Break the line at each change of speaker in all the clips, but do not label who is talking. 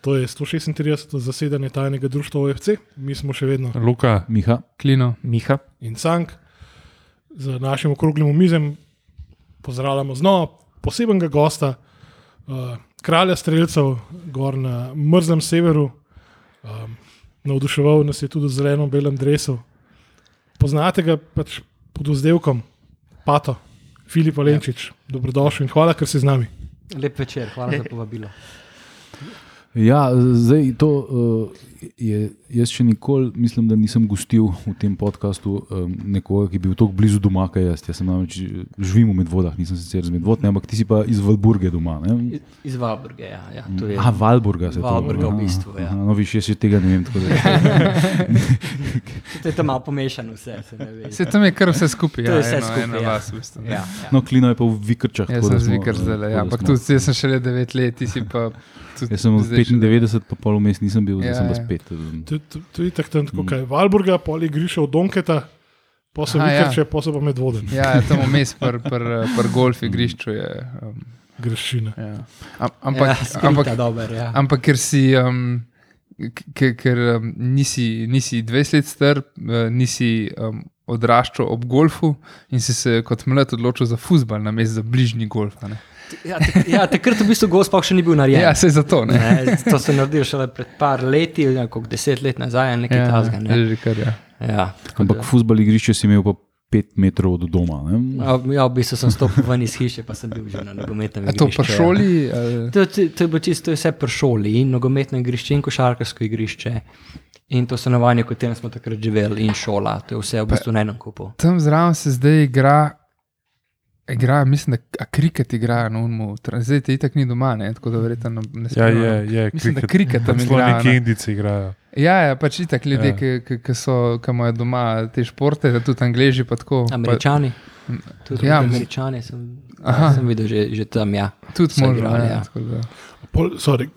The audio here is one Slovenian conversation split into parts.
To je 136. zasedanje tajnega društva OFC, mi smo še vedno
Luka,
Miha,
Klino,
Miha.
in Sank. Z našim okroglim mizem pozdravljamo znova posebnega gosta, uh, kralja streljcev, gor na mrzlem severu. Um, navduševal nas je tudi v zeleno-belem drevesu. Poznate ga pač pod vzdevkom, Pato, Filip Olenčič, dobrodošli in hvala, ker ste z nami.
Lep večer, hvala za povabilo.
Ja, zdaj to eh, je. Jaz še nikoli, mislim, da nisem gostil v tem podkastu eh, nekoga, ki bi bil tako blizu doma, kot jaz. Jaz sem namreč eh, živim v Medvodah, nisem sicer iz Medvod, ne, ampak ti si pa iz Valburge doma. Ne?
Iz, iz Valburga, ja, ja, to je.
A, Valburga se to
Valburga v
aha,
bistvu, ja.
aha, No, viš, jaz še tega ne vem. tako da-
To je tam malo pomešano vse, se ne ve.
vse tam je kar vse skupaj.
To
Ja,
je vse
eno,
skupaj,
eno
ja.
vas, v bistvu, ne.
Ja, ja.
No, klino je pa v Vikrčah.
Jaz
tako
sem
da smo,
zvikar
eh,
zdaj,
tako
ja,
da
ampak
smo-
tudi jaz sem šele 9 let, ti si pa. Tudi,
Jaz sem od
zdaj še-
95, pa pol vmes nisem bil, zdaj
Ja,
sem pa
ja.
spet. eh,
To je- to- To je tako, tam tako kaj. Valburga, pol je grišel Donketa, pa so
Aha, ja.
vikrče, pa so pa medvoden.
Ja, tam vmes, pr, pr, pr golf igrišču je. Um,
Grešina.
ja. Am, ampak,
ja, skrita,
ampak,
dober, ja.
ampak ker si. Um, Ker, ker um, nisi, nisi 20 let star, eh, nisi um, odraščal ob golfu in si se kot mlad odločil za fusbal, namesto za bližnji golf. a ne.
Ja, tak, ja, takrat v bistvu gospah še ni bil narejen.
Ja, se zato. Ne?
Ne, to se je naredilo šele pred par leti, nekako deset let nazaj, ali nekaj ja, takega. Ne.
že kar je.
Ja, tako
Ampak
da-
futbal igrišče si imel pa 5 metrov od doma. Ne?
Ja, ja, v bistvu sem stopil ven iz hiše, pa sem bil že na nogometnem
A to
igrišču. ja.
pa šoli?
ja.
ali-
To, to, to je bilo čisto vse pri šoli, in nogometno igrišče, in košarkarsko igrišče, in to stanovanje, v katerem smo takrat živeli, in šola. To je vse v bistvu na enem kupu.
Tam zraven se zdaj igra, igra mislim, da a kriket igra na unmu. Zdaj te itak ni doma, ne? tako da verjetno ne- ne
Ja,
spremljam.
je, je.
Mislim, da
kriket.
kriket tam
Tam celo
igra,
neki
ne.
indici igrajo.
Ja, ja, pač itak ljudje,
Ja.
ja. ki, ki, so, ki imajo doma te športe, da tudi angliži pa tako.
Američani. Tudi
Ja,
ja,
mo-
američani sem, ja,
Aha.
sem videl že, že tam, ja.
Pa, tudi
so
možno,
igrali,
ja.
ja.
ja. tako Da,
Pol, sorry,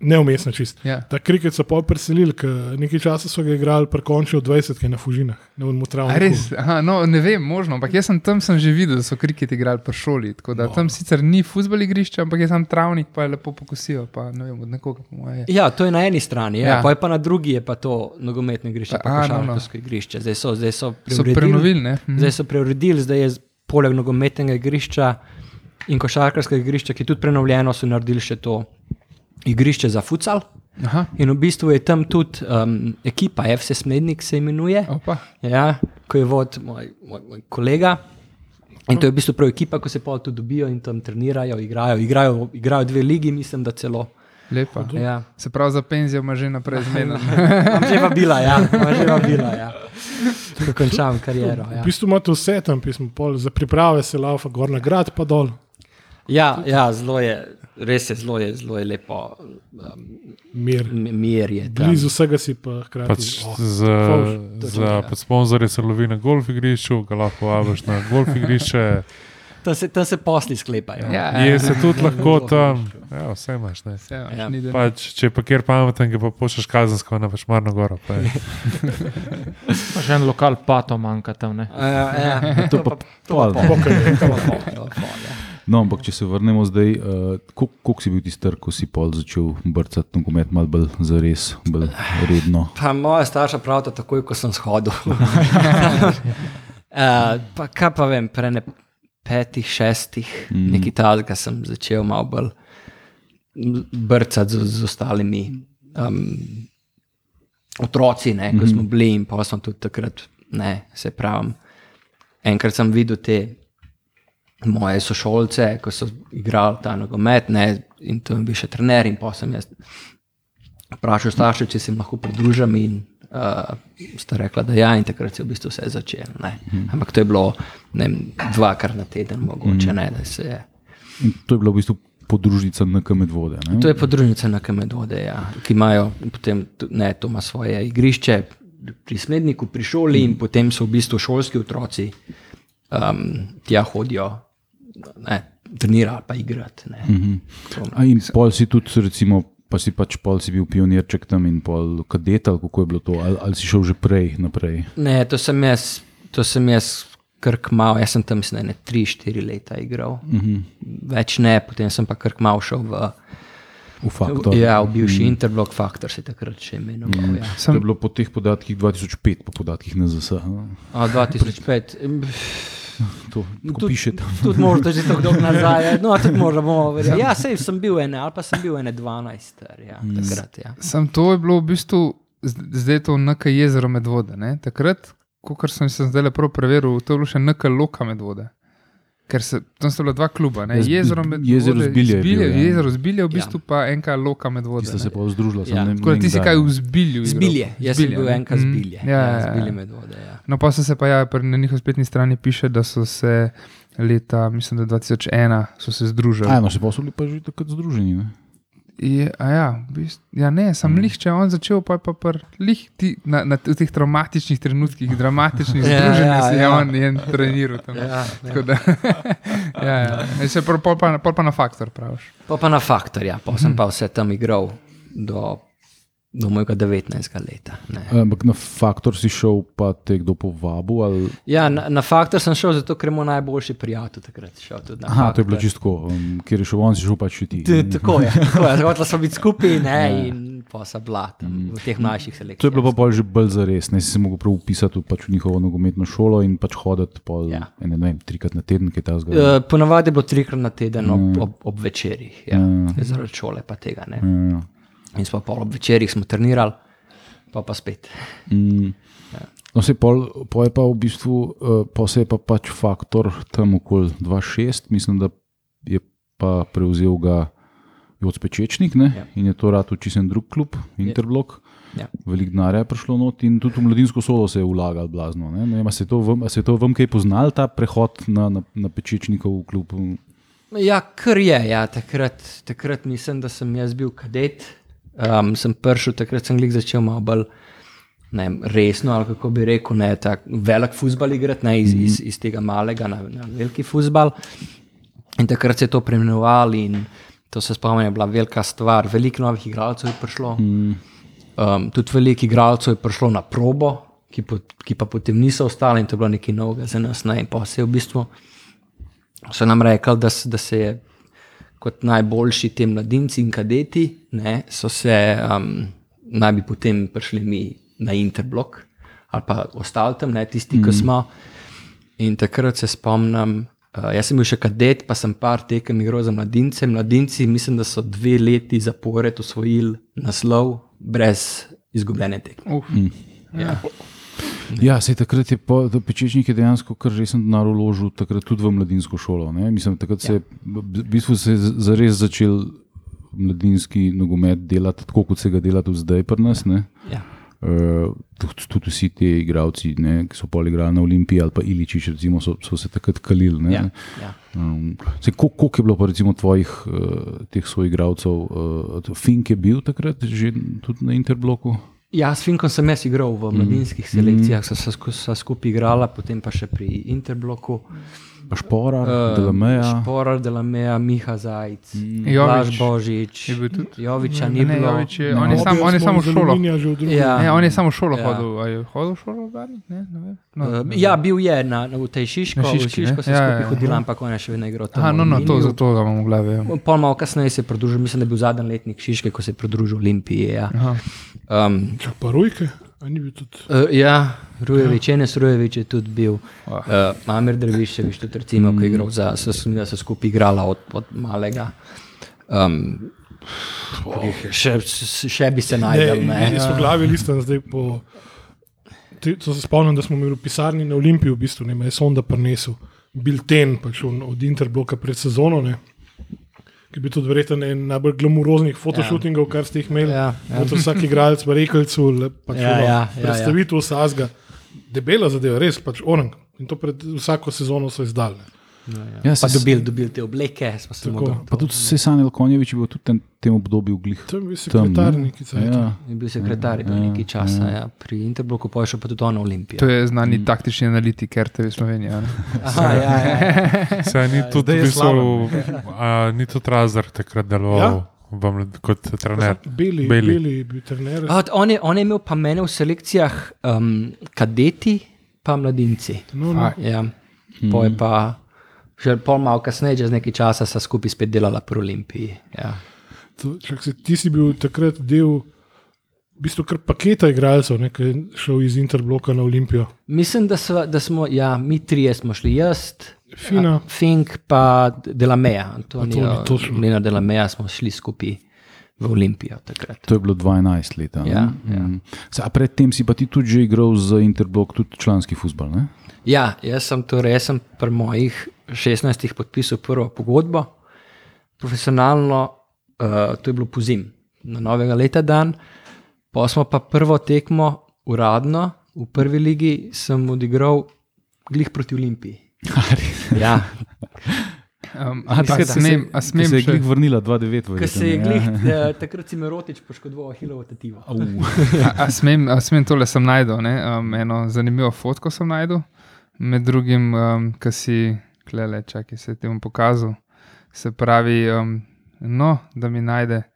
neumestno čist.
ja.
Ta kriket so pol preselili, ker nekaj časa so ga igrali, prekončil 20 na Fužinah, ne bom
A
travil.
Res, aha, no, ne vem, možno, ampak jaz sem tam sem že videl, da so kriket igrali po šoli. tako
No.
Da, tam sicer ni futbol igrišče, ampak je tam travnik, pa je lepo pokosijo, pa ne vem, od nekoga, po moje.
Ja, to je na eni strani, ja.
Ja.
ja. pa je pa na drugi je pa to nogometno igrišče,
A,
pa
no, no.
košarkarsko igrišče. Zdaj so, zdaj so,
So
preuredili-
prenovili, ne? Mhm.
Zdaj so preuredili, zdaj je z- poleg nogometnega igrišča in košarkarskega igrišča, ki je tudi prenovljeno, so naredili še to igrišče za futsal.
Aha,
In v bistvu je tam tudi um, ekipa, FC Smednik se imenuje,
opa.
ja, ko je vod moj, moj, moj kolega. In to je v bistvu prav ekipa, ko se pa tudi dobijo in tam trenirajo, igrajo, igrajo, igrajo dve ligi, mislim, da celo.
Lepa.
Ja.
Se pravi, za penzijo ima že naprej zmeden.
Imam že vabila, ja. Imam že vabila, ja. Tukaj končam kariero. Ja,
V bistvu imate vse tam, pismo, pol za priprave se lava, gor na grad, pa dol.
ja, ja zelo je, res je zelo, je, zelo je lepo, um,
Mir.
mi- mir je. tam.
Blizu
Ja.
vsega si pa hkrati.
Pač
oh,
za
fovš,
točno,
za
ja.
pač sponzorje se lovi na golf igrišču, ga lahko vabiš na golf igrišče.
Tam se, tam se posli sklepajo.
Ja.
Je se tudi
Na golf
lahko tam, ja, vse imaš. Ne.
Ja.
Ja,
Pač, če je pa kjer pameten, ga pa pošlješ kazensko na pašmarno goro. Pa je.
Pa Še en lokal pato manjka tam. Ne?
Uh, ja.
To pa pol, ne.
pol, to pa pol, to pa pol, ja.
No, ampak če se vrnemo zdaj, uh, koliko si bil ti star, ko si pol začel brcati nogomet, malo bolj zares, bolj redno.
Pa moja starša pravita takoj, ko sem shodil. uh, pa kaj pa vem, pre ne petih, šestih, mm. nekaj takega sem začel malo bolj m, brcati z, z ostalimi um, otroci, ne, ko smo bili in pa sem tudi takrat, ne, se pravim. Enkrat sem videl te moje sošolce, ko so igrali ta nogomet, ne, in to je bil še trener, in pa sem jaz vprašal starše, če se jim lahko pridružim. In, Uh, sta rekla, da ja, in takrat se je v bistvu vse začelo. Mm. Ampak to je bilo ne vem, dvakrat na teden, mogoče mm. ne, da se je.
In to je bila v bistvu podružnica NK Medvode. Ne?
To je podružnica na Kamedode, ja, ki imajo potem, tu- ne, to ima svoje igrišče pri smedniku, pri šoli in potem so v bistvu šolski otroci um, tja hodijo, ne, trenirajo ali pa igrati. Ne.
A in pol si tudi, recimo, pa si pač pol si bil pionirček tam in pol kadet, ali kako je bilo to, ali, ali si šel že prej naprej.
ne, to sem jaz, to sem jaz krk mal, jaz sem tam mislim, da ne
Mhm.
3-4 leta igral, uh -huh. več ne, potem sem pa krk mal šel v
v faktor. Mhm. Mm.
Ja, v bivši interblock faktor se je takrat še imenoval. Ja.
To je bilo po teh podatkih 2005, po podatkih NZS. a.
A 2005.
To, tako
Tudi-
piše tam.
Tudi možda že tako dolgo nazaj. No, tudi možda bomo verjeli. Ja, sej sem bil ene, ali pa sem bil ene 12. star, Ja,
Mhm.
takrat, ja.
Sam to je bilo v bistvu, z- zdaj je to nekaj jezero medvode. Ne? Takrat, kot sem se zdaj lepo preveril, to je bilo še nekaj loka medvode. Ker se, tam sta bila dva kluba, ne?
Ja, z-
jezero medvode.
jezero Zbilje je
zbilje,
bil, ja.
jezero zbilje, v
Ja.
bistvu pa enka loka medvode.
Tista se
ne.
je pa združila.
Ja,
Ja,
Tako da ti si kaj v zbilju. igral.
Zbilje, jaz sem
Zbilje,
bil
ne.
enkrat
Mhm.
zbilje.
Ja, ja, ja.
Zbilje medvode. Ja.
No, pa so se pa ja, pri- na njihovi spletni strani piše, da so se leta, mislim, da 2001 so se združili.
Ajno, no, še posebej pa že takrat združeni. Ne?
Je, a ja, v bistvu, ja, ne, sem mm.
Hmm.
lih, če je on začel, pa je pa pr, lih ti, na, na, v teh traumatičnih trenutkih, dramatičnih
Ja,
združenjih,
ja,
ja, se je
ja.
ja. on je treniral tam. Ja,
Ja, ja.
ja. Da, ja, ja. In se pol, pol, pa, pol pa na faktor praviš.
Pa, pa na faktor, ja. pa
Mhm.
sem pa vse tam igral do, do mojega 19. leta. Ne.
Eh, Ampak na faktor si šel, pa te kdo povabil. Ali...
Ja, na, na faktor sem šel, zato ker je moj najboljši prijatelj takrat šel. tudi na
Aha, to je bilo
Faktor.
čisto, um, kjer je šel on, si šel pač še ti.
T- Tako je, tako je. Hotela smo biti skupaj ne, in pa so bila tam v teh mlajših
Ja. Mhm. To je bilo pa
selekcijah.
bolj že bolj zares, ne si se mogel prav upisati v pač v njihovo nogometno šolo in pač hoditi pol,
Ja.
ja. ne, ne vem, trikrat na teden, kaj Ja, ta zgodi.
Eh, Ponavadi je bilo trikrat na teden ob,
Mhm.
ob, ob večerjih, ja. zaradi šole pa tega. Ne. In smo pa ob večerjih smo trenirali, pa pa spet. mm, ja.
No, se pol, pol je pa v bistvu, uh, pa se je pa pač faktor tam okoli 2-6, mislim, da je pa prevzel ga Jod Spečečnik ne?
Ja.
in je to rad učisen drug klub, Interblok.
Ja.
Veliko denarja je prišlo not in tudi v mladinsko solo se je vlagal blazno. Ne? Ne vem, a se je to vam, a se je to vam kaj poznal, ta prehod na, na, na Pečečnikov klub?
Ja, kar je. Ja. Takrat, takrat mislim, da sem jaz bil kadet. Um, sem prišel, takrat sem glih začel malo bolj ne, vem, resno, ali kako bi rekel, ne, tak, velik fusbal igrati, ne iz, iz, iz tega malega na, na veliki fusbal. In takrat se je to preimenovalo in to se spomnim, je bila velika stvar. Veliko novih igralcev je prišlo. Mm. Um, tudi veliko igralcev je prišlo na probo, ki, po, ki pa potem niso ostali in to je bilo nekaj novega za nas. Ne? In pa se je v bistvu so nam rekli, da, s- da se je kot najboljši ti mladinci in kadeti, ne, so se um, naj bi potem prišli mi na Interblok ali pa ostali tam, ne, tisti, mm. ki smo. In takrat se spomnim, uh, jaz sem bil še kadet, pa sem par tekem igral za mladince. Mladinci, mislim, da so dve leti zapored osvojili naslov brez izgubljene tekme.
Uf,
Ja.
Ja, se takrat je po, da Pečečnik je dejansko kar resen denar vložil, takrat tudi v mladinsko šolo. Ne? Mislim, takrat se je v bistvu se je z- zares začel mladinski nogomet delati tako, kot se ga dela tudi zdaj pri nas. Ne?
Ja.
Uh, tudi, tudi vsi ti igravci, ne, ki so pol igrali na Olimpiji ali pa Iličič, recimo, so, so se takrat kalili. ne.
Ja, ja.
Um, saj, kol- Koliko je bilo pa recimo tvojih uh, teh soigralcev? Uh, Fink je bil takrat že tudi na Interbloku?
Ja, s Finkom sem jaz igral
Mhm.
v mladinskih selekcijah, sva se sku- sva skupaj igrala, potem pa še pri Interbloku.
Pa Špora,
Eh,
uh, Delameja.
Šporar, Delameja, Miha Zajc, mm.
Jovič.
Blaž Božič,
Mhm. Je bil tudi?
Joviča ni
Ne, ne,
bilo. No,
Jovič je, on, je sam, on je samo v šolo.
Ja.
Ne, on je samo v šolo
Ja.
hodil. A je hodil v šolo, Dani? Ne, ne vem. No,
Eh, Ja, bil je na, na, v tej Šiški,
Na Šiški,
v Šiško
ne?
sem
Ja,
skupaj
ja, ja.
hodil, ampak on je še vedno igral tam.
Aha, no,
v
no, to,
Aluminiju.
zato ga imam v glavi. Ja.
Pol malo kasneje se je pridružil, mislim, da je bil zadnji letnik Šiške, ko se je pridružil Olimpiji. Ja,
Aha.
um,
Čak pa rujke, a ni bil tudi.
uh, ja Rujevič, Enes Rujevič je tudi bil, uh, Amir Drviševič, tudi recimo, mm. ki je igral za, so, so, so skupaj igrala od, od malega. Um, oh. še, še bi se najdel, ne.
Jaz v glavi listam zdaj po. Ti- To se spomnim, da smo imeli v pisarni na Olimpiji, v bistvu ne, me je sonda prinesel bilten pač on- od Interbloka pred sezono, ne, ki bi tudi verjetno en najbolj glamuroznih fotoshootingov, kar ste jih imeli.
Ja,
Ja, ja.
ja.
Vsak igralec v Rekelcu, le- pač
Ja,
ja,
ja,
ja,
ja, ja.
predstavitev ja, ja. Sazga, debela zadeva, res pač orang. In to pred vsako sezono so izdali. ne.
Ja,
Pa
saj-
dobili, dobili te obleke, smo se
Tako.
mogli.
Pa tudi Sesanil Konjevič je bil tudi v tem obdobju glih.
To je bil
tam, ne?
sekretar, ki se je tam.
Ja.
Je bil sekretar je bil nekaj časa, ja. pri Interbloku pa je šel pa tudi on na
To
Ja.
Olimpijo.
je znani mm. taktični analitik RTV Slovenija. ne. Um,
Aha, ja, ja, ja.
Saj ni to
Zdaj je
tudi
slaven.
so, a, ni to Razor takrat deloval v mlad- kot trener.
Beli,
Beli.
beli, beli bil trener.
A, On, je, on je imel pa mene v selekcijah um, kadeti, pa mladinci.
No, no.
Ja. Poj pa, še pol malo kasneje, že z nekaj časa, sta skupaj spet delala pri Olimpiji. Ja.
To, čak, se, ti si bil takrat del v bistvu kar paketa igralcev, ne, ki je šel iz Interbloka na Olimpijo.
Mislim, da, sva, da smo, ja, mi trije smo šli, jaz,
Fina.
a, Fink, pa Delameja.
Antoni, točno.
Nina Delameja smo šli skupaj v Olimpijo takrat.
To je bilo 12 let. a ne?
Ja, ja.
Mhm. Se, a predtem si pa ti tudi že igral za Interblock, tudi članski futbol. Ne?
Ja, jaz sem torej, jaz sem pri mojih 16 podpisal prvo pogodbo, profesionalno, uh, to je bilo pozim, na novega leta dan. Pa smo pa prvo tekmo uradno v prvi ligi, sem odigral glih proti Olimpiji. Ja,
Um, a
Ta
takrat
se-
smem, a
Ki
smem
se je
še,
glih vrnila 2-9 v
ker se je glih,
Ja,
eh, takrat si me rotič poškodoval hilovo tetivo.
a, a smem, a smem tole sem najdel, ne? Um, eno zanimivo fotko sem najdel, med drugim, um, ki si, klele, čakaj, se ti bom pokazal. Se pravi, um, no, da mi najde.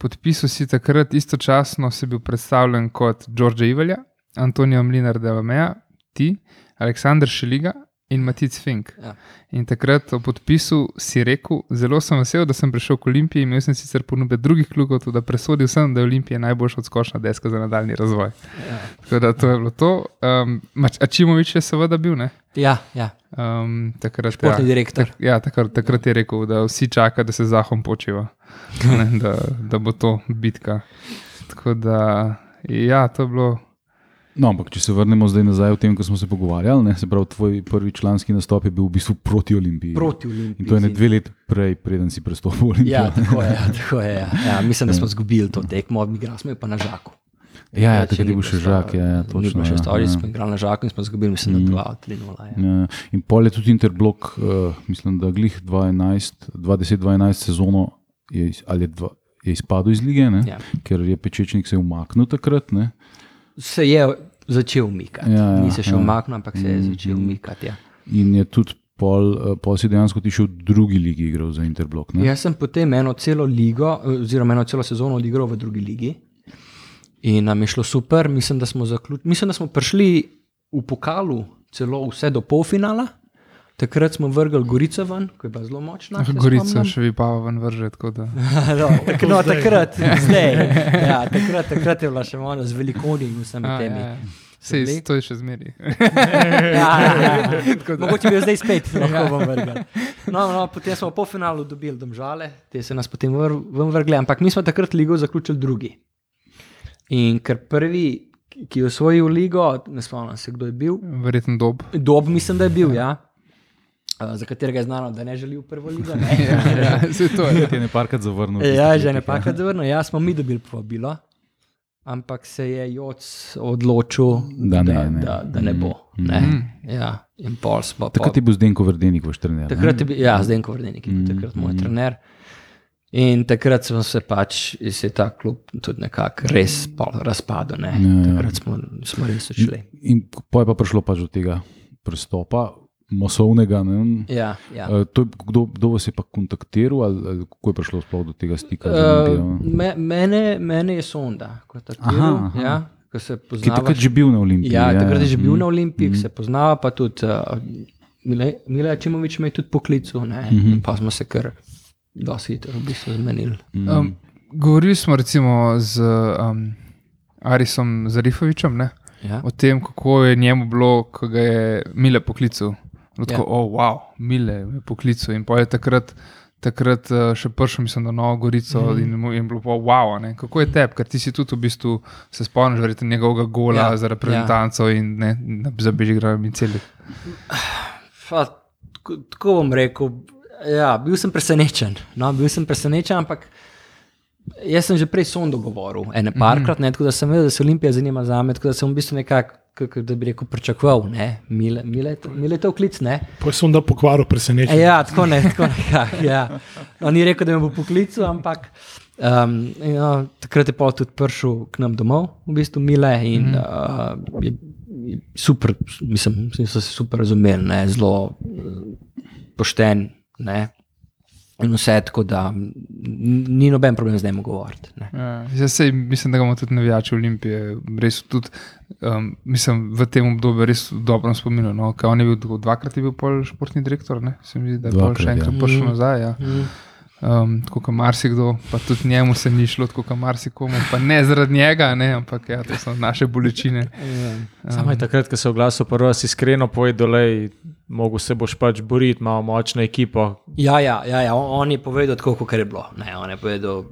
Podpisal si takrat istočasno, si bil predstavljen kot Đorđe Ivelja, Antonijo Mlinar Delameja, ti, Aleksandr Šeliga in Matic Fink.
Ja.
In takrat o podpisu si rekel, zelo sem vesel, da sem prišel k Olimpiji, imel sem sicer ponudbe drugih klubov, tudi presodil sem, da je Olimpija najboljša odskočna deska za nadaljni razvoj. Ja. Tako da to je bilo to. Um, Mač- Ačimovič je seveda bil, ne?
Ja, ja,
Um, takrat, ja,
športni ja. direktor.
ja, takrat, takrat je rekel, da vsi čakajo, da se zahom počiva, ne, da, da bo to bitka. Tako da, ja, to je bilo.
No, ampak če se vrnemo zdaj nazaj v tem, ko smo se pogovarjali, ne, se pravi, tvoj prvi članski nastop je bil v bistvu proti Olimpiji.
Proti Olimpiji.
In to je ne dve leti prej, preden si prestopil Olimpijo.
Ja, tako je. ja, Tako je ja. Ja, mislim, da smo izgubili to tekmo, igrali smo jo pa na žaku.
Ja, ja,
Več
takrat je
ni
bil še
postalo.
žak, ja, ja,
Ni
točno,
bilo še
ja,
stvari,
ja. Mm.
smo igrali na žaku in smo izgubili, mislim, da 2-3-0. Ja.
Ja, In pol je tudi Interblok, uh, mislim, da glih 2010-2011 sezono je, iz- ali je, dva, je izpadel iz lige, ne,
Ja.
ker je pečečnik se umaknil takrat. Ne.
Se je začel umikati,
Ja, ja,
ni se še
ja. mm.
umaknil, ampak se je začel umikati. Ja.
In je tudi pol, eh, pol si dejansko ti še v drugi ligi igral za Interblok. Ne?
Jaz sem potem eno celo ligo, eh, oziroma eno celo sezono odigral v drugi ligi in nam je šlo super. Mislim, da smo, zaključ... Mislim, da smo prišli v pokalu celo vse do polfinala. Takrat smo vrgli Gorico ven, ki je bila zelo močna. se
Gorico
spomnim.
še vi pa ven vrže, tako da.
No, tak, no, takrat, zdaj. Ja, takrat, takrat je bila še malo z velikoni in vsemi
Ja,
temi.
ja, ja. Sej, to je še zmeri.
Ja, ja, ja. Mogoče bi jo zdaj spet lahko vam vrgli. No, no, potem smo po finalu dobili domžale, te se nas potem vr- ven vrgli, ampak mi smo takrat ligo zaključili drugi. In ker prvi, ki je osvojil ligo, ne spomnim se, kdo je bil,
Verjetno dob.
dob mislim, da je bil, ja. Uh, za katerega je znano, da ne želi v prvo ligo. Ne?
Ja, saj to je.
Ti je nekajkrat zavrnil. v
Ja,
tistih
že
letih,
ne pakrat zavrnil, ja, smo mi dobili povabilo, ampak se je Joc odločil,
Da ne,
da,
ne. Mhm.
da, da ne bo. Ne. Ja, in pol smo. pa-
Takrat je bil Mhm, Zdenko Verdenik v 14.
takrat je bil, ja, zdaj Kovrdenik je bil takrat moj trener. In takrat smo se pač, se je ta klub tudi nekako res pol razpadel. Ne.
Ja,
Takrat smo, smo res odšli.
In pol je pa prišlo pač do tega prestopa, masovnega. Ne,
Ja, ja.
Eh, To, je- kdo, kdo vas je pa kontaktiral, ali, ali kako je prišlo sploh do tega stika? z
Uh,
Olimpijo?
me, mene, mene je sonda, kot
Aha,
tako.
aha.
Ja, ko se
Ki je
poznava.
takrat že bil na Olimpiji.
Ja, takrat je že bil
mhm.
na Olimpiji, mm. se poznava, pa tudi uh, Mile- Mile Čimovič me je tudi poklical, mm
Mhm.
-hmm. pa smo se kar dosti hitro v bistvu zmenili.
Mm.
Um, govorili smo recimo z um, Arisom Zarifovičem ne,
Ja.
o tem, kako je njemu bilo, ko ga je Mile poklical. Bilo Tako,
Ja.
ja. oh, wow, Mile me je poklical. In pa je takrat, takrat eh, še prišel, mislim, na Novo Gorico mm. in mu je bilo pa wow, a ne, kako je tep, ker ti si tudi v bistvu se spomniš verjetno njegovega gola
Ja,
ja. za reprezentanco ja. in ne, na- za Bežigrad in celi.
Pa, tako, tako bom rekel, ja, bil sem presenečen. No, bil sem presenečen, ampak jaz sem že prej sondo govoril, ene
Mhm.
parkrat, ne, tako da sem vedel, da se Olimpija zanima za me, tako da sem v bistvu nekako, kako da bi rekel, pričakoval, ne, Mile, Mile, Mile to klic, ne.
Pa sem da pokvaril presenečenje.
Ja, tako ne, tako nekako. Ja. No, ni rekel, da me bo poklical, ampak um, ja, takrat je pa tudi prišel k nam domov, v bistvu mile in mm. uh, je, je super, mislim, mislim, so se super razumeli, ne, zelo eh, pošten. Ne. In vse tako, da m, ni noben problem z njim govoriti. ne.
Ja, jaz sej, mislim, da ga imamo tudi navijači Olimpije, res tudi um, mislim, v tem obdobju res v dobrem spominu. No? ker On je bil tako- dvakrat je bil pol športni direktor, ne? se mi zdi, da je pol
Dvakrat,
Mhm.
še enkrat
ja.
prišel nazaj. Ja. Um, tako kot marsikdo, pa tudi njemu se ni šlo, tako kot marsikomu, pa ne zaradi njega, ne, ampak ja, to so naše bolečine.
Ja.
Samo je takrat, ko se oglasil, prvo si iskreno povedal, da lahko se boš pač boriti, imamo močno ekipo.
Ja, ja, ja, ja. On, on je povedal tako, kot je bilo. Ne, on, je povedal,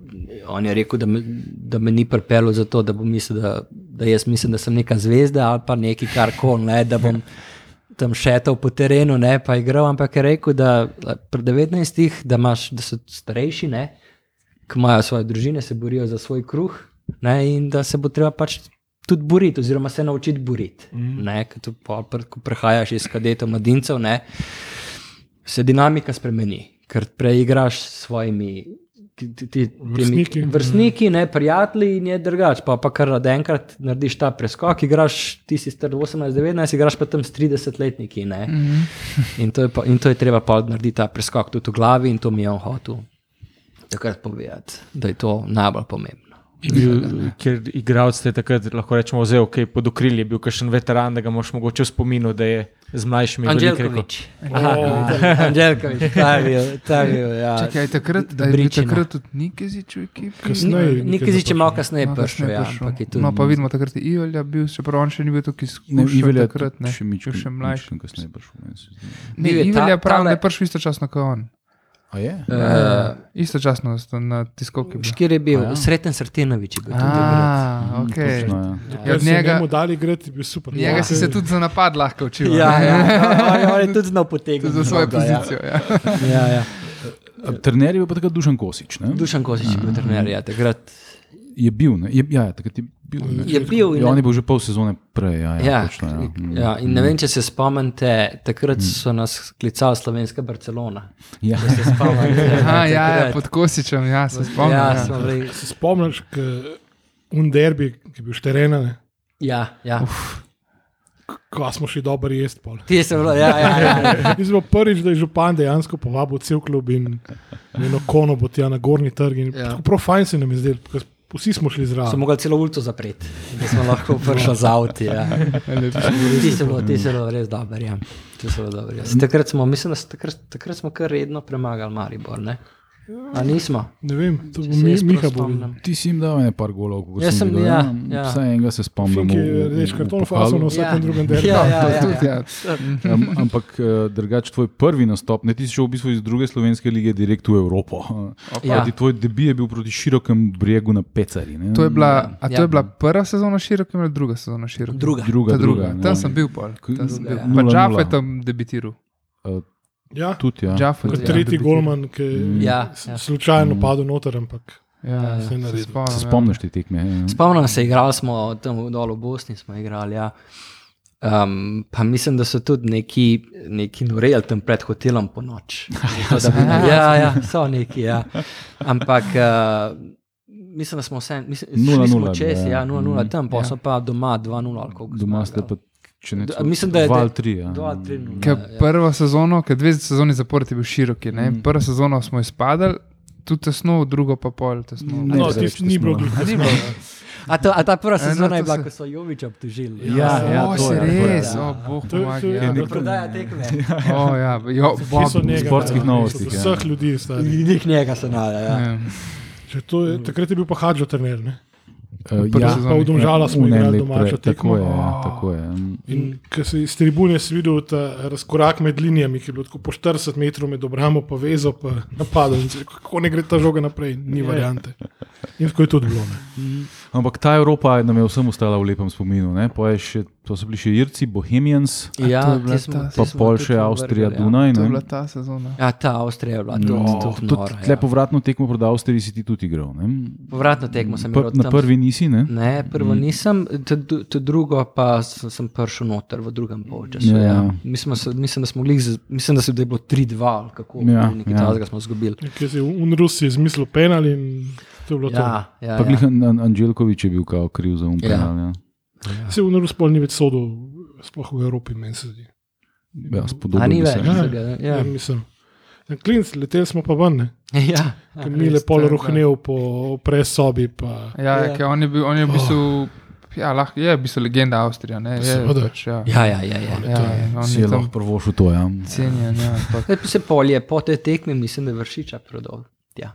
on je rekel, da me, da me ni pripeljal zato, da, bom mislil, da, da jaz mislim, da sem neka zvezda ali pa nekaj kar koli, ne, da bom tam šetal po terenu, ne pa igral. Ampak je rekel, da pri 19-ih, da, imaš- da so starejši, ne, ki imajo svoje družine, se borijo za svoj kruh ne, in da se bo treba pač. Tudi boriti, oziroma se naučiti boriti. Mm. Ne, ker tu pol pr- ko prehajaš iz kadetov mladincev, ne, se dinamika spremeni, ker prej igraš s svojimi ki- ti- ti- temi
Vrstniki.
vrstniki ne, prijatelji in je drugače. Pa, pa kar naenkrat narediš ta preskok, igraš ti si star 18-19, igraš pa tam s 30-letniki. ne. In, to je pa- in to je treba pa narediti ta preskok tudi v glavi in to mi je on hotel takrat povedati, da je to najbolj pomembno.
Ker igralec te je takrat, lahko rečemo, vzel okay, pod okrilje, je bil kakšen veteran, da ga moš mogoče v spominu, da je z mlajšimi veliko rekel.
Anželkovič. Anželkovič, ta je bil. ta je bil, Ja.
Čakaj, a je takrat, da je bil
Dobričina.
takrat tudi Nikezič v ekipi.
Kasneje.
Nekaj ziče malo kasneje
No,
prišel,
kasneje
ja,
prišel.
ampak je tudi.
no, pa vidimo, takrat je Ivelj bil, čeprav on še ni bil tako
Ne,
izkušen.
Ivelja
takrat, ne,
Še mičken,
bil še mlajši.
mičken kasneje prišel, meni se zdi.
Ne,
Bil je ta-
Ivelja pravi, da
tale-
je prišel istočasno kot on. Eh,
A je?
Uh,
Istočasno sta na tiskovki. bila.
Škir je bil,
A ja.
sreten Srtenovič je bil Mm, tudi. takrat.
A, ok.
Točno, ja.
Ah, Ja,
Ker
od
so
njega-
njemu dali igrati, je bil super.
Njega
Ja.
si se tudi za napad lahko učil.
Ja,
ne?
ja, on je- on je tudi znal potegniti.
Tudi za svojo
mnogo, ja.
pozicijo. Ja.
Ja, ja.
Trener je bil pa takrat Dušan Kosič. Ne?
Dušan Kosič je bil trener, ja, takrat
Je bil, ne? Je, ja, ja, takrat je bil. Ne?
je bil. in
Ja, on je bil že pol sezone prej. Ja, ja,
Ja,
točno, ja. Mm.
ja, in ne vem, če se spomnite, takrat so nas klicali slovenska Barcelona.
Ja.
Če se spomnite,
Aha, ja, ja,
takrat.
pod Kosičem, ja, se spomnim.
ja,
Ja,
smo bili-
Se spomniš, k- un derbi, ki je bil šterena,
ja, ja.
ko smo šli dobro jesti pol.
Ti si bil, ja, ja, ja.
Mi smo prvič, da je župan dejansko povabil cel klub in eno kono bo tja na gornji trg.
Ja.
Ja. Prav fajn se nam je zdel, vsi smo šli
So
zraven.
mogli celo ulico zapreti, da smo lahko prišli z avti. Ja. Ti si bil, ti si bil res dober. Ja. Ti si bil dober ja. Se Takrat smo, mislim, da se takrat, takrat smo kar redno premagali Maribor. Ne? A nismo?
Ne vem, to bo
Če se
mi,
jaz prav
Miha bo videl.
spomnim.
Ti si jim dal ene par golov, kako
Jaz
sem
sem,
videl,
ja, ja.
Vsaj enega se spomnim.
Fink
v-
je
v-
reč
v
karton
pokalu.
faso na vsakem drugem derbi.
Ja, ja, ja,
Tudi,
ja.
ja.
Am, ampak eh, drugač tvoj prvi nastop, ne ti si šel v bistvu iz druge slovenske lige direkt v Evropo.
Ja.
Ja. Tvoj debi je bil proti širokem bregu na Pecari. Ne?
To je bila, a
Ja.
to je bila prva sezona široka ali druga sezona široka?
Druga.
druga,
Ta druga.
druga
Tam
ja.
sem bil pol. Tam sem bil.
Ja.
Pa
Nula,
Džaf je
nula.
tam debitiral.
Ja,
Eh, Tudi, ja. Mm.
Džaf je
kot
tam
tretji
debitiral.
golman, ki je
Ja, ja.
slučajno padel noter, ampak
Ja,
se je
se
naredil.
spomnim.
Se
ja.
spomniš te tekme? ja, ja.
Spomnim se, igrali smo tam dol v Bosni, smo igrali. Ja. Um, pa mislim, da so tudi neki, neki noreli tam pred hotelom po noč. Zato, da bi- ja, ja, so neki. Ja. Ampak uh, mislim, da smo vse, mislim,
0:0
šli
je
smo
bilo,
čez,
ja.
ja, 0-0
Mhm.
tam, pa
Ja.
so pa doma 2-0. ali koliko
Doma ste
zmagali.
pa, če ne
D-
celo-
mislim, da je-
Val 3. Ja.
2-3-0.
Ker prvo sezono, ker dve sezoni zapored je bil široki, ne? prvo sezono smo izpadali, tudi tesno, drugo pa pol tesno.
No,
Ajde,
tisti
zdaj
ni
smo-
bilo glih.
A, to, a ta prva sezona
ja. to
je bila,
se-
ko so Jovič obtožili.
Ja, ja,
o,
to
si
je, to je,
res,
ja.
o, bog,
To je- to je-
pomagaj.
to
Ja.
je-
Da prodaja tekme.
O, ja, jo,
Kje
Bob.
so njega?
sportskih
Ja,
novostih,
od
ja.
Vseh ljudi stari.
Njih njega se nada. Ja.
Ja.
Že to je- Takrat je bil pa Hadžo trener. ne?
Eh,
Prvi
Mm. ja.
sezon.
Pa v Domžalah smo
v ne
igrali
lep
domačo
pre- Tako
tekmo.
je, ja, tako je. Mm.
In ko si iz tribune si videl ta razkorak med linijami, ki je bil tako po 40 metrov med obramo, pa vezo, pa napadom, in si rekel, kako ne gre ta žoga naprej,
Ja.
ni variante. In tako je tudi bilo. Ne.
Ampak ta Evropa nam je vsem ostala v lepem spominu. ne. Pol je Še, to so bili še Irci, Bohemians,
A to je
Ja,
bila
ti smo-
ta-
ti
pa
smo
pol
tudi
še
to
Avstrija,
vrgli, ja.
Dunaj.
To je
ne.
bila ta sezona.
Ja, ta Avstrija je bila tudi,
No,
no, tudi,
tudi
nora,
tle
ja.
povratno tekmo proti Avstriji si ti tudi igral. ne?
Povratno tekmo sem
Pr
imel
na prvi Mm. nisi, ne?
Ne, prvo nisem, to, to drugo pa sem, sem prišel noter v drugem polčasu.
Ja.
Ja. Ja. Mislim, da so- mislim, da smo glih, z- mislim, da se da je bilo 3-2 ali kako,
Ja,
ja, nekaj
ja.
ja. takega smo izgubili.
Ker si Unrus je izmislil penal in to je bilo
Ja, ja,
Pa glih
ja.
An- An- Anželkovič je bil kao kriv za
Ja.
umprenal. Ja.
to. Se Unrus pol ni več sodel, sploh v Evropi, meni se zdi.
Ja,
A ni
spodobno
več.
se.
Ja,
tega, ja.
ja. mislim. En Klinc, leteli smo pa ven, ne.
ja.
Ker mi je
res, to
lepo
je
rohnev po presobi. Pa...
Ja,
Ja.
ja. ker on je bil, on je v bistvu, ja, lahko je v bistvu legenda Avstrija, ne? Je,
Seveda.
pač, ja.
Ja, ja, ja, ja.
Ja, on
Si
je
je lahko
tam
prvo šel to, ja.
cenjen, ja. ampak-
E, Se polje po tej tekmi, mislim, da je vršiča prodal. Ja.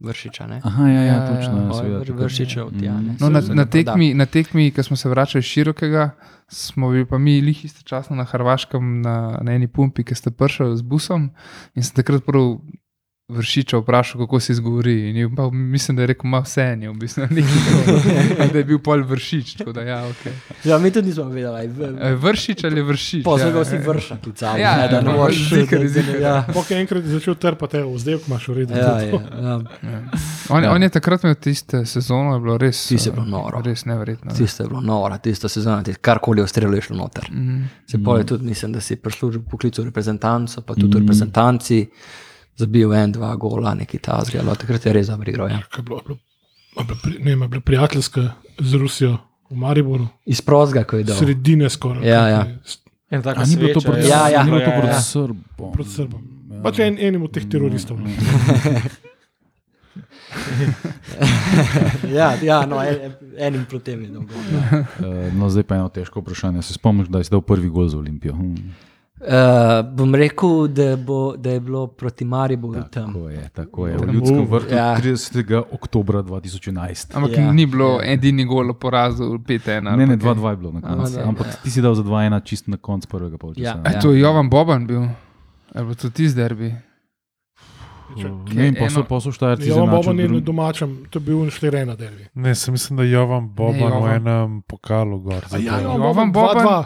vršiča. Ne?
Aha, ja, ja,
Ja, ja,
točno. Ja,
Oj,
seveda,
Vr-
tako.
vršičev, tja, ne.
No, na, na,
Seveda, da.
tekmi, na tekmi, ki smo se vračali iz širokega, smo bili pa mi lih istočasno na Hrvaškem na, na eni pumpi, ki ste prišli z busom. In sem takrat prav vršiča vprašal, kako se izgovori. In je, pa, mislim, da je rekel, ima vse eno, v bistvu, ni tako, da je bil pol vršič. tako Da, ja, okay.
Ja, mi tudi nismo vedeli.
E, Vršič ali je vršič?
Pozor,
ja,
ga vsi vrša, klicamo,
Ja,
ne, da ne
ja,
moreš.
zikar,
da- da-
zikar.
Ja,
Bog je enkrat začel trpati, evo, zdaj ko imaš uredno.
ja, ja, ja.
On,
Ja.
ja. on je takrat imel tiste sezono, je bilo res,
Tisto je
eh,
bilo noro.
res neverjetno.
Tisto je bilo no, noro, tisto sezono, tisto, karkoli je ustrelilo, je šlo noter.
Mm.
Se mm. pole tudi, mislim, da si prislužil poklic v reprezentanco, pa tudi mm. v reprezentanci, zabil en, dva gola, neki ta zgolj, takrat je res dobro igral. Ja.
Kaj je bilo, bilo, a bilo, pri- ne, vem, a bilo prijateljska z Rusijo v Mariboru,
Iz prozga, ko je
Do.
dal.
sredine skoraj.
Ja,
kaj
ja.
je, s-
En tak
A ni bilo to proti
ja. Ja, ja.
ni bilo to
Ja,
proti
ja.
Srbom? Ja.
Proti Srbom. Pač en, enim od teh teroristov. ne.
ja, ja, no, en, enim proti tem je dal. gol, Ja.
Eh, No, zdaj pa je eno težko vprašanje. Se spomniš, da si dal prvi gol za Olimpijo? Hm.
Uh, bom rekel, da, bo, da je bilo proti Mariboru tam.
Tako je, tako je. V ljudskem vrtu
Ja.
30. oktober 2011.
Ampak
Ja.
ja, ni bilo ja. edini gol o porazu, 5-1.
Ne, ne,
ampak-
2-2 je bilo na koncu.
2:2,
Ampak ti si dal za 2-1 čist na koncu prvega polčasa.
Ja.
ne?
A to je Jovan Boban bil, ali pa tudi ti z derbi.
Ne vem, pa so,
Eno-
pa so štajerci
Ja, on
izenačili
bo ni na
drugi-
domačem, to je bil štirena dervi.
Ne, sem mislim, da Jovan Boban v
Jovan.
enem pokalu gor.
A ja,
zadeval.
Jovan Boban, 2:2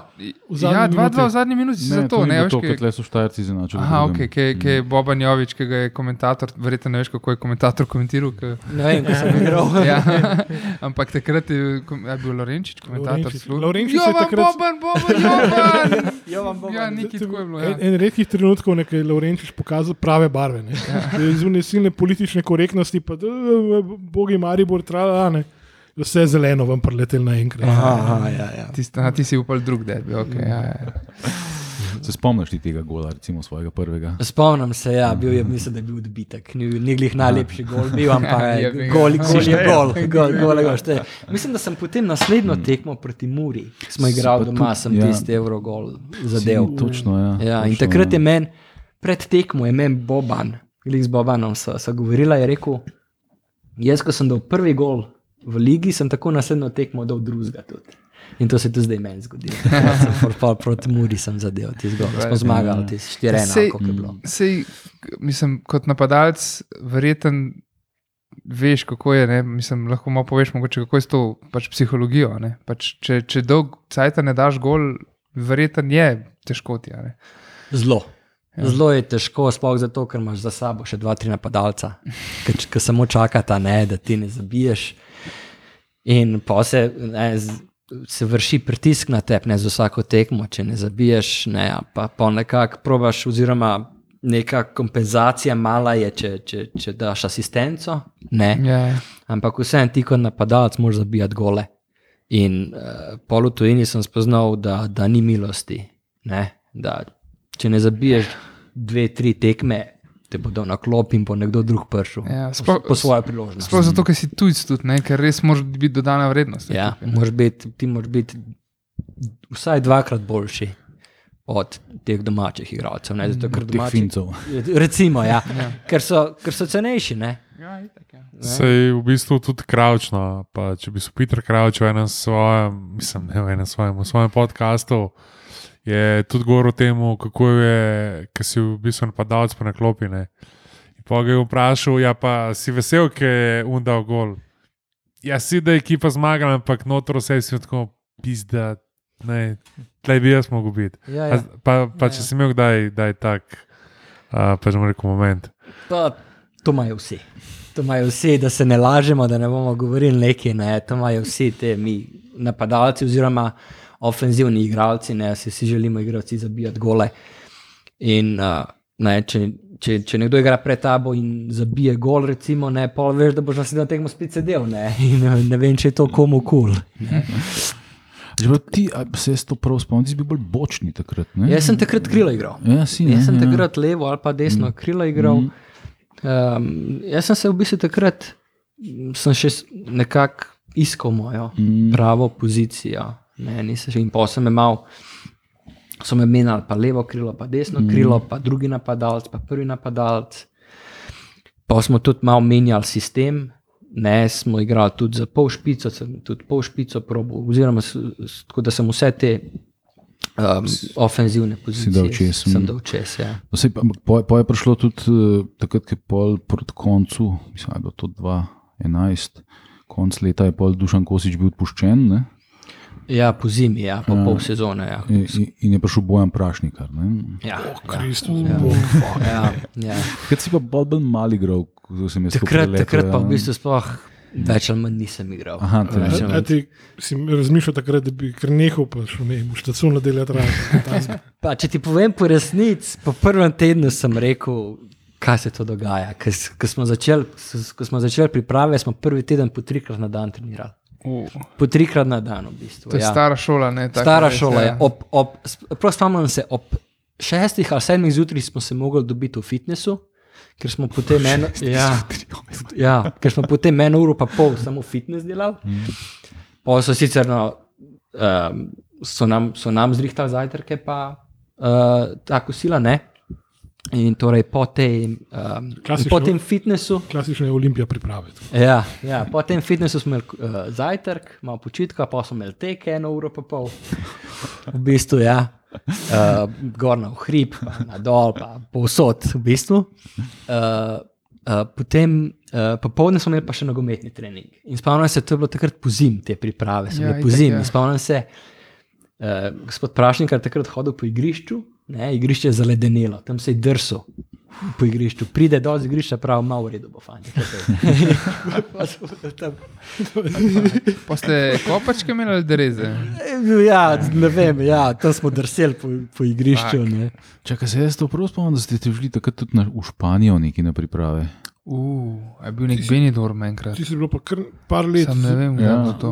v zadnji
Ja, 2-2 v
minuti.
zadnji minuti si
Ne,
za
to
to,
ni
ne
bilo
veš,
to,
kaj-
kot le so štajerci izenačili.
Aha,
drugem.
ok, ki je Boban Jovič, ki ga je komentator, verjetno ne veš, kako je komentator komentiral. Ki,
Ne vem, kaj sem igral.
ja, ampak takrat je, kom- a je bil Lorenčič, komentator
Lovrenčič-
služil.
Lovrenčič je
Jovan
takrat-
Boban, Boban, Jovan!
Jovan Boban.
ja, nekaj tako je bilo. Ja.
En, en redkih trenutkov, ko je Laurenčič pokazal prave barve. ne.
Ja.
Izvne silne politične korektnosti, pa da, bogi Maribor, tralane. Vse je zeleno vam preletel naenkrat.
Aha, ja, ja.
Tist, aha, ti si upal drug derbi. Okay, ja, ja.
Mm. Se spomniš ti tega gola, recimo svojega prvega?
Spomnim se, ja, bil
Mhm.
je, mislim, da je bil odbitek. Ni bil njih najlepši gol, bil, ampak
Ja,
je,
je bil.
gol, gol je
Šteje.
gol. gol, gol, je gol šteje. Mislim, da sem potem naslednjo tekmo proti Muri, ki smo
Si
igrali
Mhm. pa
doma,
tudi,
sem
ja.
ja. tisti evrogol zadev.
Si, Točno, ja.
Ja, in
točno,
takrat je
ja.
meni, pred tekmo je meni Boban, glih z Bobanom sva sva govorila, je rekel, jaz, ko sem dal prvi gol v ligi, sem tako naslednjo tekmo dal drugega tudi. In to se je tudi zdaj meni zgodilo. Takrat sem pol- pol Proti Muri sem zadev, ti zgolj. Smo zmagali, ti si štiri,
Sej- mm,
enako je bilo.
Sej, k- mislim, kot napadalec, verjeten veš, kako je. Ne? Mislim, lahko malo poveš, mogoče, kako je s to pač psihologijo. ne. Pač, če, če dolg cajt ne daš gol, verjeten je težko ti. a ne.
Zelo. Zelo je težko, sploh zato, ker imaš za sabo še dva, tri napadalca, ki samo čakata, ne, da ti ne zabiješ. In pa se, ne, z- se vrši pritisk na tebe, ne z vsako tekmo, če ne zabiješ, ne, ali pa, pa nekako probaš, oziroma neka kompenzacija mala je, če, če, če daš asistenco. Ne,
Ja,
Ampak vseeno ti kot napadalec moraš zabijati gole. In uh, pol v tujini sem spoznal, da, da ni milosti. Ne? Da, če ne zabiješ dve, tri tekme, te bodo na klop in bo nekdo drug pršil.
Ja,
po,
sploh-
po svojo priložnost.
Sploh zato, ker si tujc tudi, ne? ker res moraš biti dodana vrednost. ne,
Ja,
tukaj, ne.
moraš biti, ti moraš biti vsaj dvakrat boljši od teh domačih igralcev.
Mm,
ne, Zato, ker
Teh
domači,
fincov.
recimo, ja, ker, so, ker so cenejši. Ne?
Ja, itak, ja.
Se je v bistvu tudi kravčno. Pa, če bi se Peter Kravč v enem svojem, mislim, ne v enem svojem, v svojem podkastu, je tudi govoril o tem, kako je, ki si v bistvu napadalec po naklopine. In pa ga je vprašal, ja, pa si vesel, ki je undal gol. Ja, si da je ekipa zmagala, ampak notro vse je tako pizda, ne, tlej bi jaz mogel biti.
Ja,
A, pa, pa če si imel kdaj, kdaj tak, uh, pač mu rekel moment.
Pa, to imajo vsi. To imajo vsi, da se ne lažemo, da ne bomo govorili neki. Ne. To imajo vsi ti mi napadalci, oziroma ofenzivni igralci, ne se vsi želimo igrati, zabijati gole. In, uh, ne, če, če, če nekdo igra pred tabo in zabije gol, recimo, ne, pol veš, da boš naslednji tekmo spet sedel. Ne, in, eh, ne vem, če je to komu kul. Cool.
Že bilo ti, a se jaz to prav spomnim, ti si bil bolj bočni takrat. Ne?
Jaz sem takrat krilo igral.
Ja, si, ne,
Jaz sem
ja.
takrat levo ali pa desno mm. krilo igral. Mm. Um, jaz sem se v bistvu takrat m, sem še s- nekako iskal mojo mm. pravo pozicijo. Ne, nisem še in posem imel. So me menjali, pa levo krilo, pa desno mm. krilo, pa drugi napadalec, pa prvi napadalec. Pa smo tudi malo menjali sistem, ne, smo igrali tudi za pol špico, sem tudi pol špico probo, oziroma s- s- tako da sem vse te um, ofenzivne pozicije
dal čez,
Sem
mm.
dal čez, ja.
No, sej, ampak po, po je prišlo tudi eh, takrat, ko je pol proti koncu, mislim, da je bilo to 2011, konc leta je pol Dušan Kosič bil odpuščen ne?
ja, po zimi, ja, po pol sezone. Ja.
in, in- in je prišel Bojan Prašnikar. ne.
Ja,
Kristus,
ja,
Bog.
ja, ja.
Takrat si pa bolj bolj mal igral, kot sem jaz. ko
Takrat,
preletel,
takrat pa
ja.
v bistvu sploh več ali manj nisem igral.
Aha, te
Več ali
ne.
A, a
manj.
ti si razmišljal takrat, da bi kar nehal, pa še ne, boš tacun na delu traja.
Pa, če ti povem po resnici, po prvem tednu sem rekel, kaj se to dogaja. Ker s- Ko smo začeli začel začel priprave, smo prvi teden po trikrat na dan trenirali. Po trikrat na dan, v bistvu.
To je ja.
ja.
stara šola, ne tako. ja.
Stara šola ja. je. Ob, ob, sp- prav spomnim se, ob šestih ali sedmih zjutraj smo se mogli dobiti v fitnessu, ker smo potem eno, ja,
oh,
ja, ker smo potem eno uro pa pol samo fitness delali.
Mm.
Pa so sicer no, um, so, nam, so nam zrihtali zajtrke, pa uh, tako sila ne. In torej po, tej, um,
Klasično.
po tem fitnessu
Klasično je olimpija priprave.
Ja, ja, po tem fitnessu smo imeli uh, zajtrk, malo počitka, pa smo imeli tek eno uro pa pol. V bistvu, ja. Uh, gor na hrib, pa na dol, pa povsod, v bistvu. Uh, uh, potem, uh, popoldne smo imeli pa še nogometni trening. In spomnim se, to je bilo takrat po zim, te priprave, so
Ja,
bile po
itak,
zim.
ja.
In Spomnim se, uh, gospod Prašnik je takrat hodil po igrišču, ne, igrišče je zaledenelo, tam se je drsel po igrišču. Pride do igrišča, pravi, malo v redu bo fajn.
Poste kopačke imeli ali dereze?
Ja, ne vem, ja, tam smo drseli po, po igrišču. ne.
Čakaj, se jaz to prav spomnim, da ste te šli takrat tudi na, v Španijo neki na priprave.
Uf, je bil nek Benidorm enkrat.
Ti si bil pa kar par let.
Sam ne vem, kako
Ja.
je bilo to.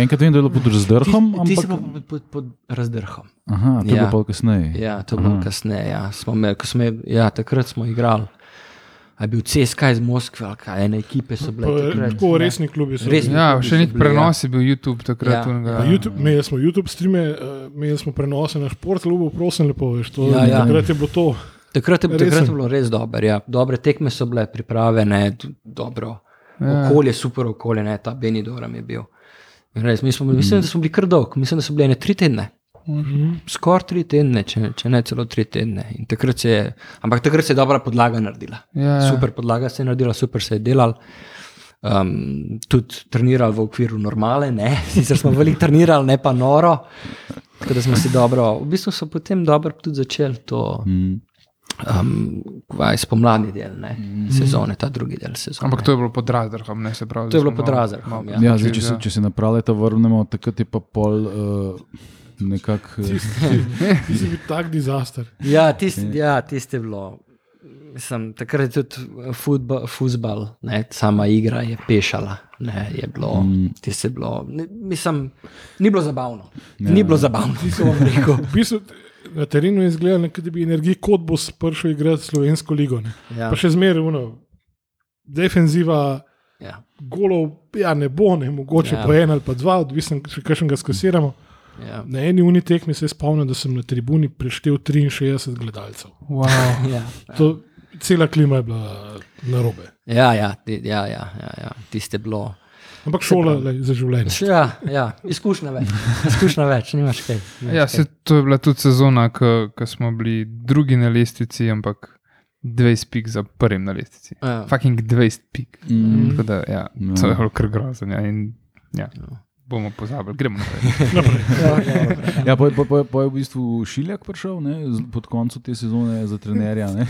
Enkrat vem, da je bilo pod razdrhom,
Ti si
ampak...
pa pod, pod, pod razdrhom.
Aha, to je
Ja.
bilo pol kasneje.
Ja, to je bilo kasneje. Ja. Smo imeli, ko smo, imeli- ja, takrat smo igrali. A je bil CSK iz Moskve, ali kaj, ene ekipe so bile.
Pa,
takrat,
tako
ne.
resni klubi so.
Resni.
Ja,
klubi
še
so
nek
bili,
prenos je bil YouTube
Ja.
takrat. onega-
Na YouTube, imeli smo YouTube streame, eh, imeli smo prenose na šport, ljubo, prosim, lepo. Veš, to, ja,
Ja, ja.
ja. Takrat je bilo to.
Takrat je,
Resen.
takrat je bilo res dobro. Ja. Dobre tekme so bile pripravljene, d- dobro.
Ja.
Okolje, super okolje, ne, ta Benidorm je bil. In Res, mi smo, bili- mislim, da smo bili kar dolg, mislim, da so bile ne tri tedne. Skoraj tri tedne, če, če ne celo tri tedne. In Takrat se je, ampak takrat se je dobra podlaga naredila.
Ja, ja.
Super podlaga se je naredila, super se je delal. Um, tudi trenirali v okviru normale, ne? sicer smo veliko trenirali, ne pa noro. Tako da smo si dobro, v bistvu so potem dobro tudi začeli to
Mm.
um, kvaj, spomladni del ne, sezone, ta drugi del sezone.
Mhm. Ampak to je bilo pod Razdrahom, ne se pravi.
To je
da
bilo
smo
pod
malo-
Razdrahom,
malo
ja.
Ja,
počili,
zdaj, če, se, če se napravljata vrnemo, takrat je pa pol uh, nekako... eh,
Ti si bil tak dizaster.
ja, tisti ja, tist je bilo. Mislim, takrat je tudi eh, futba, futbal, ne, sama igra je pešala. Ne, je bilo,
Mhm.
mm. bilo, ne, mislim, ni bilo zabavno.
Ja.
Ne, ni bilo zabavno, kako bom rekel.
V bistvu, na terenu je izgledalo, kot da bi energij kot bo spršel igrati slovensko ligo. Ne.
Ja,
Pa še zmeraj uno. Defenziva,
ja,
golov ja, ne bo, ne mogoče
Ja.
ja. pa en ali pa dva, odvisno, če kakšnega skasiramo.
ja,
Na eni uni tekmi se je spomnil, da sem na tribuni preštel 63 gledalcev.
Wow.
ja.
To, cela klima je bila na robe.
Ja, ja, ti- ja, ja, ja, ja. tiste bilo.
Ampak šola je za življenje.
Ja, ja, izkušnja več, izkušnja več, nimaš kaj. nimaš
Ja,
kaj.
se, to je bila tudi sezona, ko smo bili drugi na lestvici, ampak 20 pik za prvim na lestvici.
Ja.
Fucking 20 pik.
Mm.
Tako Da, ja,
Ja.
to je bilo kar grozno. Ja, in, ja, bomo pozabili, gremo naprej.
Ja, pa, je- pa, pa, pa je v bistvu Šiljak prišel ne, z- pod koncem te sezone za trenerja. Ne.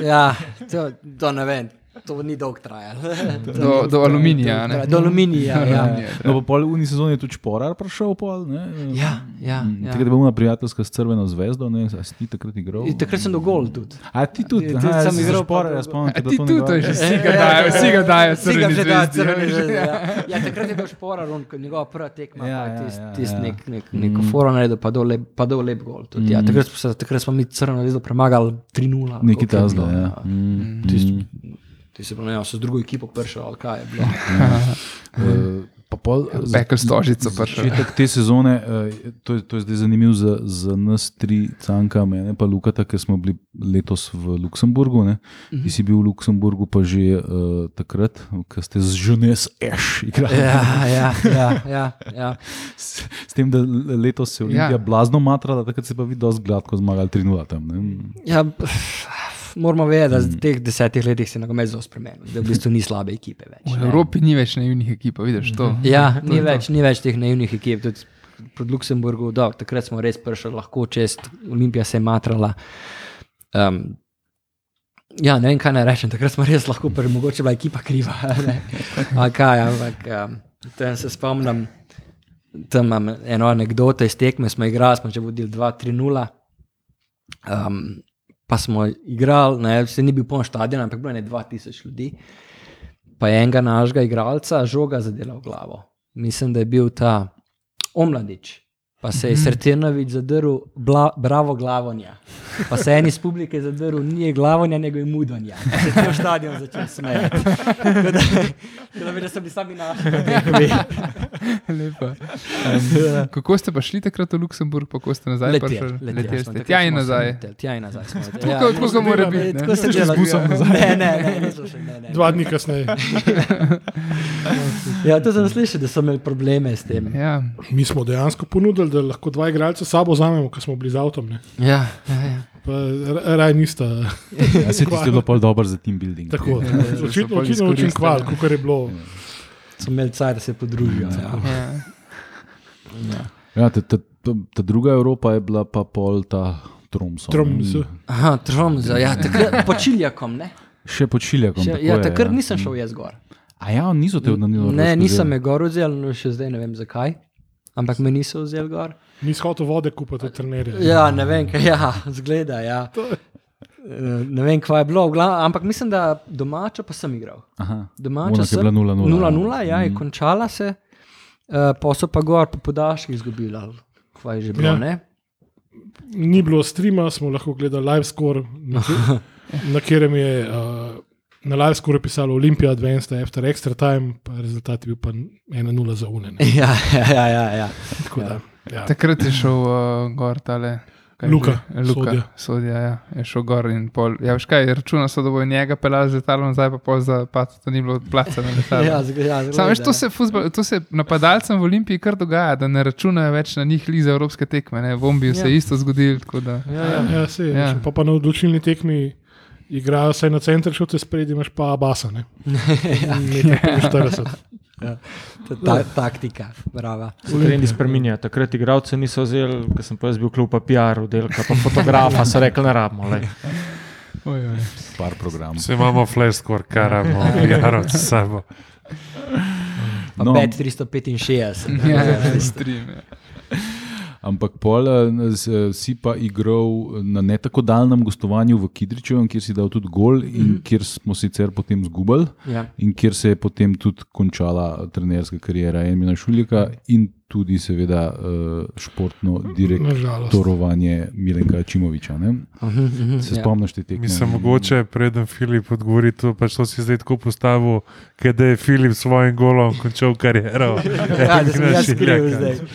Ja, ja to, to ne vem, to ni dolg trajal. To ni
Do,
dolgo
do
trajalo.
aluminija. ne.
Do aluminija, ja.
No, pa pol v uni sezoni je tudi šporar prišel. Pol, ne.
ja, ja,
Mm,
ja.
Takrat je bila moja prijateljska s crveno zvezdo, ne, a si ti takrat igral?
In Takrat sem dogol tudi.
A ti tudi,
Ja,
aha,
tudi
jaz
sem
sem
igral
igral
pa
šporar,
drugo.
jaz spomnim,
A
da
ti tudi, to je že vsi ga
Ja,
dajo, vsi ga dajo,
Vsi ga
crveni
že dajo,
zvezdi,
crveni
ja.
zvezdi, ja. Ja, takrat je bil šporar, on, ko njegova prva tekma,
Ja,
ja,
ja,
tist,
ja,
tist
ja.
nek, nek, neko foro naredil, pa dol lep, pa dol lep gol. Tudi, ja. takrat, smo, se- takrat smo mi crno zvezdo premagali 3-0. ali
Nekaj
koliko je
tazga,
bilo,
ja. Mm.
ja, Tisti- Ti si bil, ne, vem, so z drugo ekipo prišel, ali kaj je bilo.
Eh, Pa pol, eh, za-
Pekel s tožico prišel.
Začetek te sezone, eh, to je, to je zdaj zanimiv za, za nas tri, Canka, mene pa Lukata, ker smo bili letos v Luksemburgu. Ne? Ti si bil v Luksemburgu pa že uh, takrat, ko ste z Žunes Eš igrali.
Ja, ja, ja, ja, ja.
S, s tem, da letos se je Olimpija
Ja.
ja. blazno matrala, takrat se pa vi dosti gladko zmagali 3-0 tam. Ne?
ja b- moramo vedeti, da v teh desetih letih se je nogomet zelo spremenil, da v bistvu ni slabe ekipe več.
V Evropi ni več naivnih ekip, a vidiš to.
Ja,
je
ni
to.
več, ni več teh naivnih ekip. Tudi pod Luksemburgom, da takrat smo res prišli lahko čez, Olimpija se je matrala. Um, ja, ne vem, kaj naj rečem, takrat smo res lahko prišli, mogoče bila ekipa kriva. ne. Ali kaj, ampak um, tam se spomnim, tam imam eno anegdoto iz tekme, smo igrali, smo že vodili 2-3-0. Um, pa smo igrali, ne, se ni bil poln stadion, ampak bilo je ne 2000 ljudi. Pa je enega našega igralca žoga zadela v glavo. Mislim, da je bil ta omladič. Pa se
Mhm.
je Srtenovič zadrl, bla, bravo glavonja. Pa se je en iz publike zadrl, ni glavonja, nego je mudonja. Pa Se je cel stadion začel smejati. Tako da, tako da, bi, da so bili sami naši. na tekmi.
Lepa. Um, kako ste pa šli takrat v Luksemburg, pa ko ste nazaj prišli? Leteli ja, ste
smo takrat
tja in
smo
nazaj.
leteli, Tja in nazaj. smo leteli.
Tako- tako ga mora biti, ne.
Tako se
Šli
dela.
z busom nazaj.
Ne, ne, ne, nismo šli, ne, ne.
Dva dni kasneje.
Ja, to sem slišal, da so imeli probleme s tem.
Ja,
Mi smo dejansko ponudili, da lahko dva igralca s sabo vzamemo, ker smo bili z avtom. ne.
Ja, ja, ja.
Pa ra- Raj nista.
Ja, se ti je bilo pol dobro za team building.
Tako,
Ja, da so
očitno
pol
očitno učim
izkoristili.
kval, kot je bilo.
so imeli car, da se podružijo. Ja.
ja.
Ja, ta, ta, ta, ta druga Evropa je bila pa pol ta Tromso. ne.
Trom z-
Aha, trom za, ja, takrat počiljakom, ne?
Še pod Čiljakom.
Še,
tako
ja,
je,
takrat
ja.
nisem šel jaz gor.
A ja, niso te odnanili.
Ne, nisem me gor vzel, no še zdaj ne vem zakaj, ampak me niso vzel gor.
Nisi hotel vode kupiti od trenerja.
Ja, ne vem, kaj, ja, zgleda, ja. Eh, Ne vem, kaj je bilo, v glav- ampak mislim, da domačo pa sem igral.
Aha.
Domača
Ona, ki je bila 0:0, ja.
0-0, ja, je končala se, uh, pa so pa gor po podaljških izgubila, ali kaj je že bilo,
Ja.
ja. ne?
Ni bilo streama, smo lahko gledali live score, na, kje- na katerem je uh, na live score pisalo Olimpija, Advanced, After Extra Time, pa rezultat je bil pa 1-0 za UNE.
Ja, ja, ja. ja.
Da, ja.
Takrat je šel uh, gor tale. kaj je
Luka,
že? Luka
Sodja.
sodja, ja. je šel gor in pol. Ja, veš kaj, računa so, da bo njega pelal z letalom, zdaj pa pol za pat, to ni bilo placa na letalu.
ja, zg- ja
Sam veš,
zgleda,
to
ja.
se, fuzbol, to se napadalcem v Olimpiji kar dogaja, da ne računajo več na njih li za evropske tekme. Ne? V Bombiju ja. se je isto zgodilo. tako Da,
Ja, ja, ja, se,
Ja.
ja. Pa, pa na odločilni tekmi igrajo vse na center, šute spredi, imaš pa abasa. Ne? Meter 45.
Ta, taktika, brava.
Se trendi spreminjajo. Takrat igralcev niso vzeli, ker sem pa jaz bil klub PR, oddelka pa fotografa, so rekli, ne rabimo. Lej.
oj, oj.
Par programov.
Vse imamo flash, skor karamo, jaro s sabo.
Pa
No.
no. 5365.
ja, ja, stream, ja.
Ampak pol eh, s- si pa igral na ne tako daljnem gostovanju v Kidričevem, kjer si dal tudi gol in
Mhm.
mm -hmm. kjer smo sicer potem zgubili.
Ja.
In kjer se je potem tudi končala trenerska karijera Emina Šuljika in tudi, seveda, eh, športno
Nažalost.
direktorovanje Milenka Čimoviča. Ne? Se
ja.
spomniš te tekme?
Mislim, mogoče, preden Filip odgovori, to pač to si zdaj tako postavil, kaj da je Filip s svojim golom končal kariero.
Ja, da sem
Igra
jaz skril
Šiljaka.
ja.
zdaj.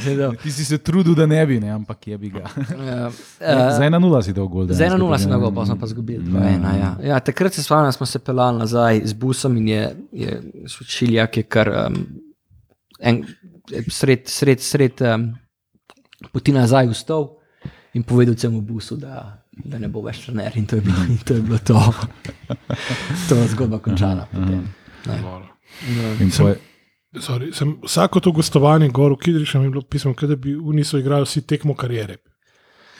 Sedaj,
Ti si se trudil, da ne bi, ne? ampak je bi ga.
eh, eh,
Za 1-0 si dal gol.
Za eno nula sem dolgo, pa smo pa izgubili.
No.
dva ena, Ja. Ja, takrat se spomnim, da smo se pelali nazaj z busom in je, je Šiljak je kar um, en, sred, sred, sred um, poti nazaj vstal in povedal celemu busu, da, da ne bo več trener. In to je bilo, in to, je bilo to. to je zgodba končana. potem.
In svoje,
Sorry, sem, vsako to gostovanje, gor v Kidriču, mi je bilo pismo, da bi oni so igrali vsi tekmo karijere.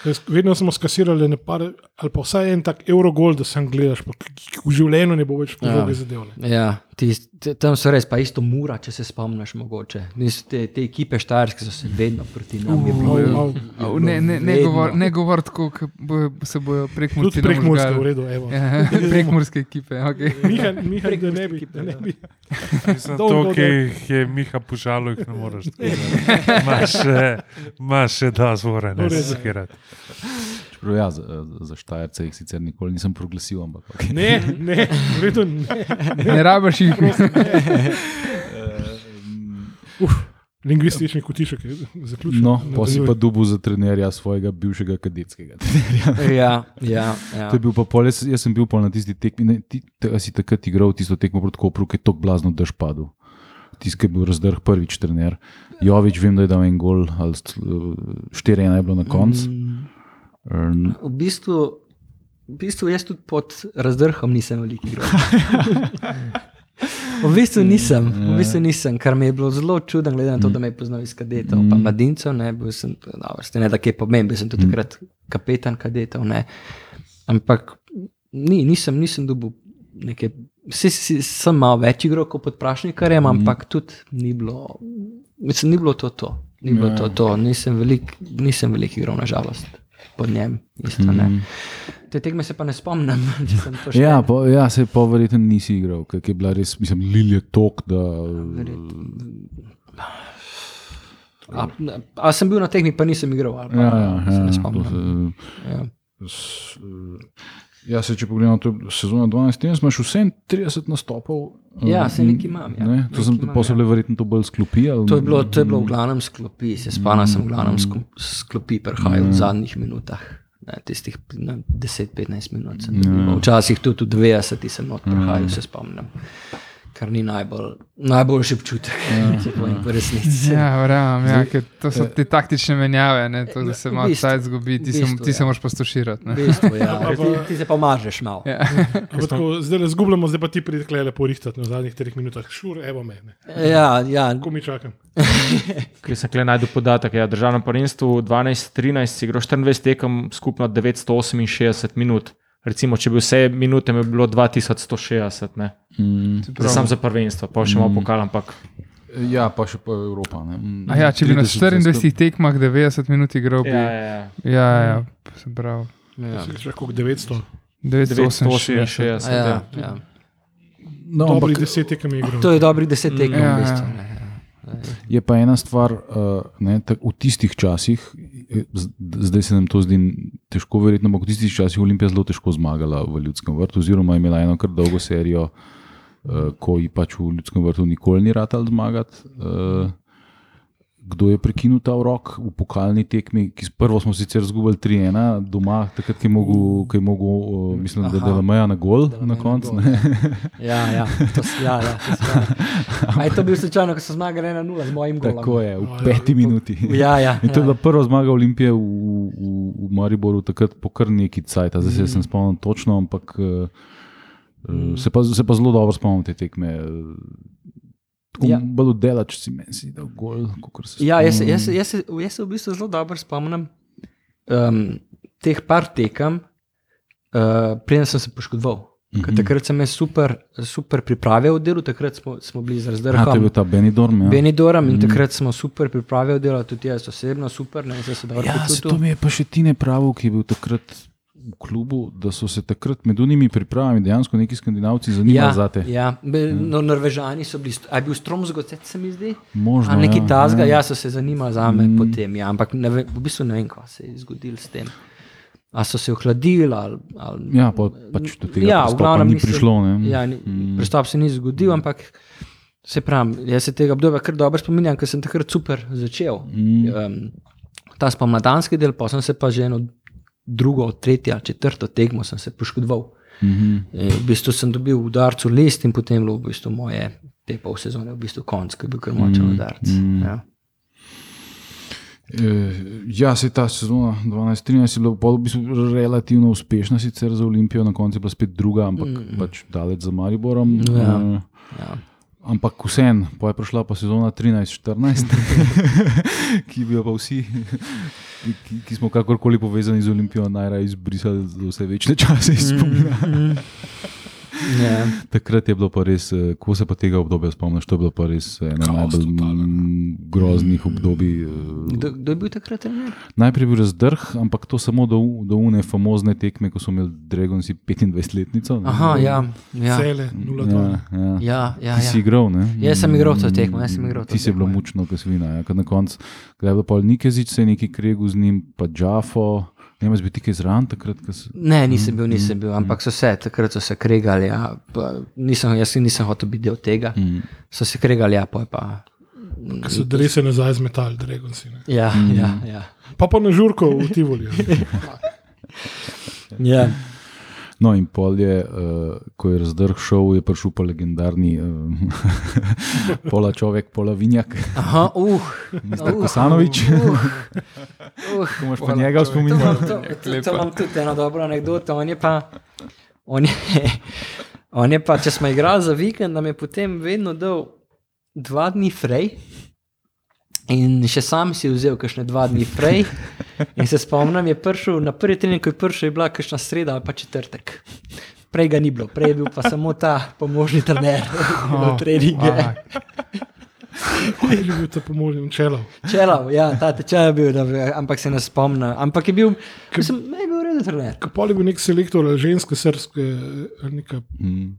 Ker s- Vedno smo skasirali ne par, ali pa vsaj en tak evrogol, da sem gledaš, pa k- k- v življenju ne bo več
Ja.
podobne zadevne.
Ja, tis, tam so res, pa isto mura, če se spomniš, mogoče. Nis, te, te ekipe štajerske so se vedno proti nam. je bilo-
Au, au.
Au, Ne, ne, ne
Vedno.
govori ne govor tako, kot bo, se bojo prek
Tudi
Murske.
prek Murske, v redu. evo.
Ja, prek Murske ekipe. Okay.
Miha, Miha da ne bi. Da ne bi.
Mislim,
Dolgo
To, ki
dol.
jih je Miha požalil, jih ne moreš. tako da. Imaš še- Imaš še dva zvora,
V
ne
redu.
skirati.
čeprav ja, za, za štajerce jih sicer nikoli nisem proglasil, ampak okay.
Ne, ne, v redu. Ne.
Ne rabiš jih.
Mm,
Uf, lingvistični kotiček je zaključen.
No, pa si pa
Nadaljuj.
dubu za trenerja svojega bivšega kadetskega trenerja.
Ja, ja, ja.
To je bil pa pol, jaz, jaz sem bil pol na tisti tekmi, ne, ti te, a si takrat igral tisto tekmo proti Kopru, ki je tako blazno dež padel. Tisti, ki je bil razdrh prvič trener. Jovič, vem, da je dal en gol, ali 4-1 je bilo na koncu.
Mm,
Mm.
V bistvu, v bistvu jaz tudi pod razdrhom nisem veliko igral. V bistvu nisem, v bistvu nisem, kar mi je bilo zelo čudno, glede na to, da me je poznal iz kadetov, pa mladincev, ne, bil sem, dobro, ste ne tako pomemben, sem tudi takrat kapetan kadetov, ne. Ampak ni, nisem, nisem dobil neke, si, si, sem malo več igral kot pod prašnikarjem, ampak tudi ni bilo, mislim, ni bilo to to, ni bilo to to, nisem velik, nisem velik igral, nažalost, pod njem, isto ne. Te tekme se pa ne spomnim, če sem to še.
Ja, po, ja, se pa verjetno nisi igral, ker je bila res, mislim, Lilija tok, da
A, a sem bil na tehni, pa nisem igral. ali pa
Ja, ja,
se
ja,
ne
ja,
spomnim.
to se-
Ja.
S, eh, ja, se, če pogledamo to sezono 12, tenis, imaš vse 30 nastopov. eh,
Ja, saj
in-
nekaj imam, ja.
Ne, to
Nekaj
sem
imam,
posebej ja. verjetno to bolj sklopi. Ali,
To, je bilo, to je bilo v glavnem sklopi, se spomnim, sem v glavnem sku- sklopi prihajal
Mm.
v zadnjih minutah. Ne, tistih ne, 10-15 minut
Ja.
sem dobil. Včasih tudi v 90 sem not prihajal,
Mm.
se spomnim. Kar ni najbolj, najboljši občutek,
Ja.
če povem po resnici.
Ja, verjamem, ja, ker to so te taktične menjave, ne, to, da se
Ja, V
malo
bistvu,
cajt zgubi, ti,
v
se-
bistvu,
ti se
ja.
moraš postoširati.
V
ne.
bistvu, ja. ti, ti se pa mažeš malo.
Ja.
Ampak tako, Zdaj le zgubljamo, zdaj pa ti pridi tukaj lepo rihtati na no, zadnjih treh minutah. Šur, evo me, ne.
Ja, ja,
ko mi čakam.
Ker sem kle najdel podatek, da ja, v državnem prvenstvu 12-13 si igral 24 tekem, skupno 968 minut. Recimo, če bi vse minute imel, bi bilo 2160, ne.
Mm,
Za sam za prvenstvo, pa še malo pokal, ampak
ja, pa še pa Evropa. ne. Mm,
A Ja, če bi na
30
24 tekmah 90 minut igral, bi.
ja,
Ja,
ja, ja.
ja, ja se pravi.
Ja. Čakal 900,
968.
968. Ja.
ja, ja.
No,
dobrih
ampak
10 tekem je igral.
To je dobrih 10 tekem.
Ja,
v bistvu,
ja.
ne.
je pa ena stvar, eh, ne, tak, v tistih časih, eh, z- zdaj se nam to zdi težko, verjetno, ampak v tistih časih je Olimpija zelo težko zmagala v Ljudskem vrtu, oziroma imela eno kar dolgo serijo, eh, ko ji pač v Ljudskem vrtu nikoli ni ratal zmagati. eh, kdo je prekinil ta urok v pokalni tekmi. ki s- Prvo smo sicer izgubili 3-1, doma, takrat, ki je mogel, ki je mogel eh, mislim, da je
Aha.
Delameja na gol
na
na koncu.
gol,
ne.
Ja, ja, to si, ja, ja, to si, ja. Je to bil slučajno, ko so zmagali 1-0 z mojim golom.
Tako je, v
Ja,
peti minuti.
Ja, ja,
In to je
ja.
bila prva zmaga Olimpije v, v, v Mariboru, takrat po kar neki cajt, zdaj se jaz
Mhm.
ne spomnim točno, ampak eh, eh, se pa, se pa zelo dobro spomnim te tekme. Tako
Ja.
ja. bolj dela, če si meni si dal gol, kot se
Ja, jaz, se-
spomnim.
jaz, se- jaz, se- jaz se v bistvu zelo dobro spomnim um, teh par tekem, uh, preden sem se poškodoval. Mm
Mhm.
-hmm. Takrat sem jaz super, super priprave v delu, takrat smo, smo bili z
A, to je bil
razdrhom.
ta Benidorm. Ja,
Benidoram in takrat smo super priprave v delu, tudi jaz osebno super, ne vem, se dobro
ja se to
počutil.
mi je pa še Tine pravil, ki je bil takrat v klubu, da so se takrat med unimi pripravami dejansko neki skandinavci zanimali
Ja,
ja. za te.
ja. Be-
Mhm.
No, Norvežani so bili, st- a je bil Stromzgocet, se mi zdi.
Možno,
Ali nekaj
ja,
tazga,
ja.
ja, so se zanimali za me mm. potem, ja, ampak ne ve, v bistvu ne vem, kaj se je zgodilo s tem. A so se ohladili ali. ali
Ja, pa, pač do tega
Ja, v
ja,
glavnem
ni
nisem-
prišlo. Ne?
ja, ni, mm. Prestop se ni zgodil, ampak se pravi, jaz se tega obdobja kar dobro spominjam, ker sem takrat super začel. Mm. Um, ta spomladanski del, pa sem se pa že eno drugo, tretjo, ali četrto tekmo sem se poškodoval.
Mm -hmm.
E, V bistvu sem dobil udarcu list in potem je bilo v bistvu moje te pol sezone, v bistvu konc, ki je bil kar močen mm. udarc. Mm. Ja.
Eh, Ja, se ta sezona 12-13 je bila pol, v bistvu relativno uspešna, sicer za Olimpijo, na koncu je bila spet druga, ampak mm. pač daleč za Mariborom.
Ja,
Eh,
ja.
Ampak vseeno, pa je prišla pa sezona 13-14, ki bi jo pa vsi, ki, ki smo kakorkoli povezani z Olimpijo, najraje izbrisali za vse večne čase iz spomina.
Ja.
Takrat je bilo pa res, eh, ko se pa tega obdobja spomniš, to je bilo pa res eno najbolj mm, groznih obdobij. eh,
Kdo, kdo je bil takrat trener?
Najprej je bil razdrh, ampak to samo do, u- do une famozne tekme, ko so imeli Dragonsi 25-letnico. ne.
Aha, ja. ja.
Cele,
ja,
0-2.
ja. ja.
ja, ja,
Ti si
ja.
igral, ne? Mm,
Jaz sem igral to tekmo, jaz sem igral to
Ti si
tekmo,
bilo
ja.
mučno, ko si vina. Ja. Ko Na koncu ko je bilo pol Nikezič, se je neki kregu z njim, pa Džafo. Ne vem, jaz bi ti kaj zran takrat, ko si.
Ne, nisem bil, nisem bil, ampak so se takrat so se kregali. Ja, pa nisem, jaz nisem hotel biti del tega. So se kregali, ja, pa je pa.
ki so drese nazaj zmetali, Dragonsi. ne.
Ja, mm. ja, ja.
Pa pa na žurko v Tivoli.
ja.
No, in pol je, uh, ko je razdrh šel, je prišel pa legendarni uh, pola človek, pola vinjak,
Aha, uh,
Mr. Kosanovič.
Uh, uh.
Ko imaš pa njega v
To,
spominu?
imam, to, to, to imam tudi eno dobro anegdoto. On je pa, on je, on je pa če smo igrali za vikend, nam je potem vedno dal dva dni frej. In še sam si je vzel kakšne dva dni prej. In se spomnim, je prišel na prvi trening, ko je prišel, je bila kakšna sreda ali pa četrtek. Prej ga ni bilo, prej je bil pa samo ta pomožni trener,
Ah,
oh, treninge.
aj.
Kaj je že bil ta pomožen čelov?
Čelav, ja, ta tečaj je bil, da, ampak se ne spomnim. Ampak je bil, mislim, ne je bil reden trener.
Kapol je bil nek selektor ali ženske, srpske, ali neka,
Mm.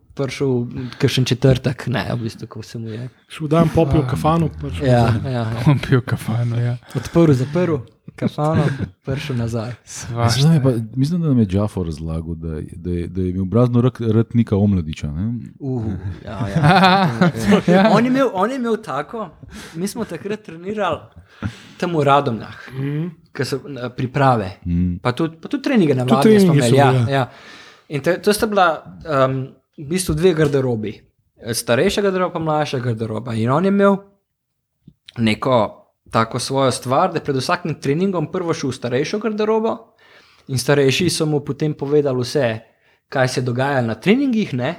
prišel kakšen četrtek, ne, v bistvu, ko se mu je.
Šel dan popil kafanu, pač
Ja, ja.
On pil kafano, ja.
Odprl, zaprl, kafano, prišel nazaj.
Svaš.
Mislim, da, je pa, mislim, da nam je Džafo razlagal, da, je- da, je- da je imel obrazno ratnika omladiča. Ne?
Uh, ja, ja. on, je imel, on je imel tako, mi smo takrat trenirali tam v Radomljah, ki so eh, priprave,
Mm.
pa tudi, pa tudi treninge na vladi
treningi
smo
so
imeli. Ja,
bili,
ja. In te, to sta bila um, v bistvu dve garderobi, starejša garderoba in mlajša garderoba. In on je imel neko tako svojo stvar, da je pred vsakim treningom prvo šel v starejšo garderobo in starejši so mu potem povedali vse, kaj se dogaja na treningih. Ne?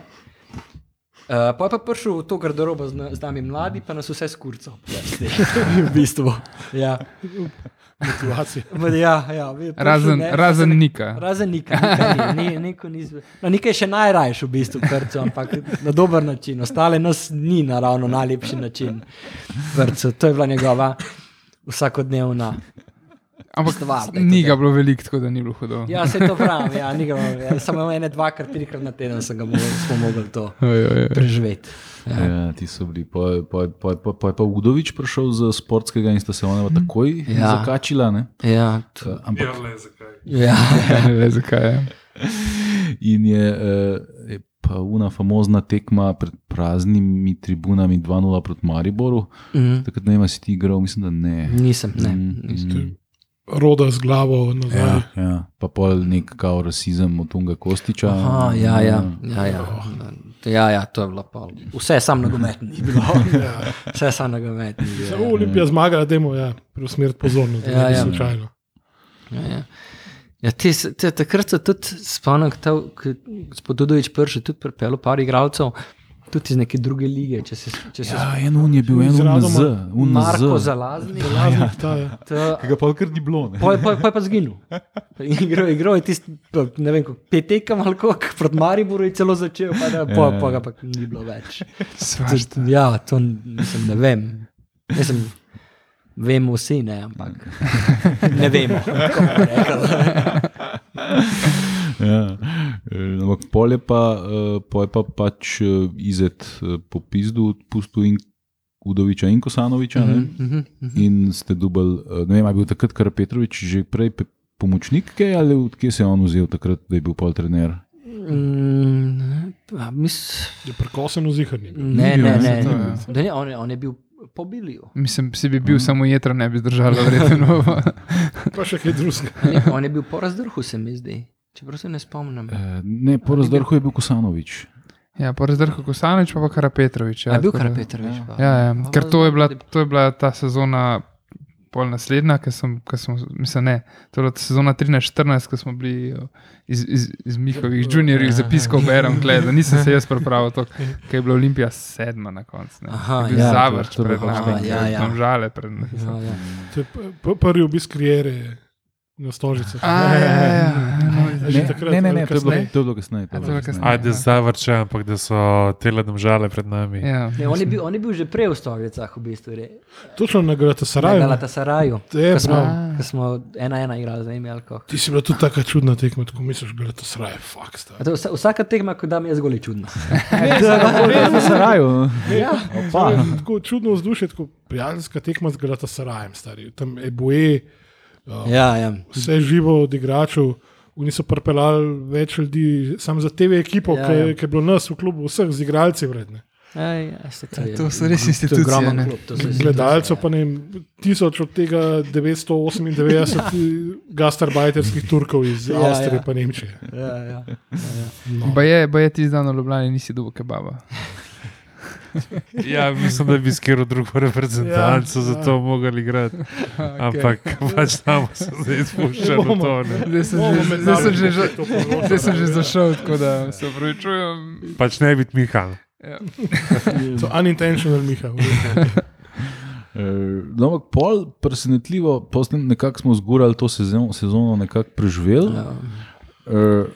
Uh, pa je pa prišel v to garderobo z, na- z nami mladi, pa nas vse skurco. v bistvu. Ja,
motivacija.
Ma ja, ja, vi- prišel,
Razen,
ne,
razen Nika.
Razen nika, nika ni, ni, neko ni zve- no, nekaj še najrajš v bistvu, prcu, ampak na dober način, ostale nas ni na ravno najlepši način. Prcu, to je bila njegova vsakodnevna.
Ampak
stvar, daj to
ni ga
daj.
bilo veliko, tako da ni bilo hudo.
torej. Ja, se to pravi, ja, ni ga, ja, samo ene, dvakrat, trikrat na teden sem ga mogel, smo mogli to
Oj, oj, oj.
preživeti.
Ja. Ja, ti so bili. Pa je- pa je- pa je pa- pa je pa Udovič prišel z sportskega in sta se ona takoj
Ja.
ja. zakačila. Ne?
Ja, to,
Eh, Ampak
ja.
Ne vem zakaj. ja.
in je, eh, je pa una famozna tekma pred praznimi tribunami 2-0 proti Mariboru.
Mm,
Takrat ne vem, a si ti igral, mislim, da ne.
nisem, ne. nisem.
Mm,
Roda z glavo nazaj.
ja, ja. Pa pol nek kao rasizem od Tunga Kostiča.
Aha, ja, ja, ja, ja. Ja, ja, to je bilo pol. Vse je sam nogometni bilo. Vse je sam nogometni.
Ja. Olimpija zmagala, da mu je preusmeriti pozornost,
Ja,
da ne bi
ja.
slučajno.
Ja, ja. Ja, te, te, takrat se tudi spomnim, ko je gospod Dudovič prši, tudi pripeljal par igralcev, tudi iz neke druge lige. Če se, če se
Ja, en un je bil, en un z,
ja,
un
Marko
z.
Zalazni,
Laznik, ta je.
to-
Ga pa kar ni bilo. ne.
pol pol- pol je pa zginil. Igro, igro je tisti, pa ne vem, kako, pet tekem ali koliko, proti Mariboru je celo začel, pa, da, pa, pa ga pa ni bilo več.
Svaš.
Tudi, ja, to mislim, ne vem. Mislim, vemo vsi, ne, ampak ne vemo. kako bi rekel.
Ja. Eh, Ampak pol je pa, eh, pol je pa pač eh, izet eh, po pizdu, odpustil in Udoviča in Kosanoviča. Mm -hmm.
Mhm, mhm.
In ste dubl, eh, ne vem, ali je bil takrat Kar Petrovič že prej pe- pomočnik, kaj, ali odkje se je on vzel takrat, da je bil pol trener.
Mm, a mis-
Je prekosen vzihrni.
Ne,
bil,
ne,
ne,
ne.
to je.
Da ne, on, je- on je bil po Biliju.
Mislim, si bi
Mm.
bil samo jedra, ne bi zdržala, verjetno.
Pa še kaj drugega.
Ne, On je bil po razdrhu, se mi zdi. Čeprav se ne spomnim.
Eh, Ne, po razdrhu je bil Kosanovič.
Ja, po razdrhu Kosanovič, pa pa Karapetrovič.
Ja, je bil
tako da-
Karapetrovič. pa.
Ja, ja.
Pa
ker to je, bila,
zdaj-
to je bila ta sezona, pol naslednja, ki sem, ki sem mislim, ne, to je bila sezona 13-14, ko smo bili jo, iz, iz, iz Mihovih
Ja,
juniorjih zapiskov, berem, gled, da nisem se jaz pripravil, to, ker je bila Olimpija sedma na koncu. ne.
Aha,
Je bil
ja,
Zavrč
to- to
pred
bo-
aha,
nami,
ja,
ja,
ja.
ja. tam žale pred
Ja,
nami.
ja.
To je p- prvi obisk karijere na stolžici.
A, ja, ja, ja.
Že takrat,
Ne, ne, ne,
ali
to je bilo,
kasneje?
to je bilo kasneje. to
A, to
je
je
bilo
bilo kasneje.
Ajde, zdaj vrče, ampak da so teledom žale pred nami.
ja. ja.
Ne, on, je bil, on je bil že prej v Stolicah, v bistvu. Re,
Točno na
na
Galatasaraju.
Galatasaraju.
Je,
Ko smo,
prav.
ko smo ena ena igrali, zdaj imel alkohol.
Ti si bila tudi tako čudna tekma, tako misliš, Galatasaraj, fakt. sta.
A to vsa- Vsaka tekma, ko da mi je zgolj čudna.
kasneje. Saraju.
Ja.
To je Tako čudno vzdušje, tako prijateljska tekma z Galatasarajem, stari. Tam je boje,
Ja, ja.
vse živo od igračev. Oni so pripeljali več ljudi, samo za TV ekipo,
Ja,
ja, ja.
ja.
ki je bilo nas v klubu, vseh z igralci vredne.
Ej, ja, se to, je-
To so res
to je
institucije,
ogromen
ne.
klub, to so
Gledalcev
institucije.
pa ne vem, tisoč od tega 998 gastarbajterskih Turkov iz
Ja,
ja, Avstrije
ja.
in ja. Nemčije.
Ja, ja.
No.
Pa je, pa je ti zdano Ljubljana, nisi dobil kebaba.
Ja, mislim, da bi skiral drugo reprezentanco,
Ja,
ja,
ja.
zato ja. mogli igrati. Ampak pač tam se zdaj spušča v
Bomo.
to. Ne.
Zdaj sem
Bomo
že-
med
zdaj sem
nami tukaj
že že-
to povzročali,
zdaj sem že
ja.
zašel, tako da se upravičujem.
Pač ne biti Mihal.
So unintentional, Miha.
Eh, No, ampak pol presenetljivo, posle nekako smo zgurali to sezono, sezono nekako preživeli.
Ja.
Eh,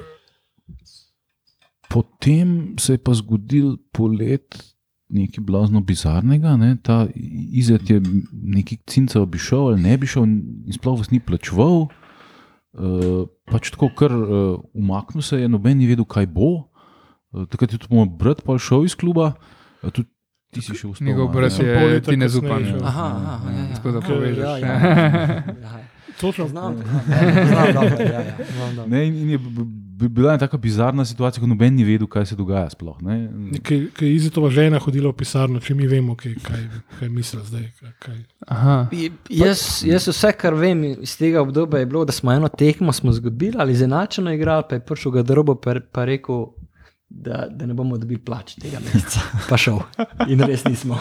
Potem se je pa zgodil polet nekaj blazno bizarnega. Ne? Ta izet je neki cinca obišel ali ne bi šel in sploh vas ni plačeval. Uh, pač tako, ker uh, umaknil se je, noben ni vedel, kaj bo. Uh, takrat je tudi moj brat pa šel iz kluba, uh, tudi ti si še vstal.
Njegov
ne?
brat
Sem pol
je
leta
Tine
kasneje
Zupan.
šel.
Aha, aha, ja, ja.
Tako da
Ja,
poveš.
ja, ja. Ja, ja.
Točno.
Znam, ja, znam, dobro, ja, ja, znam, dobro.
Ne, in, in je b- b- bila je taka bizarna situacija, ko noben ni vedel, kaj se dogaja. Sploh, ne.
Ki je izitova žena hodila v pisarno, če mi vemo, kaj, kaj, kaj misli zdaj. Kaj, kaj.
Aha.
J- Jaz, jaz vse, kar vem iz tega obdobja, je bilo, da smo eno tekmo smo izgubili ali izenačeno igrali, pa je prišel ga drobo in rekel, da, da ne bomo dobili plač tega meseca. Pa šel. In res nismo.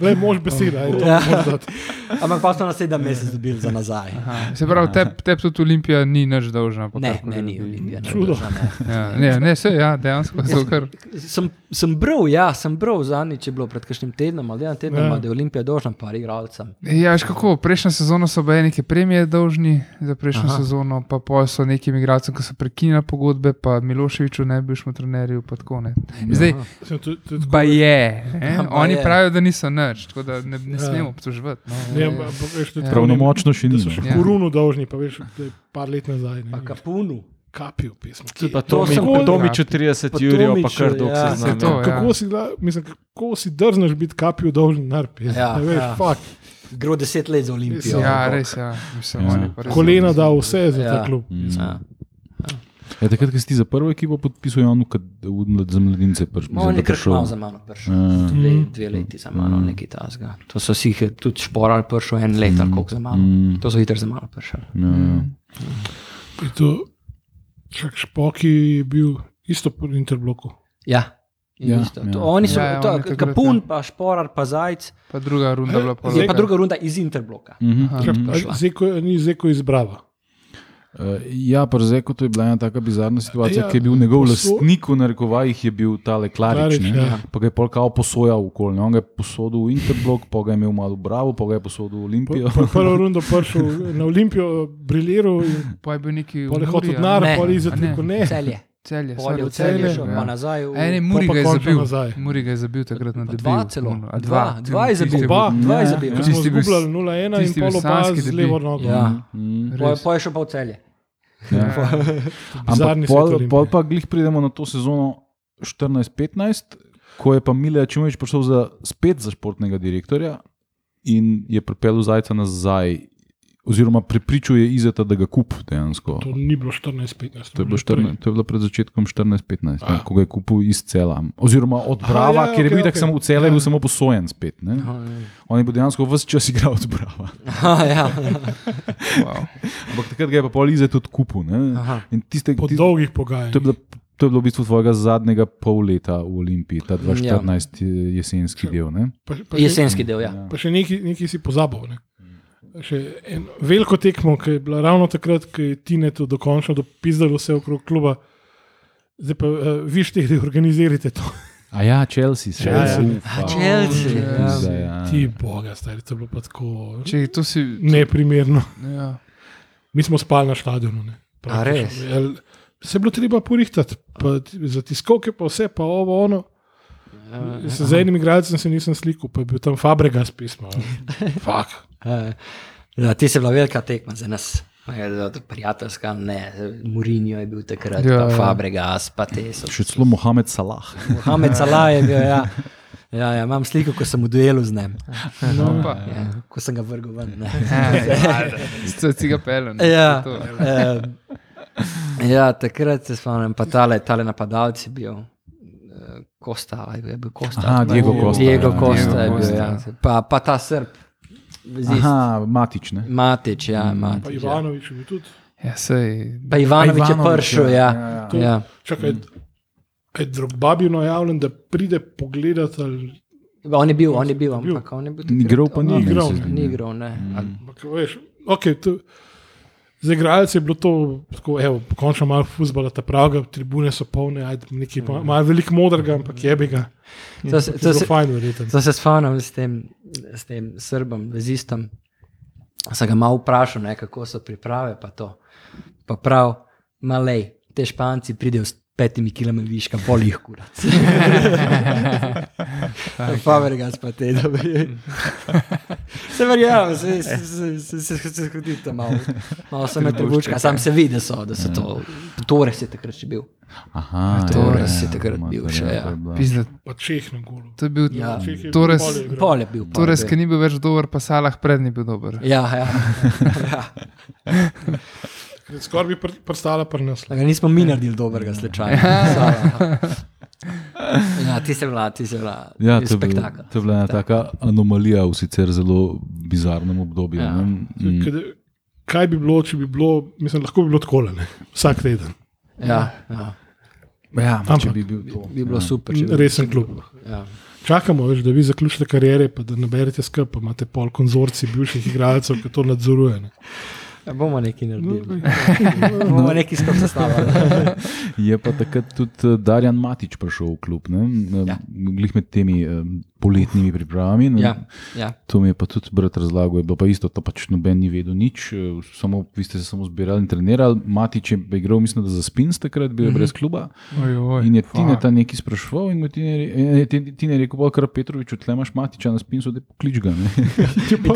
Le mož beseda, je to
Ja.
moraš dati.
Ampak pa smo na sedem mesec dobili za nazaj.
Aha. Se pravi, te, te tudi Olimpija ni nič dolžna. pa
Ne,
karkoli.
ne, ni Olimpija. ne,
Čudo.
Drža, ne.
Ja, ne, ne, se, ja, dejansko so kar.
Sem, sem bral, ja, sem bral zadnjič, je bilo pred kakšnim tednom ali dvema tednoma,
Ja.
da je Olimpija dolžna par igralcem.
Ja, veš kako, prejšnjo sezono so bile neke premije dolžni za prejšnjo Aha.
Aha.
sezono, pa pol so nekim igralcem, ki so prekinili pogodbe, pa Miloševiču ne bi šlo trenerju, pa tako ne. Zdaj,
Sem tudi- tudi
pa je, ne?
Ja, ba
oni
je.
pravijo, da niso nič, tako da ne, ne
Ja.
smemo obtoževati. no.
Ne, ampak- ampak veš, tudi
Ja.
Pravnomočno še
Da
ni.
so še
no.
Ja.
korunu dolžni, pa veš, da je par let nazaj. Ne,
Pa kapunu.
kapijo pesmo.
Tudi pa
Kje-
Tomi,
Kako-
pa
Ja.
Tomiču 30
Pa
jurijo, pa
Tomiču,
kar dolgo
ja.
se znam.
Se to,
ja.
ja.
Kako si, da, mislim, kako si drzneš biti kapijo dolžni narpi?
Ja,
Ja, veš,
ja.
ja. Fak,
Gre deset let za Olimpijo.
Ja, res, ja. Mislim,
Ja.
oni pa res-
kolena da vse za ja.
Ja.
ta klub.
Mm.
Ja.
Ja, takrat, ko si ti za prvo ekipo podpisal, Janu, kad, za mladince prišel.
No, on je kar malo za mano prišel.
Ja.
Dve, dve leti za mano,
Mm.
nekaj tasga. To so si jih tudi šporali prišel en let ali koliko za mano.
Mm.
To so hitro za mano prišel.
Ja, ja.
Mm. To, čak špoki je bil isto pri Interbloku.
Ja. in
Ja,
isto.
ja.
To- Oni so,
Ja, ja,
to-
oni takrat,
kapun, pa šporar, pa zajc,
Pa druga runda
Eh,
bila pa.
je pa druga runda iz Interbloka.
Mhm.
Aha.
Mhm.
Prišla.
Zeko, ni zeko izbrava.
Eh, Ja, pri Zeku to je bila ena tako bizarna situacija,
Ja,
ja, ki je bil njegov
poso-
lastnik, v narekovajih je bil ta Klarič.
Klarič,
ne.
ja.
Pa ga je polkal posojal okoli. ne. On ga je posodil v Interblock, pa ga je imel malo v bravo, pa ga je posodil v
Po-
Olimpijo.
po Prvo rundo prišel na Olimpijo, briljiral in
Pa je bil neki.
pol je
v
hotel
Muri,
denar,
Ne.
pol je
A ne.
izrekel ne.
Ja,
Celje,
Celje,
polje v
sorry,
celje,
Celje,
šel
ja.
pa nazaj v...
A ne,
Pol
Muri
pa
ga je
končno
zabil.
nazaj.
Muri ga je zabil takrat na
Pa
debi.
Dva celo,
Ono, a
dva, dva je
Tisti-
zabil,
Oba.
dva je
Ja.
zabil.
Ker
Tisti
smo
bil-
zgubljali 0-1 in
tisti
pol
bil
oba
sanjski
z
debi.
levo nogo.
Ja,
Mhm.
pol-
Res.
pol je šel pa v celje.
Ja.
Bizarni svet
Ampak pol,
Olimpije.
pol pa glih pridemo na to sezono 14-15, ko je pa Mile Čimovič prišel za, spet za športnega direktorja in je pripeljal Zajca nazaj, oziroma prepričal je Izeta, da ga kup dejansko.
To ni bilo 14-15.
To je bilo, 14, to je bilo pred začetkom 14-15, ne,
Ah.
ko ga je kupil iz cela. Oziroma od
Aha,
Brava,
ja,
Aha, ja, ker je
okej,
bil okay,
okej.
okay. samo v cele,
Ja.
ja. bil samo posojen spet. Ne? On je bil dejansko vse čas igral od Brava.
Aha, ja.
Wow.
Ampak takrat ga je pa pol Izet tudi kupil. ne.
Aha.
In Tiste,
Po
tis-
dolgih
To je,
pogajanjih.
bilo, to je bilo v bistvu tvojega zadnjega pol leta v Olimpiji, ta 2014 ja. jesenski del. Ne?
Pa, pa še-
Jesenski del, ja.
Pa še nekaj, nekaj si pozabil. Ne? Še eno veliko tekmo, ki je bila ravno takrat, ko je Tinetu dokončno dopizdalo vse okrog kluba. Zdaj pa uh, vi štehte, organizirajte to.
A ja, Chelsea, se
Ja, ja.
A, Chelsea, ja.
Zdaj, ja.
Ti, boga, stari, to je bilo pa tako
Če to si.
neprimerno.
Ja.
Mi smo spali na stadionu. Ne,
A res?
Ja, Se je bilo treba porihtati, pa ti- za tiskovke, pa vse, pa ovo, ono.
Ja,
Se z enim igralcem se nisem slikal, pa je bil tam Fabregas pismo. Fak.
Eh, Ja, ti si bila velika tekma za nas. Eh, da- da Prijateljska, ne, Murinjo je bil takrat,
Ja,
ja, pa
ja.
Fabregas, pa te so.
Še celo Mohamed Salah.
Mohamed Salah je bil, ja. Ja, ja, imam sliko, ko sem v duelu z njim.
No, pa,
Ja, ko sem ga vrgel ven. ne.
Ste Ja. si ga pelem.
Ja, eh, ja, takrat se spomnim, pa tale, tale napadalec je bil. eh, Kosta, ali je bil Kosta.
Aha, Diego Costa,
Diego
ja,
Kosta
Diego
je bil,
Costa.
ja. pa, pa ta Srb, Vezist.
Aha, matične.
Matič, ja,
Pa
Matič. Ja.
Ivanovič je bil tudi.
Ja, sej,
Pa Ivanovič je
Ivanović,
pršel,
ja,
ja.
ja,
ja.
ja.
Čakaj, je drug babil najavljen, da pride pogledat. Ali,
Ja. On je bil, on je bil, ampak on je bil tudi.
Igral pa ni,
Ni
meni se
igral,
zdi,
Ni
ne. Mm.
igral, ne.
ampak, veš, okay, to, za igralce je bilo to, tako, evo, končno malo fuzbala, ta pravga, tribune so polne, ajde, nekaj, pa- malo veliko modrega, ampak je bi ga.
To se-
Ampak je
to
bilo
se-
Fajn, verjetno.
Sem se spomnil s tem, s tem Srbom, vezistom. Sem ga malo vprašal, ne, kako so priprave, pa to. Pa prav, malej, te španci pridejo s petimi kilami viška, bolj jih kurat. Favergas pa te dobi. Se verjamem, se, se, se, se, se, se, se hodil tam malo. Malo sem na
ja.
trebuška, sam se vidi, da so, da so to. Tore si takrat še bil.
Aha,
Torres
ja,
je
ja,
takrat
mater,
bil še, ja.
to je bila-
pizda,
Pa Čeh na golu.
to je bil
Ja.
Čeh je
Torres,
pol je igral.
Pol je bil. pol
Torres,
je
ki
bil.
ni Torej, bil več dober, pa Salah pred ni bil dober.
Ja, ja. ja.
Skoraj bi pr- prstala pri nas.
Da ga nismo mi naredili dobrega slečaja. Sava. Ja, ti se vla, ti se vla.
Ja, to je bil-
spektakel.
to je bila ena taka anomalija v sicer zelo bizarnem obdobju.
Ja.
ne. Mm.
Kaj- Kaj bi bilo, če bi bilo, mislim, lahko bi bilo tako, vsak teden.
Ja, ja.
Ja, če
Ampak-
bi bil to.
Bi bilo super. če bi-
Resen klub.
Ja.
Čakamo, veš, da vi zaključite karijere, pa da naberete skrb, pa imate pol konzorci bivših igralcev, ki to nadzoruje. Ne.
Ja, bomo nekaj naredili.
No.
Bomo nekaj skupaj sestavili.
Je pa takrat tudi eh, Darjan Matič prišel v klub,
Ja.
ja. glih med temi eh, poletnimi pripravami. ne.
Ja, ja.
To mi je pa tudi brat razlagal, je bilo pa isto, to pač noben ni vedel nič, eh, samo, vi ste se samo zbirali in trenirali, Matič je pa igral, mislim, da za spins takrat, bil je brez kluba.
Oj, Mhm. oj,
In je
fuck.
Tina ta nekaj spraševal, in mu je Tine re- in je Ti ti je rekel, pa kar Petrovič, tle imaš Matiča na spinsu, da poklič ga. ne."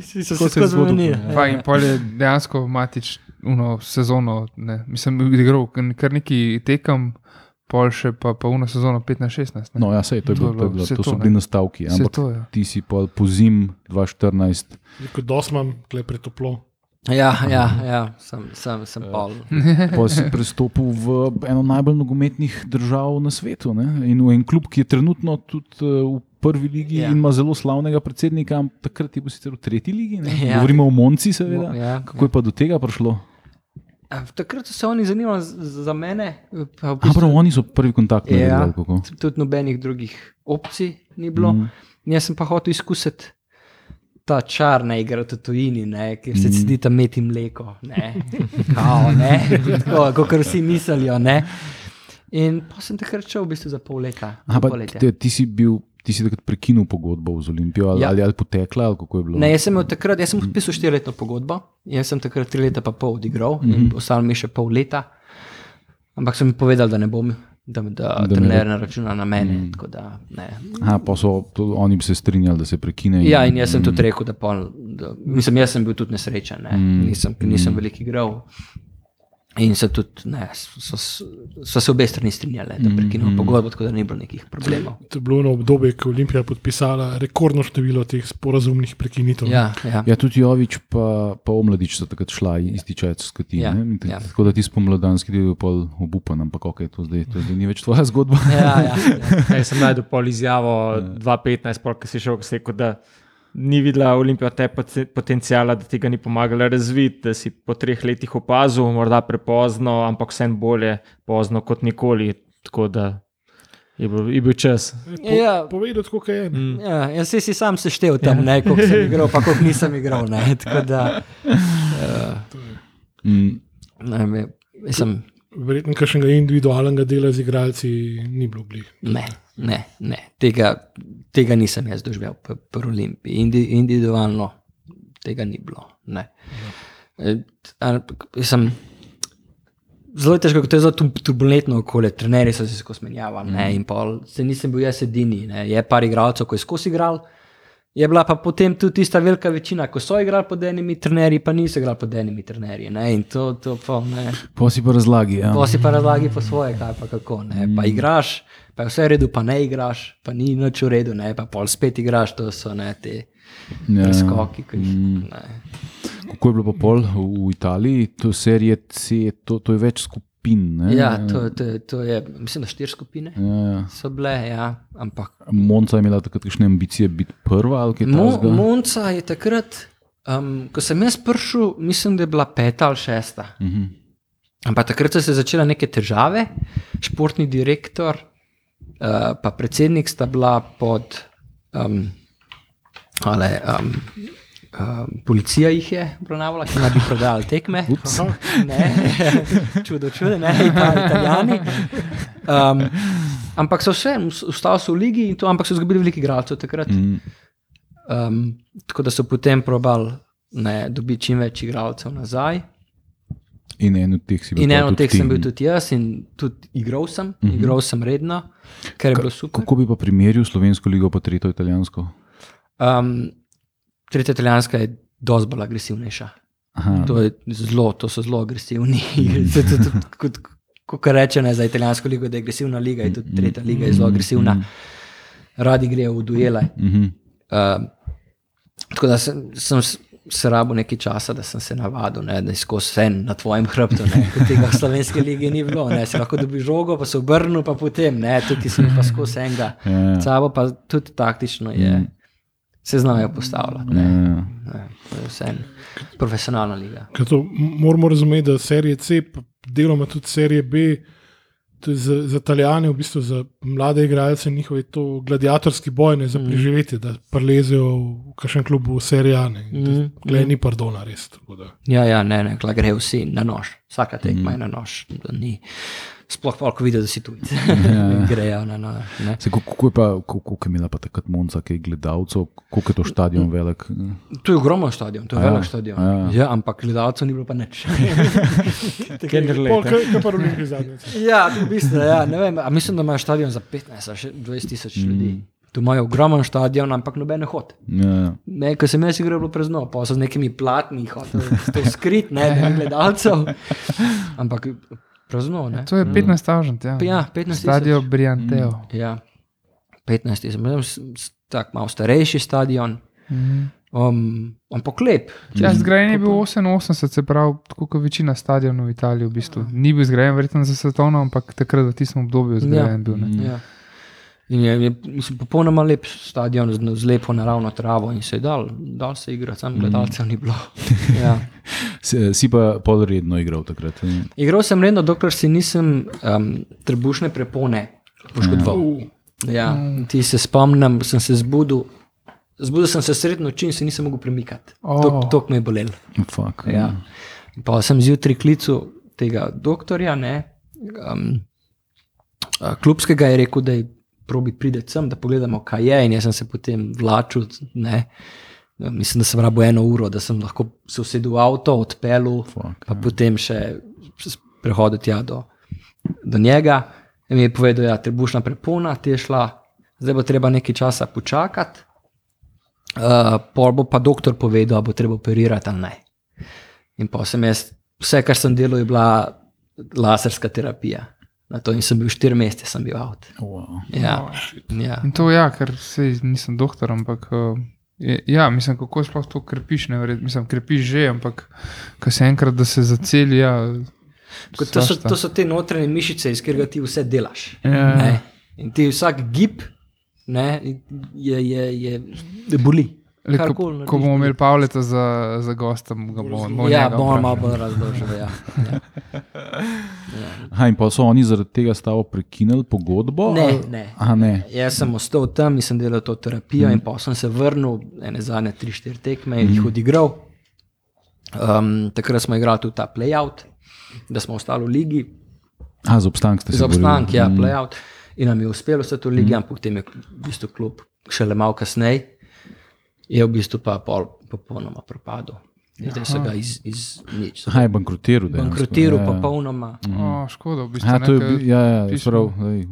Si se
Tako se je
tako
zgodilo.
zmenili.
Pa in pol je dejansko matič uno sezono, ne, mislim, igral kar neki tekem, pol še pa, pa uno sezono 15-16.
No, ja, sej, to, je
To je
bilo, to, je
bilo
bilo,
vse
to
to,
so
ne.
bili nastavki,
Vse
ampak
to je.
ti si pa po zim 2014.
Kot dosmam, tle pretoplo.
Ja, ja, ja, sem, sem, sem pol. Ja.
Pa si prestopil v eno najbolj nogometnih držav na svetu. Ne? In v en klub, ki je trenutno tudi eh, v prvi ligi
Ja.
ja. in ima zelo slavnega predsednika, am- takrat je bil sicer v tretji ligi. Ne?
Ja.
Ja. Govorimo o Monci, seveda.
Ja.
Kako je pa do tega prišlo?
A Takrat so se oni zanimali z- za mene. pa v
A,
bistvu-
prav, oni so prvi kontakt naredili.
Ja.
ali kako?
tudi nobenih drugih opcij ni bilo. Mm. Jaz sem pa hotel izkusiti ta čar, ne igra v tujini, ne, ki se mm. cedi tam meti mleko, ne, kao, ne, tako, kot vsi mislijo. Ne. In pa sem takrat šel v bistvu za pol leta.
Aha, pa,
poletje.
te, ti si bil. Ti si takrat prekinil pogodbo z Olimpijo, ali,
Ja.
ja. ali, ali potekla, ali kako je bilo?
Ne, jaz sem imel takrat, jaz sem podpisal štiriletno pogodbo, jaz sem takrat tri leta pa pol odigral mm -hmm.
Mhm.
in ostalo mi je še pol leta. Ampak sem jim povedal, da ne bom, da, da, da
ne
trener ne računa na mene. Mm. Tako da ne,
Aha, pa so to, oni bi se strinjali, da se prekine. in-
Ja, in jaz sem tudi rekel, da, pol, da mislim, jaz sem bil tudi nesrečen, ne? mm. nisem, ker nisem veliko igral. In so tudi, ne, so, so, so se obe strani strinjali, da prekinemo mm. pogodbo, tako da ni bilo nekih problemov.
To je bilo na obdobje, ko je Olimpija podpisala rekordno število teh sporazumnih prekinitev.
Ja, ja.
Ja, tudi Jovič, pa, pa omladič so takrat šla, isti čas kot ti.
Ja,
Ja,
ja.
ja. Tako da ti spomladanski del je pol obupan, ampak ok, to zdaj, to zdaj ni več tvoja zgodba.
Ja, ja, ja.
Jaz sem najdel pol izjavo 2-15, pol, ki si šel, ki si rekel, da ni videla Olimpija te pote- potencijala, da ti ga ni pomagala razviti, da si po treh letih opazil, morda prepozno, ampak vsem bolje pozno kot nikoli. Tako da je bil, je bil čas.
Po,
Ja.
ja. Povedal, tako kot je. Mm.
ja jaz si sam seštevil tam, ne, koliko sem igral, pa koliko nisem igral. Ne, tako da, eh,
Mm,
ne, vem, mislim,
Verjetno, kakšnega individualnega dela z igralci ni bilo bliž.
ne, ne, ne tega, tega nisem jaz doživel pri Olimpiji, Indi, individualno tega ni bilo. ne. Eh, ampak, Mislim, zelo je težko, ker to je zelo tu- turbulentno okolje, trenerji so se skozi menjavali. Mm. In pol, se nisem bil jaz edini, ne. je par igralcev, ko je skozi igral. Je bila pa potem tudi tista velika večina, ko so igrali pod enimi trenerji, pa niso igrali pod enimi trenerji. Ne? In to, to pa ne.
Pa si pa razlagi. Ja.
To si pa razlagi po svoje, kaj pa kako. Ne? Pa igraš, pa je vse v redu, pa ne igraš, pa ni nič v redu, ne? pa pol spet igraš, to so ne te
Ja.
preskoki, ki jih ne.
Kako je bilo pa pol v Italiji, to serije C, to, to je več skupin. Ne?
Ja, to, to, to je, mislim, da štiri skupine
Ja, ja.
so bile, ja, ampak
Monca je imela takrat kakšne ambicije biti prva ali kaj
Mo,
takega.
Monca je takrat, um, ko sem jaz prišel, mislim, da je bila peta ali šesta. Uh -huh. Ampak takrat so se začele neke težave. Športni direktor uh, pa predsednik sta bila pod. Um, ale, um, Um, policija jih je obravnavala, ki naj bi prodajali tekme. Ne, čudo, čudo, ne, pa italijani. Um, ampak so vse, ostali so v ligi in to, ampak so izgubili veliko igralcev takrat.
Mhm.
Um, tako da so potem probali ne, dobiti čim več igralcev nazaj.
In en od teh si bil.
In
pol
eno od
tudi
teh
ti.
sem bil tudi jaz, in tudi igral sem, uh -huh. igral sem redno, ker je bilo super.
Kako bi pa primerjal slovensko ligo, pa tretjo italijansko?
Um, tretja italijanska je dosti bolj agresivnejša.
Aha,
To, je zelo, to so zelo agresivni. To je tudi, kot, kot reče ne, za italijansko ligo, da je agresivna liga, je tudi tretja liga je zelo agresivna. Radi grejo v duele.
mhm.
Uh, tako da sem, sem s- se rabo nekaj časa, da sem se navadil, ne, da je skozi vse na tvojem hrbtu, ne, kot tega v slovenski lige ni bilo. Ne, si lahko dobiš žogo, pa se obrnil, pa potem ne, tudi sem pa skozi enega.
Ja. Mm.
Sabo pa tudi taktično je. Se znajo postavljati. Ne.
Ja.
Ne, to je vseeno profesionalna liga.
Ker to m- moramo razumeti, da serije C, pa deloma tudi serije B, to je za, za Italijane, v bistvu za mlade igralce, njihov je to gladiatorski boj, ne za
Mhm.
preživetje, da prelezejo v kakšen klub v serijane.
Mm,
Glej, ni pardona, res. tako da.
Ja, ja, ne, ne, kla grejo vsi na nož, vsaka tekma mm. je na nož. da Ni, sploh pa, ko vidijo, da si tujci.
Ja,
grejo na nož. Ne.
Se, kako, kako je pa, kako je imela pa takrat Monca, kaj gledalcev, kako je to stadion velik?
To je ogromen stadion, to je
Ja,
velik stadion.
ja, ja.
Ja, ampak gledalcev ni bilo pa nič.
Pol, Kaj kaj pa rolinki zadnjič.
ja, to v bistvu, ja, ne vem, a mislim, da imajo stadion za 15 ali še 20 tisoč mm. ljudi. Tu imajo ogromen stadion, ampak noben ne hodi.
Ja.
Ne, ko sem jaz igral, je bilo prezno, pa so z nekimi platni, hotel sem skrit, ne, da ni gledalcev. Ampak prezno, ne.
To je 15.000, ja.
Ja, 15 tisoč.
Stadio Brianteo. Mm.
Ja, 15 tisoč, mislim, s- s- tako malo starejši stadion.
Mm.
Um, ampak lep,
Ja, zgrajen je bil 88, se pravi, tako kot večina stadionov v Italiji. V bistvu. Ni bil zgrajen, verjetno za svetovno, ampak takrat v tistem obdobju je zgrajen. Bil, ne.
Ja. In je, je mislim, popolnoma lep stadion z, z lepo naravno travo in se je dal, dal se igrati, sam gledalcev ni bilo. Ja.
Si, si pa polredno igral takrat. eh? ne?
Igral sem redno, dokler si nisem um, trebušne prepone poškodoval. Ja. Ti se spomnim, sem se zbudil. Zbudil sem se sredi noči in se nisem mogel premikati.
O.
Oh. Tok me je bolelo.
Fuck,
Ja. Pa sem zjutraj klical tega doktorja, ne, um, klubskega je rekel, da je probi prideti sem, da pogledamo, kaj je. In jaz sem se potem vlačil, ne. Mislim, da sem rabo eno uro, da sem lahko se usedel v avto, odpeljal,
Fuck,
pa potem še s- prehodil tja do, do njega. In mi je povedal, da ja, je trebušna prepona, ti je šla, zdaj bo treba nekaj časa počakati. Uh, pol bo pa doktor povedal, ali bo treba operirati ali ne. In pa sem jaz, vse, kar sem delal, je bila laserska terapija. Na to in sem bil štiri mesece, sem bil avt.
Wow.
No,
Ja, ja.
In to ja, ker sej nisem doktor, ampak. Uh, je- Ja, mislim, kako sploh to krepiš, ne verjetno. Mislim, krepiš že, ampak ko se enkrat, da se zaceli, ja.
Kot To, so,
strašno.
to so te notranje mišice, iz katerega ti vse delaš.
Ja.
Ne. In ti vsak gib ne, je, je, je, je boli.
Le, ko,
Karkoli narediš,
ko bomo
boli.
imeli Pavleta za, za gosta, ga bomo bomo
Ja,
njega
bomo
vprašali.
malo bolj razložili. Ja. Ja.
Aha, in pa so oni zaradi tega stavo prekinili pogodbo?
Ne,
ali-
ne.
Aha, ne.
Jaz sem ostal tam in sem delal to terapijo, mm.
Mhm.
in pa sem se vrnil, ene zadnje tri, štiri tekme in mm. jih odigral. Um, takrat smo igrali tudi ta playout, da smo ostali v ligi,
A, za obstanek ste se
za obstanek,
borili. Mm.
ja, playout. In nam je uspelo vse to v
Mhm.
ligi, mm. ampak potem je v bistvu klub šele malo kasneje, je v bistvu pa pol popolnoma propadel. Zdaj so ga iz, iz nič. so
Aha, je bankrotiral. dejansko,
Bankrotiral
ja, ja.
popolnoma.
Oh, škoda, v bistvu.
Aha, to je
nekaj-
bil, ja, ja, je
pišemo.
prav. Daj,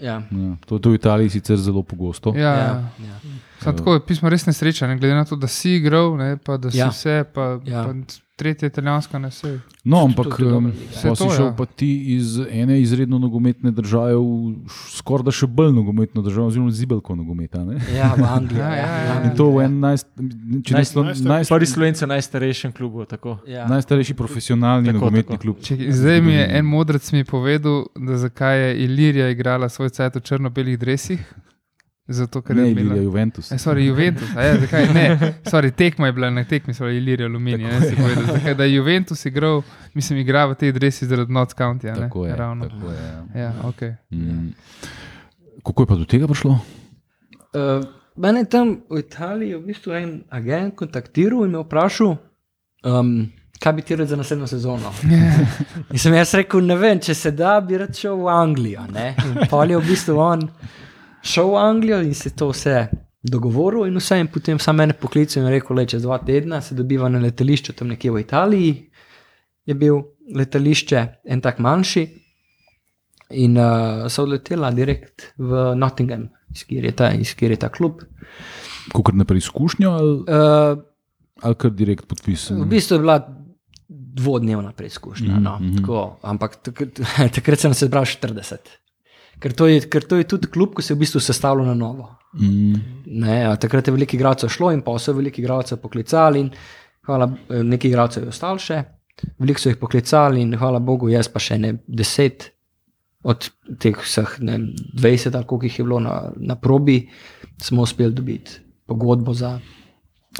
Ja.
ja. To, to v Italiji sicer zelo pogosto.
Ja, ja.
Ja, ja.
Sam tako je pismo res nesreča, ne glede na to, da si igral, ne, pa da si ja.
Ja.
vse, pa, ja.
Ja.
pa tretje italijanska ne vse.
No,
to
ampak
je dobra
em,
liga.
pol
Vse
si
to,
šel
ja.
pa ti iz ene izredno nogometne države v š- skoraj da še bolj nogometno državo, oziroma zibelko nogometa. Ne?
ja v Angliji.
Ja,
Ja,
ja, ja.
In to v enem najst, če ne slo-
Najstar-
najst-
Prvi slovenci v najstarejšem klubu. Tako.
ja.
najstarejši profesionalni
Tako,
nogometni
tako.
klub.
Če, zdaj mi je en modrec mi povedal, da zakaj je Ilirija igrala svoj cajt v črno-belih drevesih. Zato, ker
Ne,
je
Ilija
bila.
Juventus.
E, sorry, Juventus, a ja, zakaj ne? Sorry, tekma je bila na tekmi, sorry, Ilirija Aluminija. Ne, si povedal, zakaj, da je Juventus igral, mislim, igra v tej drevesi zaradi North County. a Ne,
Tako je.
Ravno.
Tako je ja.
Ja, okay.
mm. Kako je pa do tega prišlo?
Uh, mene je tam v Italiji je v bistvu en agent kontaktiral in me vprašal, um, kaj bi ti rad za naslednjo sezono. In sem jaz rekel, ne vem, če se da, bi rad šel v Anglijo. ne. In Pol je v bistvu on šel v Anglijo in se to vse dogovoril, in vse, in potem sam mene poklical in rekel, le čez dva tedna se dobiva na letališču tam nekje v Italiji. Je bil letališče en tak manjši, In uh, so odletela direkt v Nottingham, iz kjer je ta, iz kjer je ta klub.
Kot na preizkušnjo ali,
Uh,
ali kar direkt podpis?
v bistvu je bila dvodnevna preizkušnja, no,
Mhm, mhm.
tako, ampak takrat, takrat sem se zbral 40. Ker to, je, ker to je tudi klub, ki se je v bistvu sestavljal na novo.
Mm.
Ne, a takrat je veliko igralcev šlo in pa so veliko igralcev poklicali. In, hvala, eh, nekaj igralcev je ostalo še, veliko so jih poklicali in hvala Bogu, jaz pa še ne deset od teh vseh ne, vem, 20, ali koliko jih je bilo na, na probi, smo uspeli dobiti pogodbo za,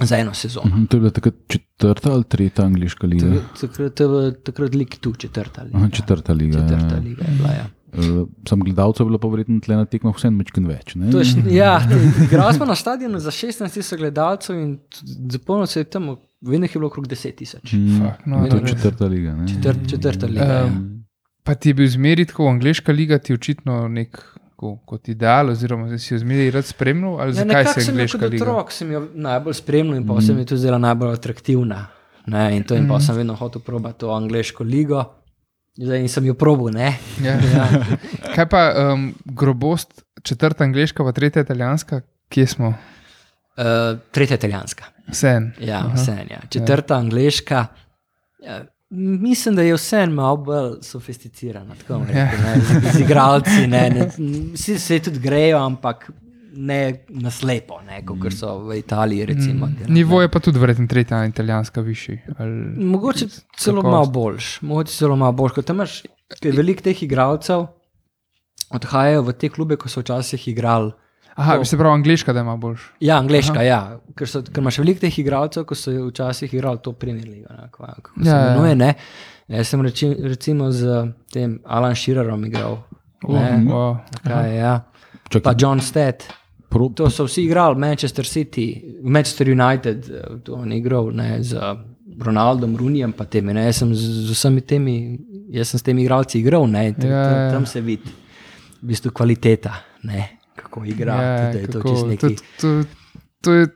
za eno sezono.
Mhm, To je bila takrat četrta ali tretja angliška liga?
Takrat- Takrat je bila- takrat liki tu četrta liga.
Ja. Aha, četrta liga. ja,
Četrta
ja.
liga je bila, ja.
Eh, Sam gledalcev je bilo pa verjetno tle na tekmah vse mečken več. Ne?
To je, št- ja, igrali smo na stadionu za 16.000 gledalcev in zapolnil se je tam, vedno jih je bilo okrog 10.000.
Mm,
Fak, no,
to je
res.
četrta liga. Ne?
Četrt, četrta liga.
Eh,
ja.
Pa ti je bil zmeri tako, angliška liga ti je očitno nek ko, kot ideal, oziroma si jo zmeri rad spremljal, ali
Ja,
zakaj
nekako
se
sem jo
angliška
kot
liga?
otrok sem jo najbolj spremljal in pa
Mm.
se mi je tudi zdela najbolj atraktivna. Ne, in to in pa sem vedno hotel probati to angliško ligo. Zdaj in sem jo probil, ne.
Ja. Kaj pa um, grobost, četrta angliška, pa tretja italijanska, kje smo?
Uh, tretja italijanska.
Vseeno.
Ja, vseeno, ja. Četrta angliška. Ja, mislim, da je vseeno malo bolj sofisticirana, tako bom rekel.
Ja.
ne, Z, z igralci, ne, ne, vsi se tudi grejo, ampak ne naslepo, kot so v Italiji. Recimo, ker-
Mm. Nivo je pa tudi verjetno tretja italijanska višji. Ali...
Mogoče celo
Kakovost.
malo boljš, mogoče celo malo boljš, kot imaš. ker Veliko teh igralcev odhajajo v te klube, ko so včasih igrali.
Aha, bi se pravi angliška, da ima boljš.
Ja, angliška, ja, ker, so, ker imaš veliko teh igralcev, ko so včasih igrali to Premier League, ne, kako, kako se
Ja, ja.
imenuje. Ne? Jaz sem reči, recimo z tem Alan Shearerom igral.
Oh,
Oh, Ne,
Ja. Wow.
kaj, ja.
Čakaj.
Pa John Stead.
Pro,
To so vsi igrali, Manchester City, Manchester United, eh, to on je igral ne, z Ronaldom, Runijem, pa temi. Ne. Jaz sem z, z vsemi temi, jaz sem s temi igralci igral, ne, tam,
Ja,
yeah, tam,
ja.
tam se vidi, v bistvu kvaliteta, ne, kako igra.
Ja,
Yeah, tudi, kako, to je čist
to,
neki.
to, to je,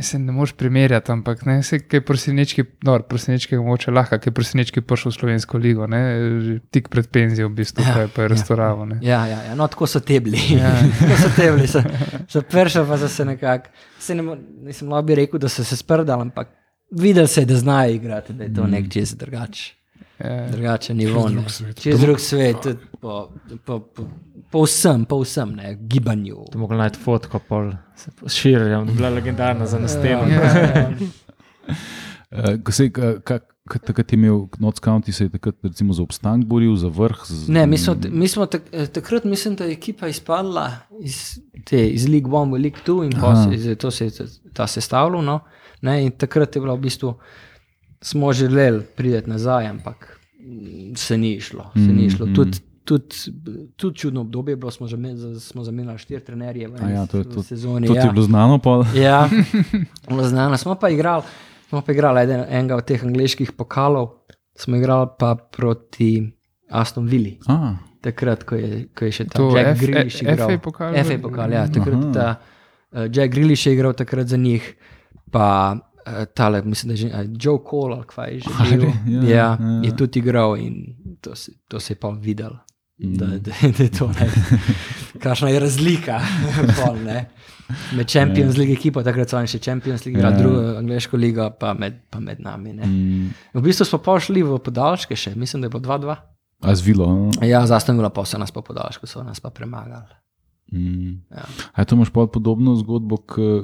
se ne moreš primerjati, ampak ne, se kaj prosinečki, no, prosinečki moče lahko, kaj prosinečki prišel v slovensko ligo, ne, že tik pred penzijo v bistvu, ja, kaj pa je ja. restauravo, ne.
Ja, ja, ja, no, tako so tebli. Ja. tako so tebli, so, so pršali, pa so se nekako. se ne mo- Nisem lahko bi rekel, da so se sprdali, ampak videl se je, da znajo igrati, da je to nek čist drugače.
Mm. Ja.
Drugačen nivo. ne.
drug svet.
Čez drug svet, tudi po, po, po, po vsem, po vsem ne, gibanju.
To mogel najti fotko, pol se širil, bila legendarna za naslednjo.
eh, ko se je, ka- ka- ka- Takrat je imel Knox County, se je takrat recimo, za obstanek boril, za vrh. Z,
Ne, mi smo, mi smo tak, eh, takrat, mislim, da je ekipa izpadla iz, te, iz League One v League Two in pol se, zato se je ta- ta sestavljal. No? Ne, in takrat je bilo v bistvu, smo želeli priti nazaj, ampak mm, se ni išlo. Se
Mm,
ni išlo. Tudi, tudi, tudi čudno obdobje je bilo, smo, zame- smo zamenjali štiri trenerje v
A
eni
ja, to je
s-
to-
sezoni.
To ti je bilo znano, pa
Ja, bilo znano. Smo pa igrali, smo pa igrali eden, enega od teh angliških pokalov, smo igrali pa proti Aston Villa,
A,
takrat, ko je, ko je še ta
To
Jack
F-
Grealish
F-
igral.
FA pokal?
eh, FA pokal, ja. Takrat ta, uh, Jack Grealish je igral takrat za njih, pa uh, eh, tale, mislim, da je že a, Joe Cole ali kaj je že.
A
Bil,
re, ja,
ja, ja,
ja.
je tudi igral in to se, to se je pa videl. Da,
Mm.
da, da je to, ne. kakšna je razlika pol, ne. med Champions League ekipo, takrat so oni še Champions League,
Ja.
igrali drugo angliško ligo, pa med, pa med nami. Ne.
Mm.
V bistvu smo pa šli v podaljške še, mislim, da je bilo 2-2.
A no? zvilo.
Ja, zastavno je bila pa so nas pa podaljške, so nas pa premagali.
Mm.
Ja.
A je to imaš pa podobno zgodbo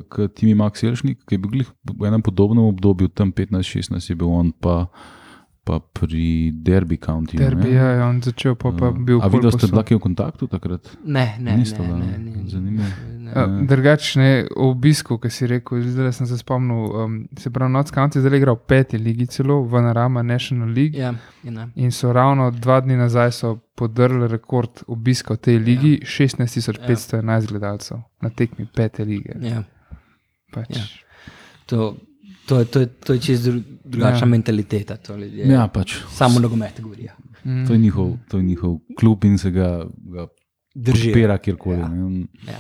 kot Timi Max Jelšnik, ki je bil glih v enem podobnem obdobju, tam 15-16 je bil on, pa, pa pri Derby County. Eh,
Derbi, ja, je on začel, pa, pa bil
Mm. A
pol
videl ste,
posod.
da je v kontaktu takrat?
Ne, ne,
Niste,
ne,
da?
ne, ne,
Zanimivo.
ne.
Ja, Drugačne obisku, ki si rekel, zdaj sem se spomnil, um, se pravi, Notts County je zdaj igral v peti ligi, celo v Narama National League.
Ja, je ne.
In so ravno dva dni nazaj so podrli rekord obiska v tej ligi, ja. 16.511 ja. gledalcev na tekmi pete lige.
Ja.
Pač.
Ja. To, to, to, je- to je čisto dru, drugačna ja. mentaliteta. to ljudje.
Ja, pač.
Samo nogomet govorijo.
To
Mm.
je njihov, to je njihov klub in se ga, ga
Držijo.
podpira kjerkoli.
Ja.
Ja.
Ja.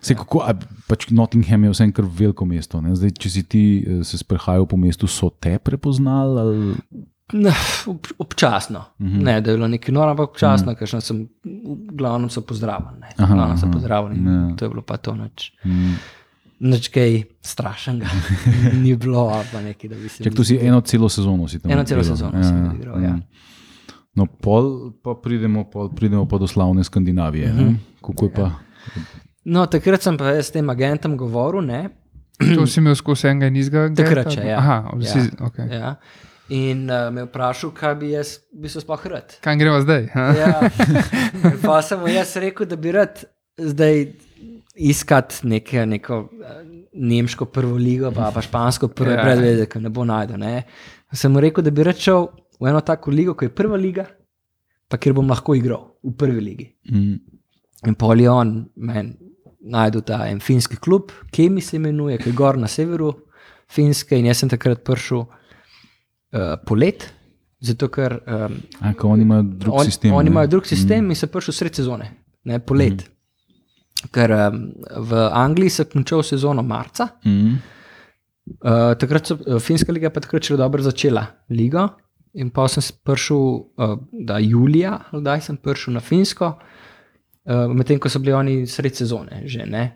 Se kako, a, pač Nottingham je vseeno kar veliko mesto. ne. Zdaj, če si ti eh, se sprehajal po mestu, so te prepoznali? Ali...
Ne, ob, občasno. Mm
Mhm.
-hmm. Ne, da je bilo nekaj nora, ampak občasno, mm -hmm. sem, v glavnem so pozdravljeni. ne. V
Aha,
glavnem so
aha.
pozdravljeni.
Ja.
To je bilo pa to noč.
Mm.
Noč kaj strašnega ni bilo, ali pa nekaj, da bi se.
Čak, to si eno celo sezono si tam
Eno celo
odigral.
sezono sem odigral,
Mhm.
ja.
Mm. No, pol pa pridemo, pol pridemo pa do slavne Skandinavije.
Mhm.
Mm -hmm. Kako je pa?
No, takrat sem pa jaz s tem agentom govoril, ne,
To si imel skozi enega in izga.
Takrat še, ja.
Aha, vsi,
ja.
ja. okay. ja.
ja. In uh, me je vprašal, kaj bi jaz v bistvu sploh rad.
Kaj gremo zdaj? ha?
Ja. In Pa sem mu jaz rekel, da bi rad zdaj iskati neke, neko eh, nemško prvo ligo, pa, pa špansko prvo
Ja.
ja. predvedje, ki ne bo najdel. Ne. Sem mu rekel, da bi rad šel v eno tako ligo, ki je prva liga, pa kjer bom lahko igral v prvi ligi.
Mm,
In pol je on meni najdel ta en finski klub, Kemi se imenuje, ki je gor na severu Finske. In jaz sem takrat prišel uh, polet, zato ker um,
a, ko oni imajo drug
on,
sistem.
Oni
ne? Mhm.
imajo drug sistem mm. in se prišel sred sezone, ne polet. Mm. Ker um, v Angliji se je končal sezono marca,
Mm,
uh, takrat so uh, finska liga pa takrat še dobro začela ligo. In pa sem s- prišel, uh, da julija, ali da sem prišel na Finsko, uh, medtem ko so bili oni sred sezone že. Ne?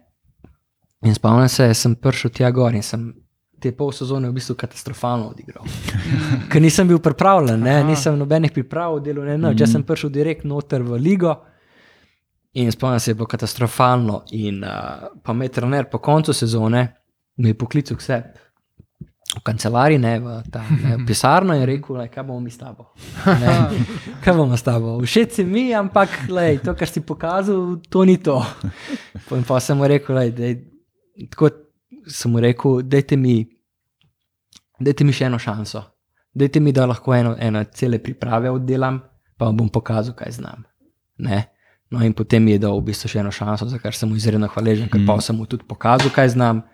In spomnim se, sem prišel tja gor in sem te pol sezone v bistvu katastrofalno odigral. Ker nisem bil pripravljen, ne? nisem nobenih priprav delal, ne, mm. jaz sem prišel direktno noter v ligo. In spomnim se, je bilo katastrofalno. In uh, pa me je trener po koncu sezone me je poklical k sebi. V kancelariji, ne v ta ne, v pisarno, in rekel, lej, kaj bomo mi s tabo. Ne, kaj bomo s tabo? Všeč si mi, ampak lej, to, kar si pokazal, to ni to. Pa- In pa sem mu rekel, lej, dej, tako sem mu rekel, dajte mi, dajte mi še eno šanso, dajte mi, da lahko eno, eno cele priprave oddelam, pa vam bom pokazal, kaj znam. Ne? No, in potem mi je dal v bistvu še eno šanso, za kar sem mu izredno hvaležen, ker mm. pa sem mu tudi pokazal, kaj znam.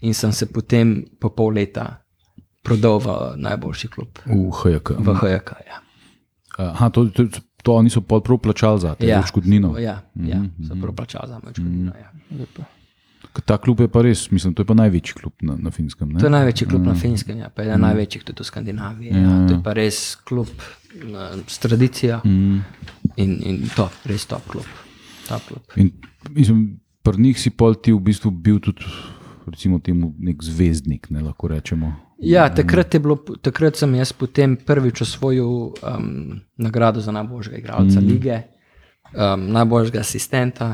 In sem se potem po pol leta prodal v najboljši klub,
v HJK.
v HJK. Ja,
Aha, to, to, to oni so pol prav plačali za te,
Ja.
za škodnino.
ja, ja se pravi, plačal za me odškodnino. Ja.
Ker Ta klub je pa res, mislim, to je pa največji klub na, na finskem. Ne?
To je največji klub na Finskem, ja, pa eden mm. največjih tudi v Skandinaviji. Ja. To je pa res klub eh, s tradicijo mm. in, in top, res top klub. Top klub.
In mislim, pri njih si pol ti v bistvu bil tudi, recimo, temu nek zvezdnik, ne lahko rečemo.
Ja, takrat, je bilo, takrat sem jaz potem prvič osvojil um, nagrado za najboljšega igralca mm. lige, um, najboljšega asistenta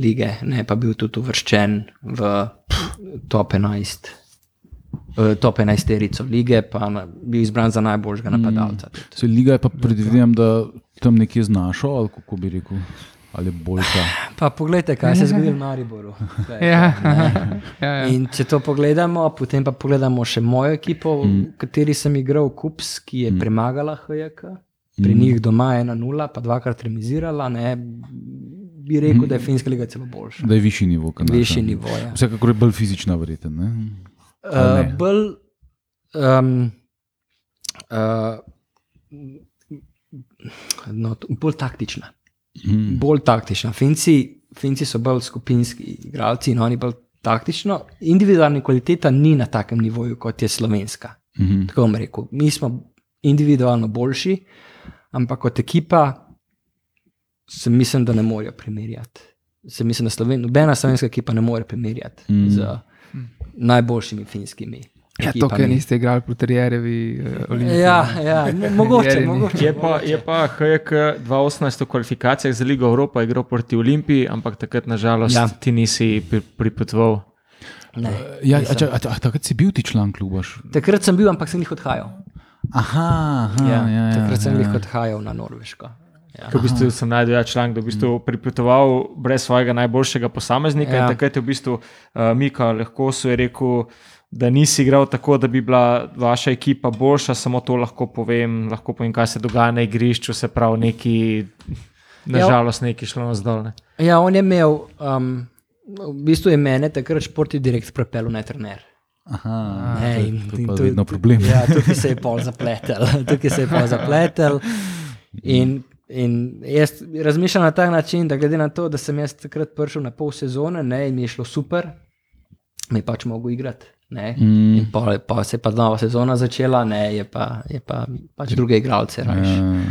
lige, ne pa bil tudi uvrščen v top 11. eh, Top 11 terico lige, pa na, bil izbran za najboljšega napadalca. Mm.
Se liga je pa predvidevam, da tam nekje znašo, ali kako bi rekel, ali je boljša.
Pa poglejte, kaj se je zgodilo v Mariboru. Kaj,
Ja.
ne.
Ja, ja.
In če to pogledamo, potem pa pogledamo še mojo ekipo,
Mm.
v kateri sem igral Kups, ki je premagala HJK.
Mm.
Pri njih doma je 1-0, pa dvakrat remizirala. Ne, bi rekel, da je finska liga celo boljša.
Mm. Da je višji nivo. kot naša.
Višji nivo, ja.
Vsekakor je bolj fizična, verjeten. ne?
Uh, bolj, um, uh, no, t- bolj taktična.
Mm.
bolj taktična. Finci, Finci so bolj skupinski igralci in oni bolj taktično, individualna kvaliteta ni na takem nivoju, kot je slovenska.
Mhm.
Tako bom rekel. Mi smo individualno boljši, ampak kot ekipa se mislim, da ne morejo primerjati. Se mislim, da Sloven, nobena slovenska ekipa ne more primerjati
Mm.
mm. z najboljšimi finskimi.
Ja, to, kar
ekipami.
niste igrali eh, proti Rjerjevi, Olimpiji.
Ja, ja, mo- mogoče,
Jeremy.
mogoče.
Je pa, je pa HJK 2018 v kvalifikacijah za Ligo Evropa igral proti Olimpiji, ampak takrat nažalost ja.
Ja.
ti nisi pri, pripotoval.
Ne.
Ja, a
nisem.
čak- a ta- a takrat si bil ti član kluba. še?
Takrat sem bil, ampak sem jih odhajal.
Aha, aha ja,
Ja,
ja, ja,
takrat sem
ja.
jih odhajal na Norveško. Ja.
Ko v bistvu sem najdel ja, članek, da je v bistvu pripotoval brez svojega najboljšega posameznika. Ja.
Mm. Ja.
Takrat je v bistvu uh, Mika lahko so je rekel, da nisi igral tako, da bi bila vaša ekipa boljša, samo to lahko povem, lahko povem, kaj se dogaja na igrišču, se pravi, neki, nažalost, neki šlo na zdolne.
Ja, on je imel, um, v bistvu je mene takrat športni direkt prepeljal na trener.
Aha,
Ne,
to-
in-
to
in
pa
to-
vedno problem.
Ja, tukaj se je pol zapletel. Tukaj se je pol zapletel. In, in jaz razmišljam na ta način, da glede na to, da sem jaz takrat prišel na pol sezone ne, in mi je šlo super, mi je pač mogel igrati. Ne.
Mm.
In pol, pol se je pa nova sezona začela, ne, je pa, je pa pač druge igralce, rajš,
Ja.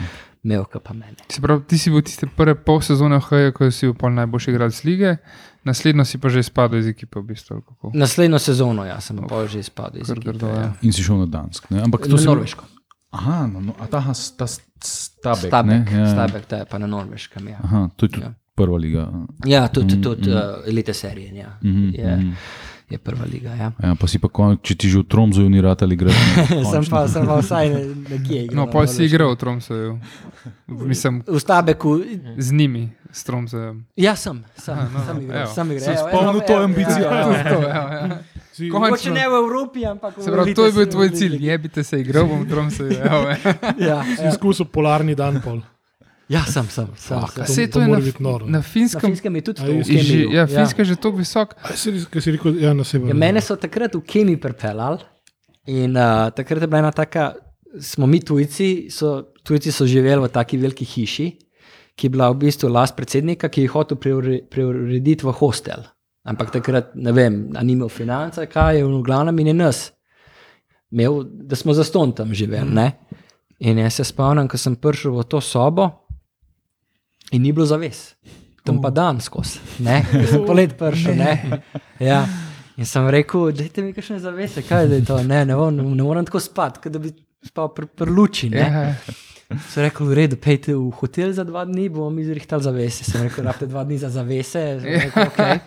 imel kot pa mene.
Se pravi, ti si bil tiste prve pol sezone v HJ, ko si bil pol najboljši igralec lige, naslednjo si pa že izpadel iz ekipe, v bistvu. ali kako?
Naslednjo sezono ja, sem pa že izpadel iz
Kar
ekipe,
grdo,
ja.
ja.
In si šel na Dansk. Ne? Ampak to
Na
si bil-
Norveško.
Aha, no, no, a ta, ha- ta s- stabek.
Stabek,
ne? Ja.
stabek, ta je pa na Norveškem. Ja.
Aha, to je tudi ja.
Ja.
prva liga.
Ja, tudi, mm, tudi mm. Uh, elite serije. Ja.
Mhm,
Mm, je,
mhm.
mm. je prva liga. Ja.
Ja, pa si pa, kon, če ti že v Tromzu ni rad ali greš.
sem, pa, sem pa vsaj nekje igral.
No, pol si igral v Tromseju, mislim,
V Stabeku,
z njimi, s Tromsejem.
ja, sem, sem,
Aha, no,
no, sem igral.
evo.
Sem igral.
Sem
evo,
spomnil
evo,
to
evo,
ambicijo.
ja, ja.
To, to, ja, ja.
Si,
Mogoče
Končno.
ne v Evropi, ampak v
Se pravi,
elite
to je bil
seriji.
tvoj cilj, ja? jebite se, igral bom v Tromseju. evo, ja.
Ja,
si izkusil polarni dan pol.
ja sem, sem. sem, sem.
A saj
to
to je
mora
na,
biti noro.
na
Na
finskem.
finskem je tudi
A
to. v
je-
je že-
Kemiju.
Ja, Finska je že tako visoka.
Kaj si, res- kaj si rekel, ja, na severu?
Ja, mene so takrat v Kemi pripeljali in uh, takrat je bila ena taka, smo mi tujci, so, tujci so živeli v taki veliki hiši, ki je bila v bistvu last predsednika, ki je hotel preure- preurediti v hostel. Ampak takrat ne vem, a ni imel finance, kaj je v glavnem in je nas. Imel, da smo za ston tam
Mhm.
živeli. Ne? In jaz se spomnim, ko sem prišel v to sobo in ni bilo zaves. Tam
Uh.
pa dan skozi, ne, Ker sem polet prišel. Ne. Ja. In sem rekel, dajte mi kakšne zavese, kaj je to, ne, ne, bom, ne morem tako spati, kot da bi spal pri, pri luči. Ne.
Ja,
So rekli, v redu, pejte v hotel za dva dni, bomo mi zrihtali zavese. Sem rekel, rabite dva dni za zavese. Sem Rekel, okay.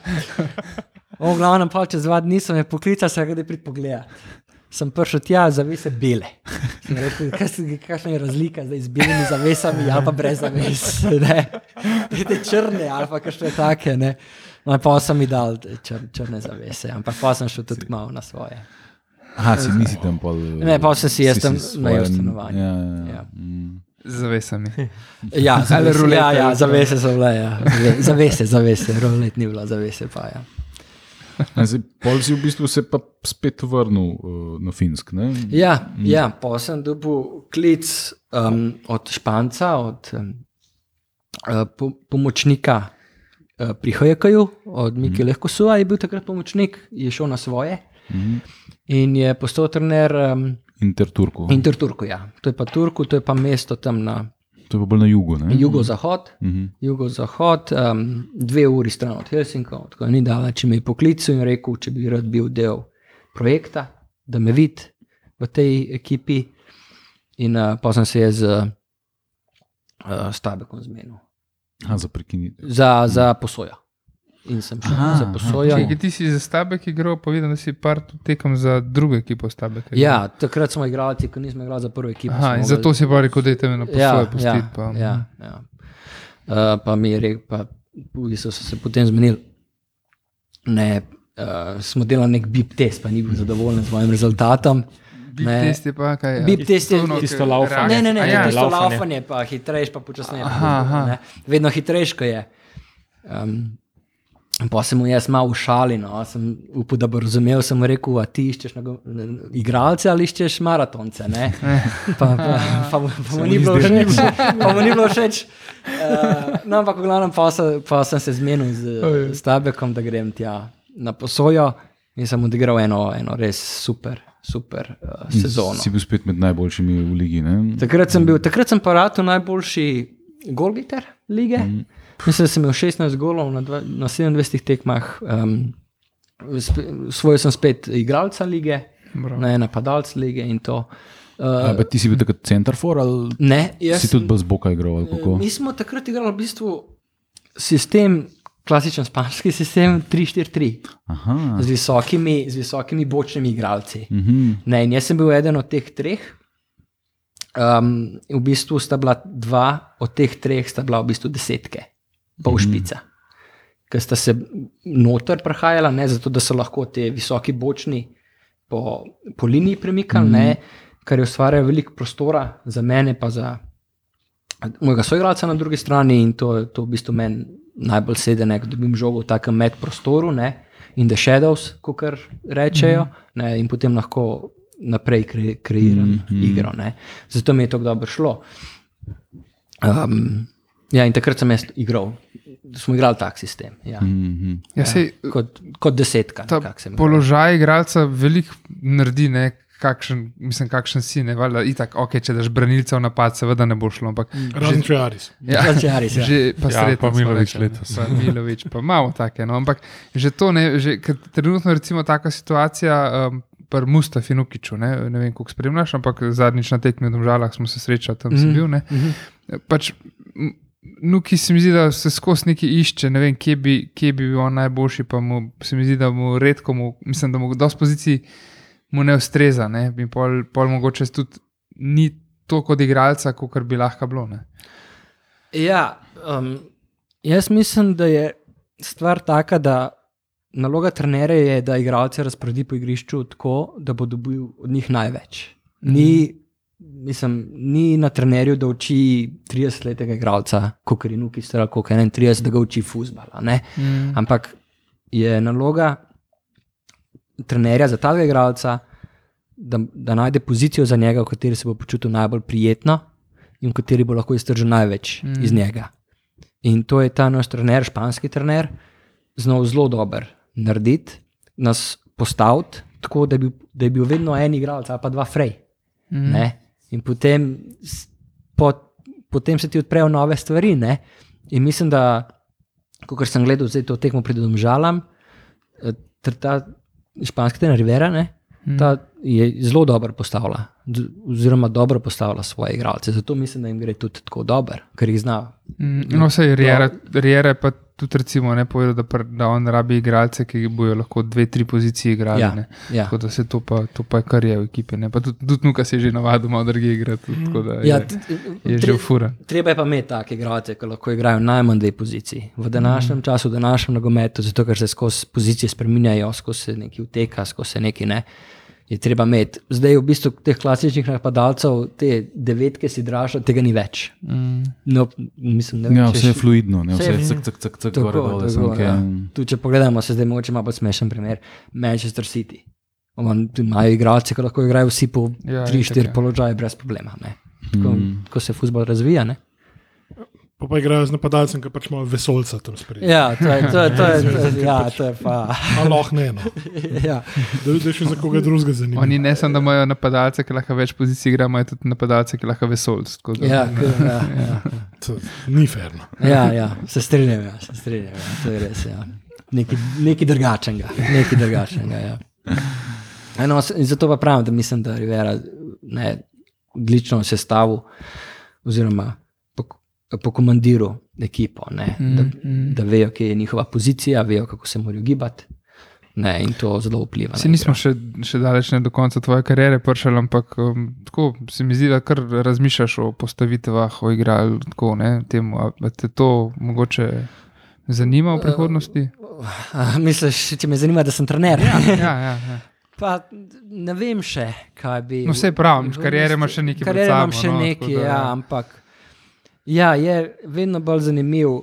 O, glavno, pa čez dva dni sem jih poklical, se ga da prid pogledat. Sem prišel tja, zavese bele. Sem rekel, kaj se- kakšna je razlika zdaj z belimi zavesami ali pa brez zaves. Ne? Te črne ali pa kakšne take. Ne? No, in pa sem jim dal eh, čr, črne zavese, ampak pa sem šel tudi malo na svoje.
Aha, si nisi tam pol.
Ne, pol sem si jaz tam
svoje-
najel stanovanje.
Ja, ja, ja.
Ja.
Mm.
Z zavesami.
Ja,
Ali
zavese,
ruleta,
ja, ja,
ali-
zavese so bile, ja. Zave- zavese, zavese, rolet ni bila, zavese pa ja.
A Zdaj, pol si v bistvu se pa spet vrnil uh, na Finsk. Ne?
Ja, mm. ja pa sem dobil klic um, od Španca, od um, eh, po, pomočnika uh, pri Hojekaju, od Miki mm. Lehkosuva je bil takrat pomočnik, je šel na svoje Mm.
Mhm.
in je postal trener um,
Interturku. In...
Interturku. Ja. To je pa Turku, to je pa mesto tam na
To je pa bolj na jugu. Ne?
jugozahod.
Mhm.
Jugozahod, um, dve uri stran od Helsinkov, tako da ni dala, če me je poklical in rekel, če bi rad bil del projekta, da me vidi v tej ekipi. In uh, pa sem se jaz z uh, Stabekom zmenil
Aha, za prekinitev.
za, za posojo. In sem šel
Aha,
aha, za
aha,
posojo.
Če ti si za stavek igral, pa vidim, da si par tekem za druge ekipo stavek.
Ja, takrat smo igrali, ko nismo igrali za prvo ekipo.
Aha,
smo
in
mogli-
zato si pa rekel, da je te na posloje pustiti.
ja,
pa- mhm.
Ja, ja. Uh, pa mi je rekel, pa v bistvu so se potem zmenili. Ne, uh, smo delali nek bip test, pa ni bil zadovoljen z mojim rezultatom.
Bip
Ne.
test je pa kaj. ja.
Bip test je-
ono,
tisto
ke-
laufanje.
Ne, ne, ne,
A
ja,
ja,
tisto
laufanje.
laufanje, pa hitrejš, pa počasneje.
Aha, aha.
Ne? Vedno hitrejš, ko je. Um, Pa sem mu jaz malo ušalil, no, sem upal, da bo razumel. Sem mu rekel, a ti iščeš nago- igralce ali iščeš maratonce. ne?" Pa, pa, pa, mu- pa, mu ni bilo všeč, pa mu ni bilo všeč. Eh, Uh, no, ampak v glavnem pa, se, pa sem se zmenil z, z Tabekom, da grem tja na posojo in sem odigral eno, eno res super, super uh, sezono.
Si bil spet med najboljšimi v ligi. Ne?
Takrat sem bil, takrat sem paratu najboljši golgiter lige. Mm.
Mhm.
Mislim, da sem imel 16 golov na, dva, na 27 tekmah. Um, Svojo sem spet igralca lige,
Bravo.
ne napadalca lige in to.
A,
Uh,
pa ti si bil takrat centerfor ali
ne, jaz
si tudi
sem- eh,
brez boka igral? ali kako?
Mi smo takrat igrali v bistvu sistem, klasičen španski sistem 3-4-3,
Aha.
z visokimi, z visokimi bočnimi igralci.
Mhm.
Ne, in jaz sem bil eden od teh treh. Um, v bistvu sta bila dva od teh treh, sta bila v bistvu desetke, pol špica. Ker sta se noter prehajala, ne, zato da so lahko te visoki bočni po, po liniji premikali, ne, kar je ustvarjalo veliko prostora za mene, pa za mojega soigralca na drugi strani. In to, to v bistvu meni najbolj sedi, ne, ko dobim žogo v takem medprostoru, ne, in the shadows, kot kar rečejo,
Mhm.
ne, in potem lahko naprej kre, kreiram
Mhm.
igro. Ne. Zato mi je to dobro šlo. Um, ja, in takrat sem jaz igral, smo igrali tak sistem. Ja.
Mhm.
Ja, sej,
Kot, kot desetka,
ta
nekako sem.
položaj igralca veliko naredi, ne, kakšen, mislim, kakšen si. Ne, valjda, itak, okay, če daš branilca v napad, seveda ne bo šlo. Ampak,
Mm.
Razen če Aris.
Ja, če Aris, ja.
že pa
Ja,
srednja.
pa Milović letos.
Pa Milovič, pa imamo take. No, ampak že to, ne, že, ker trenutno recimo taka situacija. Um, Pri Mustafi Nukiču, ne, ne vem, kako spremljaš, ampak zadnjič na tekmi v Domžalah smo se srečali, tam mm -hmm. sem
Mhm,
bil. ne. Pač, m, Nuki se mi zdi, da se skozi neki išče, ne vem, kje bi, kje bi bil on najboljši, pa mu, se mi zdi, da mu redko, mu, mislim, da mu dosti pozicij mu ne ustreza. Ne? In pol, pol mogoče tudi ni to kot igralca, kot bi lahko bilo. Ne?
Ja, um, jaz mislim, da je stvar taka, da naloga trenerja je, da igralce razporedi po igrišču tako, da bo dobil od njih največ. Ni, mislim, ni na trenerju, da uči 30-letnega igralca, kot je Nuki, stara kot 31, da ga uči fusbala. Mm. Ampak je naloga trenerja za tega igralca, da, da najde pozicijo za njega, v kateri se bo počutil najbolj prijetno in v kateri bo lahko iztržil največ mm. iz njega. In to je ta naš trener, španski trener, znal zelo dober narediti, nas postaviti tako, da je bil, da je bil vedno en igralec ali pa dva frej. Mm. In potem, s- po, potem se ti odprejo nove stvari. Ne? In mislim, da, kot sem gledal, zdaj to tekmo pred Domžalam, eh, tr- ta španski trener Rivera, ne, mm. ta je zelo dobro postavila, d- oziroma dobro postavila svoje igralce. Zato mislim, da jim gre tudi tako dobro, ker jih zna.
Mm, No, vse Rijera je pa tudi recimo, ne povedal, da, pr- da on rabi igralce, ki bojo lahko dve, tri pozicije igrali.
Ja,
ne.
ja.
Tako da se to pa, to pa je kar je v ekipi. ne. Pa tudi, tudi Nuka se je že navadil, malo drugih igra. Tudi, tako da je,
Ja,
ja,
t-
je
tre-
že ufura.
Treba je pa imeti take igralce, ki lahko igrajo najmanj dve poziciji. V današnjem mm.
Mhm.
času, v današnjem nogometu, zato ker se skozi pozicije spreminjajo, skozi se nekaj uteka, skozi se nekaj ne. Je treba imeti. Zdaj, v bistvu, teh klasičnih napadalcev, te devetke si draža, tega ni več.
Mm.
No, mislim, ne vem,
Ja,
če
vse je
še-
fluidno, ne?
vse
vse
je
je cek, cek, cek, cek,
Tako,
gore, dole,
tako,
sanke.
ja. Tudi če pogledamo, se zdaj moče malo bolj smešen primer, Manchester City. Oman- tu Imajo igralce, ki lahko igrajo vsi po
Ja,
3-4
itak, ja.
položaje brez problema. ne. Tako, Ko se futbol razvija. Ne?
Pa, pa igrajo z napadalcem, ki pač ima vesolca tam spredaj.
Ja, to je, to je, to je, to je, ja, to je pa.
Ali lahko ne, no.
Ja.
da, da je še za koga drugega
Oni
zanimivo.
ne samo, da imajo napadalce, ki lahko več pozicij igrajo, imajo tudi napadalce, ki lahko vesolc. tako da-
Ja, k- ja,
To Ni no. ferno.
ja, ja, se strinjam, ja, se strinjam, ja, to je res. Ja. Nekaj, nekaj drugačnega. Nekaj drugačnega ja. Eno, zato pa pravim, da mislim, da Rivera ne odlično sestavil oziroma pok- pokomandiral ekipo, ne, da,
Mm,
da vejo, kje je njihova pozicija, vejo, kako se morajo gibati. Ne, in to zelo vpliva. na
Se nismo še, še daleč ne do konca tvoje kariere prišli, ampak um, tako se mi zdi, da kar razmišljaš o postavitvah, o igralju, tako ne, temu, a, a te to mogoče zanima v prihodnosti?
A, Misliš, če me zanima, da sem trener? Ja.
Ja, ja, ja.
Pa ne vem še, kaj bi.
No, saj pravim, kariere imaš še nekaj pred
Kariere imam
sabo,
še
no, tako
nekaj,
da,
ja,
ja.
ampak. Ja, je vedno bolj zanimiv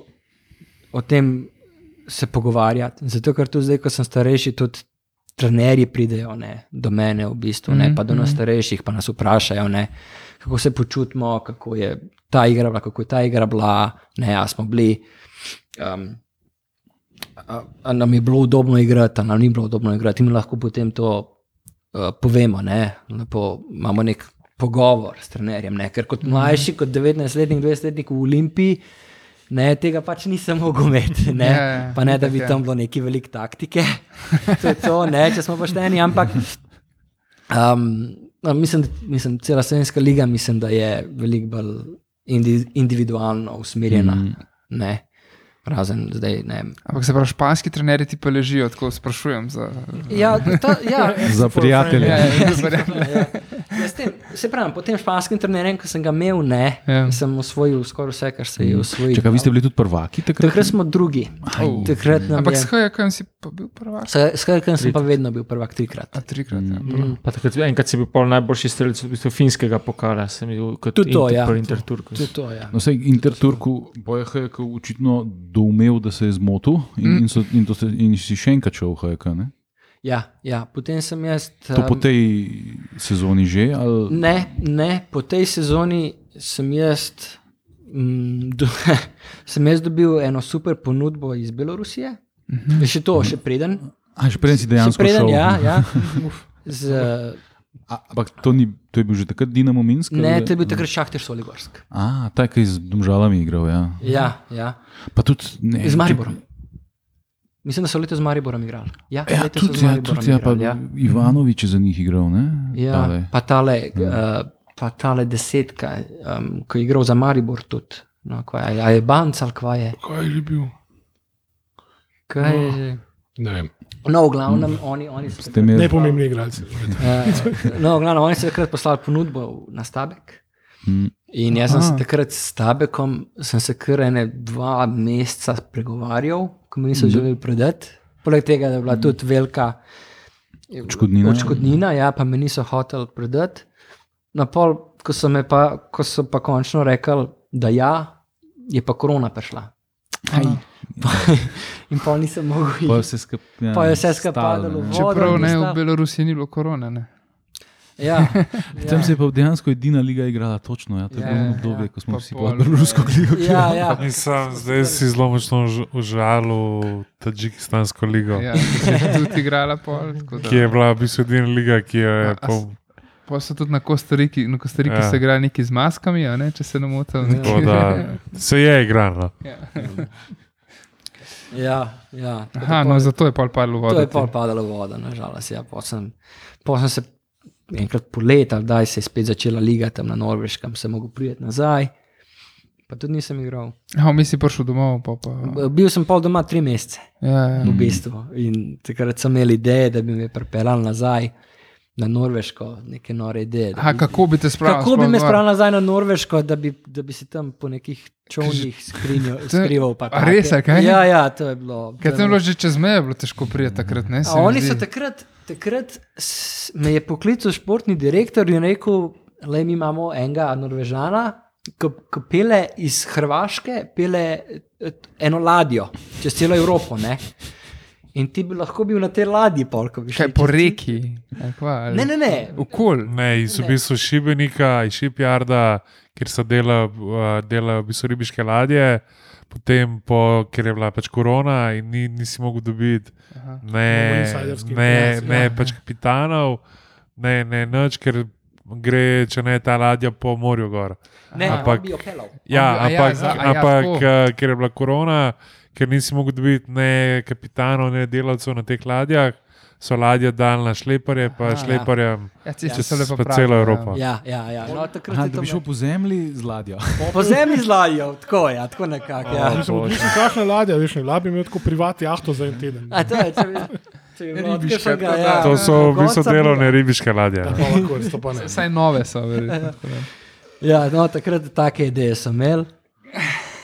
o tem se pogovarjati. Zato, ker tudi zdaj, ko sem starejši, tudi trenerji pridejo ne, do mene, v bistvu,
Mhm,
ne, pa do nas starejših, pa nas vprašajo, ne, kako se počutimo, kako je ta igra bila, kako je ta igra bila, ne, a smo bili. Um, a, a nam je bilo udobno igrati, a nam ni bilo udobno igrati, in lahko potem to uh, povemo. Ne? Lepo, imamo nek pogovor s trenerjem. Ne? Ker kot mlajši, kot 19-letnik, 20-letnik v Olimpiji. Ne, tega pač nisem mogel imeti. Ne?
Ja, ja,
pa ne, da bi
itak je.
tam bilo neki velike taktike, to je to, ne, če smo pošteni, ampak Um, no, mislim, da- mislim, cela slovenska liga mislim, da je veliko bolj indi, individualno usmerjena. Mm. Ne, razen zdaj. Ne.
Ampak se pravi, španski trenerji ti pa ležijo, tako sprašujem. Za,
Ja, ta, ja.
Za prijatelje.
ja, ja, ja,
Ja. Ja, s tem, se pravi, po tem španskem trenerju, ki sem ga imel, ne,
Ja.
ja. sem osvojil skoraj vse, kar se je osvojil.
Čakaj, vi ste bili tudi prvaki takrat?
Takrat smo drugi.
Oh.
Takrat nam
Ampak
je-
s HJK si pa bil prvak.
S Hrvatom sem pa vedno bil prvak trikrat.
A trikrat. Ja.
Pa takrat, enkrat si bil pol najboljši strelec v bistvu finskega pokala, sem bil kot
Tudi to,
Inter,
ja.
pri Interturku.
To je to, ja.
No, sej Interturku boje HK očitno doumel, da se je zmotil
Mm.
in, in, so, in, to se, in si še enkrat šel v HK. Ne?
ja, ja. Potem sem jaz.
To po
um,
tej sezoni že? Ali,
Ne, ne, po tej sezoni sem jaz, mm, do, sem jaz dobil eno super ponudbo iz Belorusije. Še to, še preden.
a, še preden si
Še
Mhm. dejansko
preden,
šel?
ja. ja. Z,
A, ampak to, ni, to je bil že takrat Dinamo Minsk?
ne,
ali-
to je bil takrat Šahter Soligorsk.
A, ta, ki je z domžalami igral. Ja.
Ja, ja.
Pa tudi ne,
Z Mariborom. Mislim, da so letos z Mariborom igrali. Ja,
Ja,
letos so
tudi,
z
ja,
Mariborom
tudi ja, pa
igrali, ja.
Ivanovič je za njih igral. Ne?
Ja,
Tale. Mm.
pa tale, uh, pa tale desetka, um, ko je igral za Maribor tudi. No, kaj, je- a je Banc ali kva je?
Kaj je že bil?
Kaj je že?
Ne vem.
No, v glavnem, oni, oni so
Ste imeli-
Najpomembnejši igralci.
Uh, no, glavno, oni so takrat poslali ponudbo na Stabek.
Mm.
In jaz sem se takrat s Stabekom, sem se kar ene dva meseca pregovarjal, ko mi niso želeli predati. Poleg tega, da je bila tudi velika eh,
Odškodnina.
odškodnina ja, pa mi niso hoteli predati. Na pol, ko so, me pa, ko so pa končno rekli, da ja, je pa korona prišla. Aj. In pol nisem mogel
Pa je
iti.
vse skup- ja,
Pa je vse skupaj padalo
stalo,
v
ne.
vodo.
Čeprav ne, v
tista-
Belorusiji ni bilo korone. Ne.
Ja,
Tam
ja.
se je pa dejansko edina liga igrala, točno. Ja, to je
Ja,
bilo ono
ja,
obdobje, ko smo
Pa
vsi
pol,
pod rusko ligo.
Ja, ja.
Nisem, zdaj si zelo močno už- užalil Tadžikistansko ligo,
Ja, ker je tudi igrala pol. tako da-
ki je bila v bistvu edina liga, ki jo je
A- a
pol-
Pol so tudi na Kostariki, na Kostariki
Ja.
ja. se igra neki z maskami, a ne, če se ne motim.
tako da se je igrala.
Ja, ja. Tako
Aha,
da
no,
pol-
zato je pol padlo
to
vodo.
je pol padalo voda, nažalost. Ja, pol sem, pol sem se enkrat po leta, kdaj se je spet začela liga tam na Norveškem, sem mogel priti nazaj. Pa tudi nisem igral.
Ja, mi si prišel domov, pa pa.
B- Bil sem pol doma tri mesece,
Ja, ja.
v bistvu. In takrat sem imel ideje, da bi me pripeljal nazaj na Norveško, neke nore ideje. da
Aha,
bi-
kako bi te spravil?
Kako bi
sploh
me
gor?
spravil nazaj na Norveško, da bi, da bi se tam po nekih čovnih skrinjo-
To je-
skrival? pa
A
take.
res, a kaj?
Ja, ja, to je bilo.
Ker
to je
tam je
bilo-
bilo že čez meje, je bilo težko prijeti takrat. Ne, se
A
mi
Oni
zdi.
so takrat, takrat s- me je poklical športni direktor in rekel, le mi imamo enega Norvežana, ki ki pele iz Hrvaške, pele eh, eno ladjo čez celo Evropo. Ne? In ti bi lahko bil na tej ladji, polko bi
Kaj
šel.
po reki? ali Kva, ali...
Ne, ne, ne.
Okol.
Ne, iz v bistvu Šibenika, iz Šipjarda, kjer so dela, uh, dela v bistvu ribiške ladje, potem, po, ker je bila pač korona in ni, nisi mogel dobiti
Ne bo
ne,
insajderskih
ne,
informacij.
ne pač kapitanov, ne, ne nič, ker gre, če ne ta ladja po morju gor.
Ne,
Ampak-
on bi jo pelal.
Ja,
A ja,
ampak,
za- a ja,
ampak
tako.
eh, ker je bila korona, ker nisi mogel dobiti ne kapitanov, ne delavcev na teh ladjah, so ladje dal na šleparje, pa
Aha, ja.
šleparjem.
Ja, ceste
Čez
so lepo
pa
prav.
celo Evropo.
Ja, ja, ja. No, takrat
Aha,
je
da
to
bi šel
bilo.
po zemlji z ladjo.
Po zemlji z ladjo, tako je, ja, tako nekako. Ja.
Sem odličen, kakšna ladja, veš, ne labi imel tako privat jahto za en teden.
A to je, če bi, če bi bilo od
Ribiška,
kakšnega,
tako da.
ja,
To so v bistvu
Bogorca bi-
delovne ribiške ladje.
Pa lahko, res, to pa ne.
Vsaj nove so. verjetno, tako da.
Ja, no, takrat take ideje sem imel.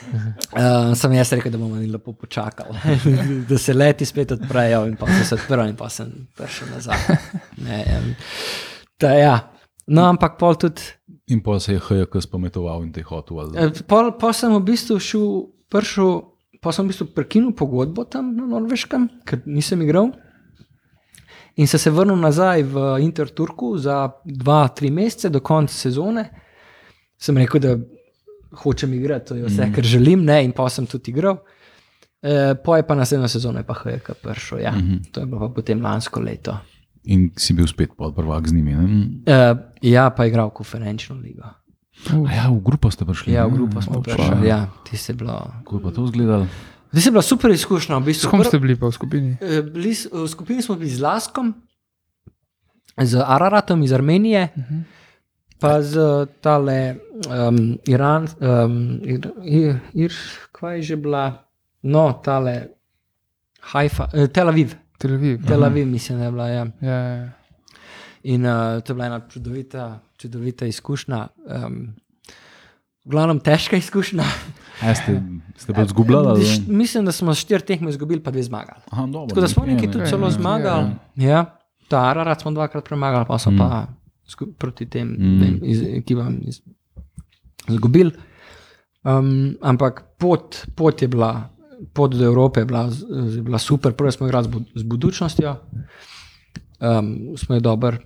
Uh, sem jaz rekel, da bomo mi lepo počakali, da se leti spet odprejo, in pa so se odprli, in pa sem prišel nazaj. Ne, em, ta, ja. No, ampak pol tudi,
In pa se je HJK spametoval in te hotel. ali-
eh, pol, pol sem v bistvu šel, prišel, pa sem v bistvu prekinil pogodbo tam na Norveškem, ker nisem igral. In sem se vrnil nazaj v Interturku za dva, tri mesece do konca sezone. Sem rekel, da hočem igrati, to je vse, mm. kar želim, ne, in pa sem tudi igral. E, Poje pa naslednjo sezono je pa HJK prišel. Ja. Mm -hmm. To je bilo pa potem lansko leto.
In si bil spet podprvak z njimi. Ne?
E, ja, pa je igral konferenčno ligo.
A Ja, v grupo ste prišli.
Ja, v
ne?
grupo smo
Točno.
prišli. Ja, ti si bila.
Kako je pa to izgledalo?
Zdaj si bila super izkušnja. V
S
bistvu.
kom
Prv-
ste bili pa v skupini?
Eh, Bili, s- v skupini smo bili z Laskom, z Araratom iz Armenije, uh
Mhm.
-huh. pa z eh, tale um, Iran, um, ir, ir, ir, kaj je že bila, no, tale Haifa, eh, Tel Aviv.
Tel Aviv.
Tel Aviv, mislim, da je bila. Ja.
Ja, ja, ja.
In uh, to je bila ena čudovita, čudovita izkušnja. Um, v glavnem težka izkušnja.
A Ja, ste, ste bolj zgubljali?
Št- Mislim, da smo štiri tekme izgubili, pa dve zmagali. Tako da smo neki tudi celo
ja,
zmagali. Ja, ta Ararat smo dvakrat premagali, pa so
Mm.
pa sku- proti tem
Mm.
mm. ekipam iz- izgubili. Um, ampak pot, pot je bila, pot do Evrope je bila, z- je bila super. Prvo smo igrali z, bud z budučnostjo, um, smo jo dobro.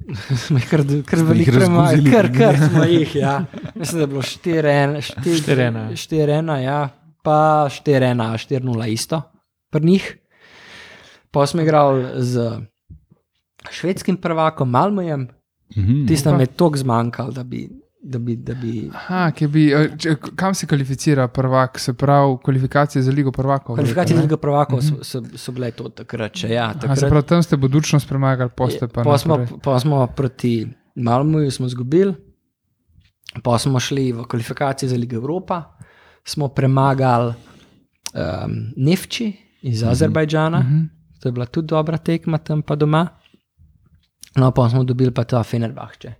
Smo jih kar, kar veliko premagali,
razguzili.
kar, kar smo jih. Ja. Mislim, da je bilo 4-1,
4-1, ja.
4-1, ja. pa 4-1, 4-0 isto, pri njih. Pa smo igrali z švedskim prvakom Malmojem,
Mhm.
tisti nam je toliko zmanjkalo, da bi. Da bi, da bi
Aha, kje bi, eh, če, kam se kvalificira prvak, se pravi kvalifikacije za ligo prvakov?
kvalifikacije
verjetno, ne?
drugega prvaka so, so, so bile to takrat. Če, ja,
Aha, se
takrat
pravi, tam ste budučnost premagali, poste pa.
pa, smo,
naprej.
pa smo proti Malmuju smo izgubili, pa smo šli v kvalifikacije za Ligo Evropa, smo premagali um, Nefči iz Azerbajdžana. Mm -hmm.
Mhm.
To je bila tudi dobra tekma, tam pa doma. No, pa smo dobili pa ta Fenerbahče.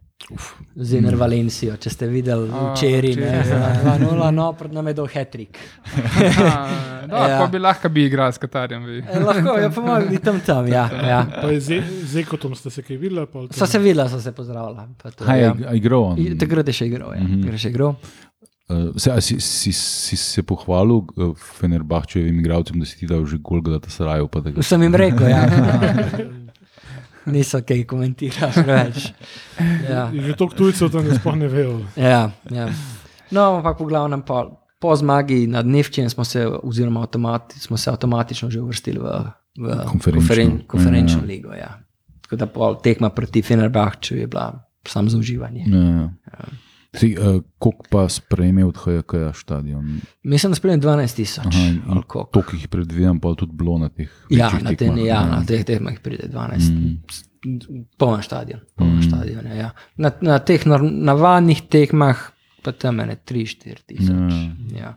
Z Ener Valencijo, če ste videli
Mhm. A,
včeraj, ne,
včeraj, ja.
za 2-0, no, pred nami je dol Hetrik.
Aha, da,
Ja.
Pa bi lahko bi igral s Katarjem. Bi.
Eh, Lahko je pa malo biti tam tam, ja. ja.
Pa je z, z ekotom ste se kaj videli? ali pa ali to
So se
ne?
videla, so se pozdravila. pa to,
Kaj
ja.
je igral? on?
I- Takrat je še igral, ja.
Um, Mhm.
Takrat je še igral.
Eh, Se, a si, si, si se pohvalil eh, Fenerbahčevim igralcem, da si ti dal že gol, da te sarajo? Pa, da ga-
Sem jim rekel, ja. Niso kaj komentirali več. Ja.
Je Že toliko tujcev tam da sploh ne vejo.
Ja, ja. No, ampak v glavnem, po, po zmagi nad Nevčijem smo se, oziroma avtomati, smo se avtomatično že uvrstili v, v
Konferenčno.
konferen- konferenčno
Ja,
ja. ligo. Ja. Tako da pol tekma proti Fenerbahču je bila sam za uživanje.
Ja, ja. Si, uh, koliko pa sprejme od HJK stadion?
Mislim, da spremljam 12 tisoč.
ja, Aha, in- in
ali koliko.
Toliko jih predvidevam, pa tudi bilo na teh.
Ja,
večjih
na, te,
tekmah,
ja,
ne.
na teh tekmah pride 12. Mm. Poln stadion. Poln mm. stadion ja, ja. Na, na teh nor- navadnih tekmah pa tam je 3-4 tisoč. Ja.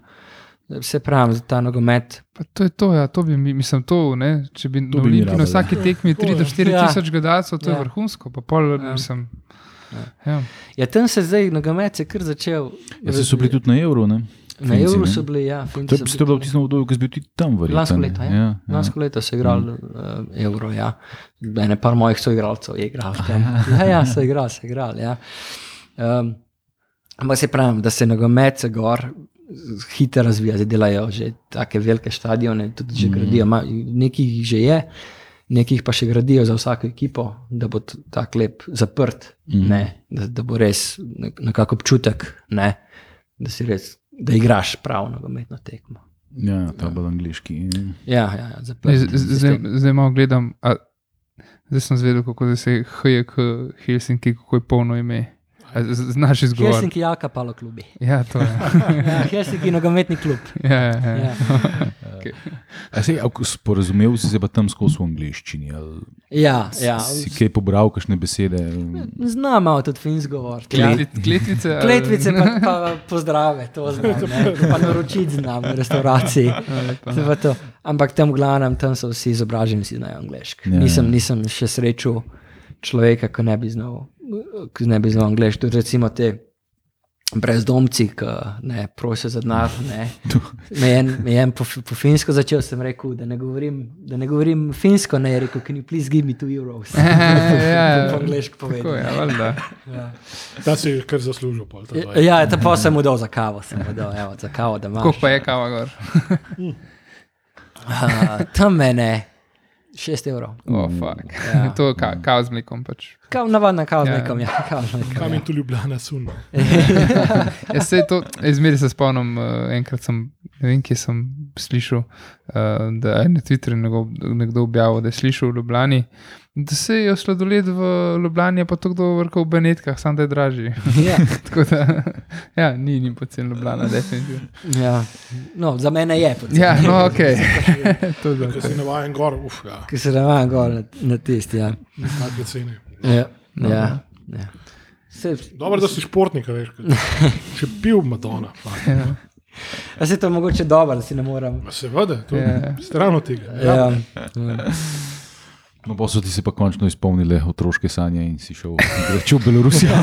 Se pravi, za ta nogomet.
Pa to je to, ja, to bi mi, mislim, to, ne, če bi
To
na
bi mi ja.
Olimpiji na
rabili.
vsaki tekmi 3 do 4
Ja.
tisoč gledalcev, to je
Ja.
vrhunsko, pa pol, mislim. Ja.
Ja, tam se je zdaj nogomet je kar začel.
Ja, saj so bili tudi na evru. Ne?
Na
Finci,
Euro
ne?
so bili, ja,
To
Finci.
je
so bili
to je bilo
tudi.
tisto obdobje, ko si bil ti tam, verjetno.
Lansko
ne?
leto, ja.
ja, ja.
Lansko leto so igrali uh, Euro, ja. Ene par mojih soigralcev je igral. tam. Ja, ja, so igrali, so igrali, ja. Um, ampak se pravim, da se nogomet se gor hitro razvija, zdaj delajo že take velike stadione, tudi že gradijo, ma, nekih jih že je. Nekih pa še gradijo za vsako ekipo, da bo t- tak lep zaprt, mm. ne, da, da bo res nek- nekako občutek, ne, da si res, da igraš prav nogometno tekmo.
Ja, ta bil angliški.
Ja, ja, ja
Zdaj,
zaprt.
z- zdaj, zdaj malo gledam, a, zdaj sem zvedel, kako se je HJK Helsinki, kako je polno ime. A z- z- Znaš izgovor.
Helsinki jaka palo klubi.
Ja, to je.
Ja, Helsinki nogometni klub.
Ja, ja, ja.
Ja.
Sej, sporazumev si se pa tam skozi v angliščini. ali
Ja, ja.
Si kaj pobral, kakšne besede?
Znam malo tudi finsko govoriti. Ja.
Kletvi- Kletvice. ali-
Kletvice pa, pa pozdrave, to znam, ne. pa naročiti znam v restauraciji. To
no.
je pa to. Ampak tam v glavnem, tam so vsi izobraženi, vsi znajo angliško.
Ja, ja.
Nisem, nisem še srečal človeka, ki ne bi znal, ki ne bi znal angliško. Tudi recimo te brezdomci, ki ne prosijo za denar. ne. Me je en- me je en po, fi- po finsko začel, sem rekel, da ne govorim, da ne govorim finsko, ne je rekel, can you please give me two euros.
ja.
po angliško
Tako
povedal.
je, valjda.
Ta si je kar zaslužil. Pol, ta dvajset.
Ja, ta pa sem mu dal za kavo, sem mu dal, evo, za kavo, da imaš.
Koliko pa je kava gor?
A, Tam mene 6 evrov.
Oh, fuck.
Ja.
To je ka, kava z mlekom. Pač.
Kao navadna kava z
Ja.
nekom, ja, kava z nekom.
Kam je tu ljubljena sun?
Ja, saj to, eh, zmeraj se spomnim, eh, enkrat sem, ne vem, kje sem slišal, uh, da je na Twitterju nego- nekdo objavil, da je slišal v Ljubljani, da se je sladoled v Ljubljani je pa to kdo vrkal v Benetkah, samo da je dražji.
Ja,
Tako da, ja, ni, ni pocen Ljubljana, definitivno.
ja. No, za mene je. poceni.
Ja, no, ok. to je
Ker
dobro.
si navaden gor, uf, ja,
Ki se ravna gor na, na tisti. Ja.
take cene.
Ja, ja, ja. Se,
Dobro, da si športnik, a veš. ker- Če pil Madonna, pa.
a se to mogoče dobro, da si ne moram.
Ma Seveda, to je
Ja.
stran od tega.
Ja. Ja.
No, pa so ti se pa končno izpolnile otroške sanje in si šel reči v Belorusijo.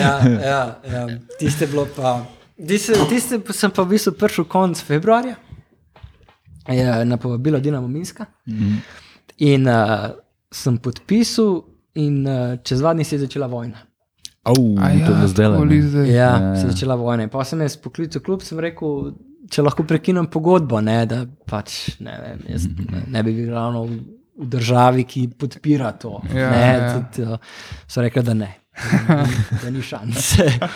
Ja, ja, ja. Tiste je bilo pa. Tiste, tiste pa sem pa v bistvu prišel konc februarja, je na povabilo Dinamo Minska. In uh, sem podpisal, in uh, čez dva dni se je začela vojna.
Au, Mm. to je zdaj
tako li
le.
ja, zdaj.
Ja, se je začela vojna. In Pa sem jaz poklical klub, sem rekel, če lahko prekinem pogodbo, ne, da pač ne, vem, jaz, ne, ne bi bil ravno v, v državi, ki podpira to.
Ja,
ne,
ja.
Tudi, uh, so rekli, da ne. Da ni- Da ni šanse.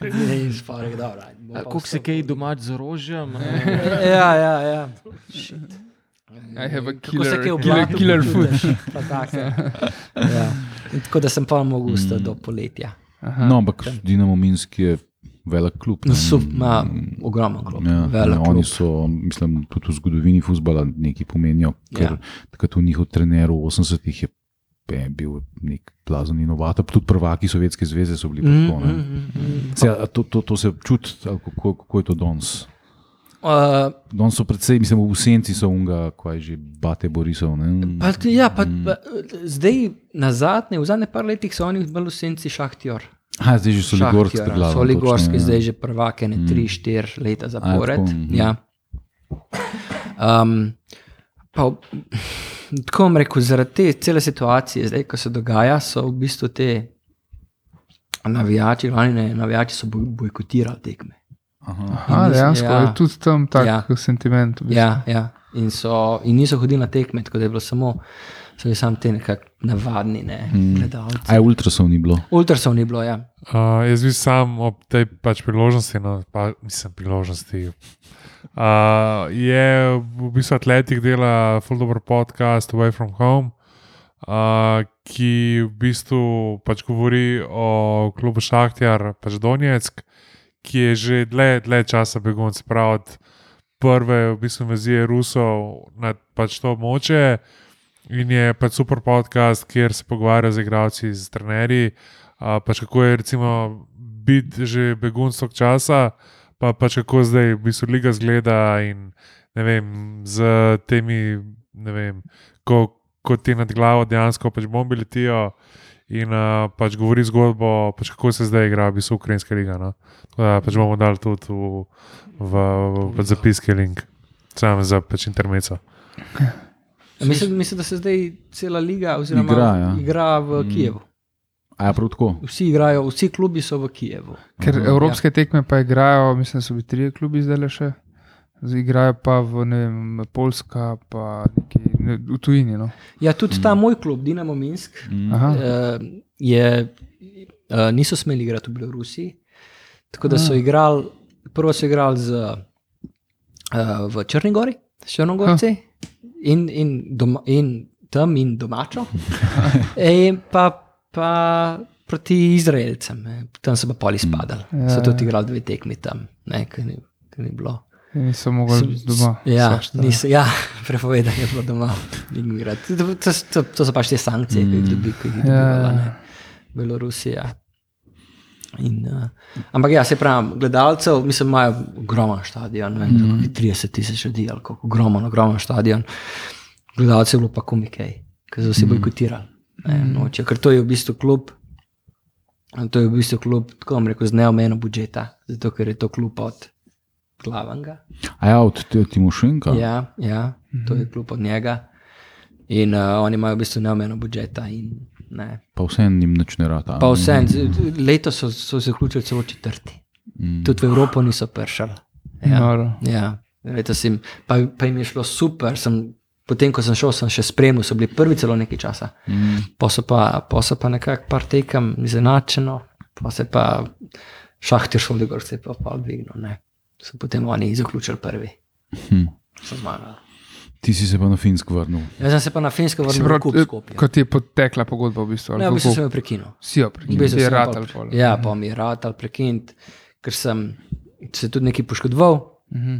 Ne, spore, dobro. ajde, bom pa
Kako se
vstopil.
kaj domač z orožjem?
Ja, ja, ja.
I have a
Kako se
killer,
kaj
killer,
obvlada,
killer
kako
food.
čutiš, pa tako. Ja. In Tako da sem pa mogel ostati
Mm.
do poletja.
No, ampak Dinamo Minsk je velik klub. ne.
No, Sup, ima
Mm.
ogromen klub,
Ja,
velik
ne,
klub.
oni so, mislim, tudi v zgodovini futbola nekaj pomenijo. Ker
Ja.
takrat v njihov trener v 80-ih je pe- bil nek blazen inovator, tudi prvaki Sovjetske zveze so bili mm, tako. Mm,
mm.
to, to, to se čuti, ali kako, kako je to danes.
Uh,
Danes so predvsej, mislim, v senci so unga, kaj že bate Borisov. Ne?
Pa, t- ja, pa,
Mm.
pa, zdaj, na zadnje, v zadnjih par letih so oni bili v senci šahtjor.
Ha, zdaj že so Ligorski predlagali.
Soligorski, ja,
ja.
zdaj že prvake, ne
Mm.
tri, štiri leta zapored.
tako, mhm.
Ja. Um, pa, v- tako vam rekel, zaradi te cele situacije, zdaj, ko se dogaja, so v bistvu te navijači, glavni ne- navijači so boj- bojkotirali tekme.
Aha,
In mislim,
dejansko
ja.
je tudi tam tak
Ja.
ja. sentiment. v bistvu.
Ja, ja. In, so, in niso hodili na tekme, tako da je bilo samo, so bili samo ti nekakšni navadni ne, mm. gledalci.
Aj ja, ultrasov ni bilo.
Ultrasov ni bilo, ja.
Uh, jaz bi sam ob tej pač priložnosti, no, pa nisem priložnosti. Uh, je v bistvu Atletik dela full dobro podcast Away from Home, uh, ki v bistvu pač govori o klubu Šahtjar, pač Donetsk, ki je že dlje, dlje časa begun, se pravi od prve v bistvu invazije Rusov na pač to območje. In je pač super podcast, kjer se pogovarja z igravci, z trenerji, a, pač kako je recimo biti že begunc tog časa, pa pač kako zdaj v bistvu liga zgleda in ne vem, z temi, ne vem, ko, ko ti nad glavo dejansko pač bombi letijo in a, pač govori zgodbo, pač kako se zdaj igra, v bistvu ukrajinska liga. No? Tako da pač bomo dali tudi v, v, v, v zapiske link, samo za pač intermeco.
Mislim, mislim, da se zdaj cela liga oziroma,
Igra, ja.
igra v mm. Kijevu.
Aj ja, prav tako.
Vsi igrajo, vsi klubi so v Kijevu.
Ker
Mhm.
evropske tekme pa igrajo, mislim, da so bili trije klubi zdaj le še. Zdaj igrajo pa v ne vem, Polska, pa neki, ne, v tujini. No.
Ja, tudi mm. ta moj klub, Dinamo Minsk, mm.
Mhm.
Aha,
eh, je, eh, niso smeli igrati v Belorusiji. Tako da so igrali, prvo so igrali z, eh, v Črnegori, s Črnogorci in, in, doma, in tam in domačo, e, pa, pa proti Izraelcem, ne. tam so pa poli spadali. So tudi igrali dve tekmi tam, ne, ker ni, ker ni bilo.
niso mogli
S-
doma.
Ja,
svašta.
niso, ja prepovedano je bilo doma. igrati. To, to, to, to so pač te sankcije, ki jih dobi, ki jih dobi
Mm. ja.
Belorusija. In, uh, ampak ja, se pravi, gledalcev, mislim, imajo ogromen stadion, ne vem,
Mhm.
mm -hmm. 30 tisoč ljudi, ali kako ogromen, ogromen stadion. Gledalcev je bilo pa komikej, ker so vsi
Mhm.
bojkotirali. Ne, nočejo, ker to je v bistvu klub, to je v bistvu klub, tako vam rekel, z neomejeno budžeta, zato ker je to klub od glavnega.
Aj ja, od T- Timošenka.
Ja, ja to je klub od njega. In uh, oni imajo v bistvu neomejeno budžeta. In, ne.
Pa vseeno jim nič ne rata.
Pa vse, leto so, so se vključili celo četrti. Mm. Tudi v Evropo niso prišli. Ja,
Noro.
ja. Letos jim, pa, pa jim je šlo super. Sem, potem, ko sem šel, sem še spremljal, so bili prvi celo nekaj časa. Mm. Pa so pa, pa, so pa nekako par tekem izenačeno, pa se pa šahtir šoligor se je pa pa dvignil. ne. so potem oni zaključili prvi.
Hm.
So zmagali.
Ti si se pa na Finsko vrnil.
Jaz sem se pa na Finsko
Se
vrnil
pravi, eh,
v kup Skopje.
Kot je potekla pogodba, v bistvu. ali
Ne, v bistvu
kako?
sem jo prekinil.
Si jo
V bistvu
prekinil, je
sem
ratal
pol-
pol.
Ja, pa mi je ratal prekinit, ker sem se tudi nekaj poškodoval.
Mhm.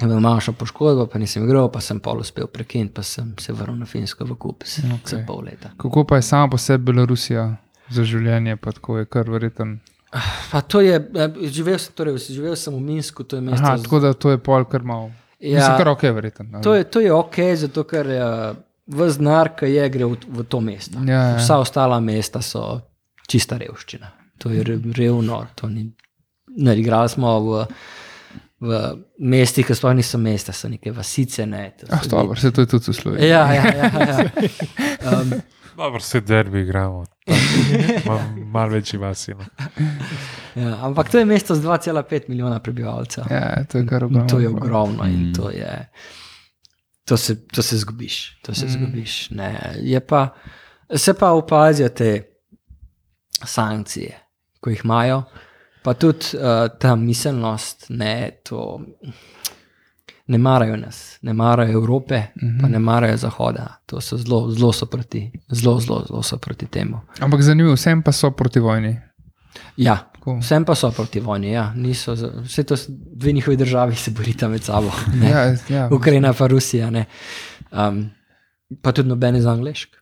Sem imel manjšo poškodbo, pa nisem igral, pa sem pol uspel prekiniti, pa sem se vrnil na Finsko v kup, se okay. pol leta.
Kako pa je sama po sebi Belorusija za življenje, pa tako je kar verjeten.
Ja, Pa to je, eh, živel sem, torej, živel sem v Minsku, to je mesto.
Aha,
z-
tako da to je pol kar malo. Ja. Mislim, kar ok, verjeten. ali?
To je, to je ok, zato ker uh, vznar, ki je, gre v, v to mesto.
Ja, ja.
Vsa ostala mesta so čista revščina. To je re- revno. To ni... ne, igrali smo v, v mestih, ki sploh niso mesta, so neke vasice. Ne, to
Ah,
so
dobro, se to je tudi v Sloveniji.
Ja, ja, ja. ja. Um,
Dobro, vse derbi igramo. Mal, mal večji vas je. No.
ja. Ampak to je mesto z 2,5 milijona prebivalcev.
Ja, to je kar
In
ogromno.
No, To je ogromno in to je. To se, to se zgubiš, to se mm. zgubiš. Ne. Je Pa, se pa opazijo te sankcije, ko jih imajo, pa tudi uh, ta miselnost, ne, to, ne marajo nas, ne marajo Evrope, mm -hmm. pa ne marajo Zahoda. To so zelo, zelo so proti, zelo, zelo, zelo so proti temu.
Ampak zanimivo, vsem pa so proti vojni.
Ja,
Tako.
vsem pa so proti vojni, ja. Niso za- vse to, s- dve njihovi državi se borita med sabo. ne.
Ja, ja.
Ukrajina pa Rusija. ne. Um, pa tudi nobene za angliško.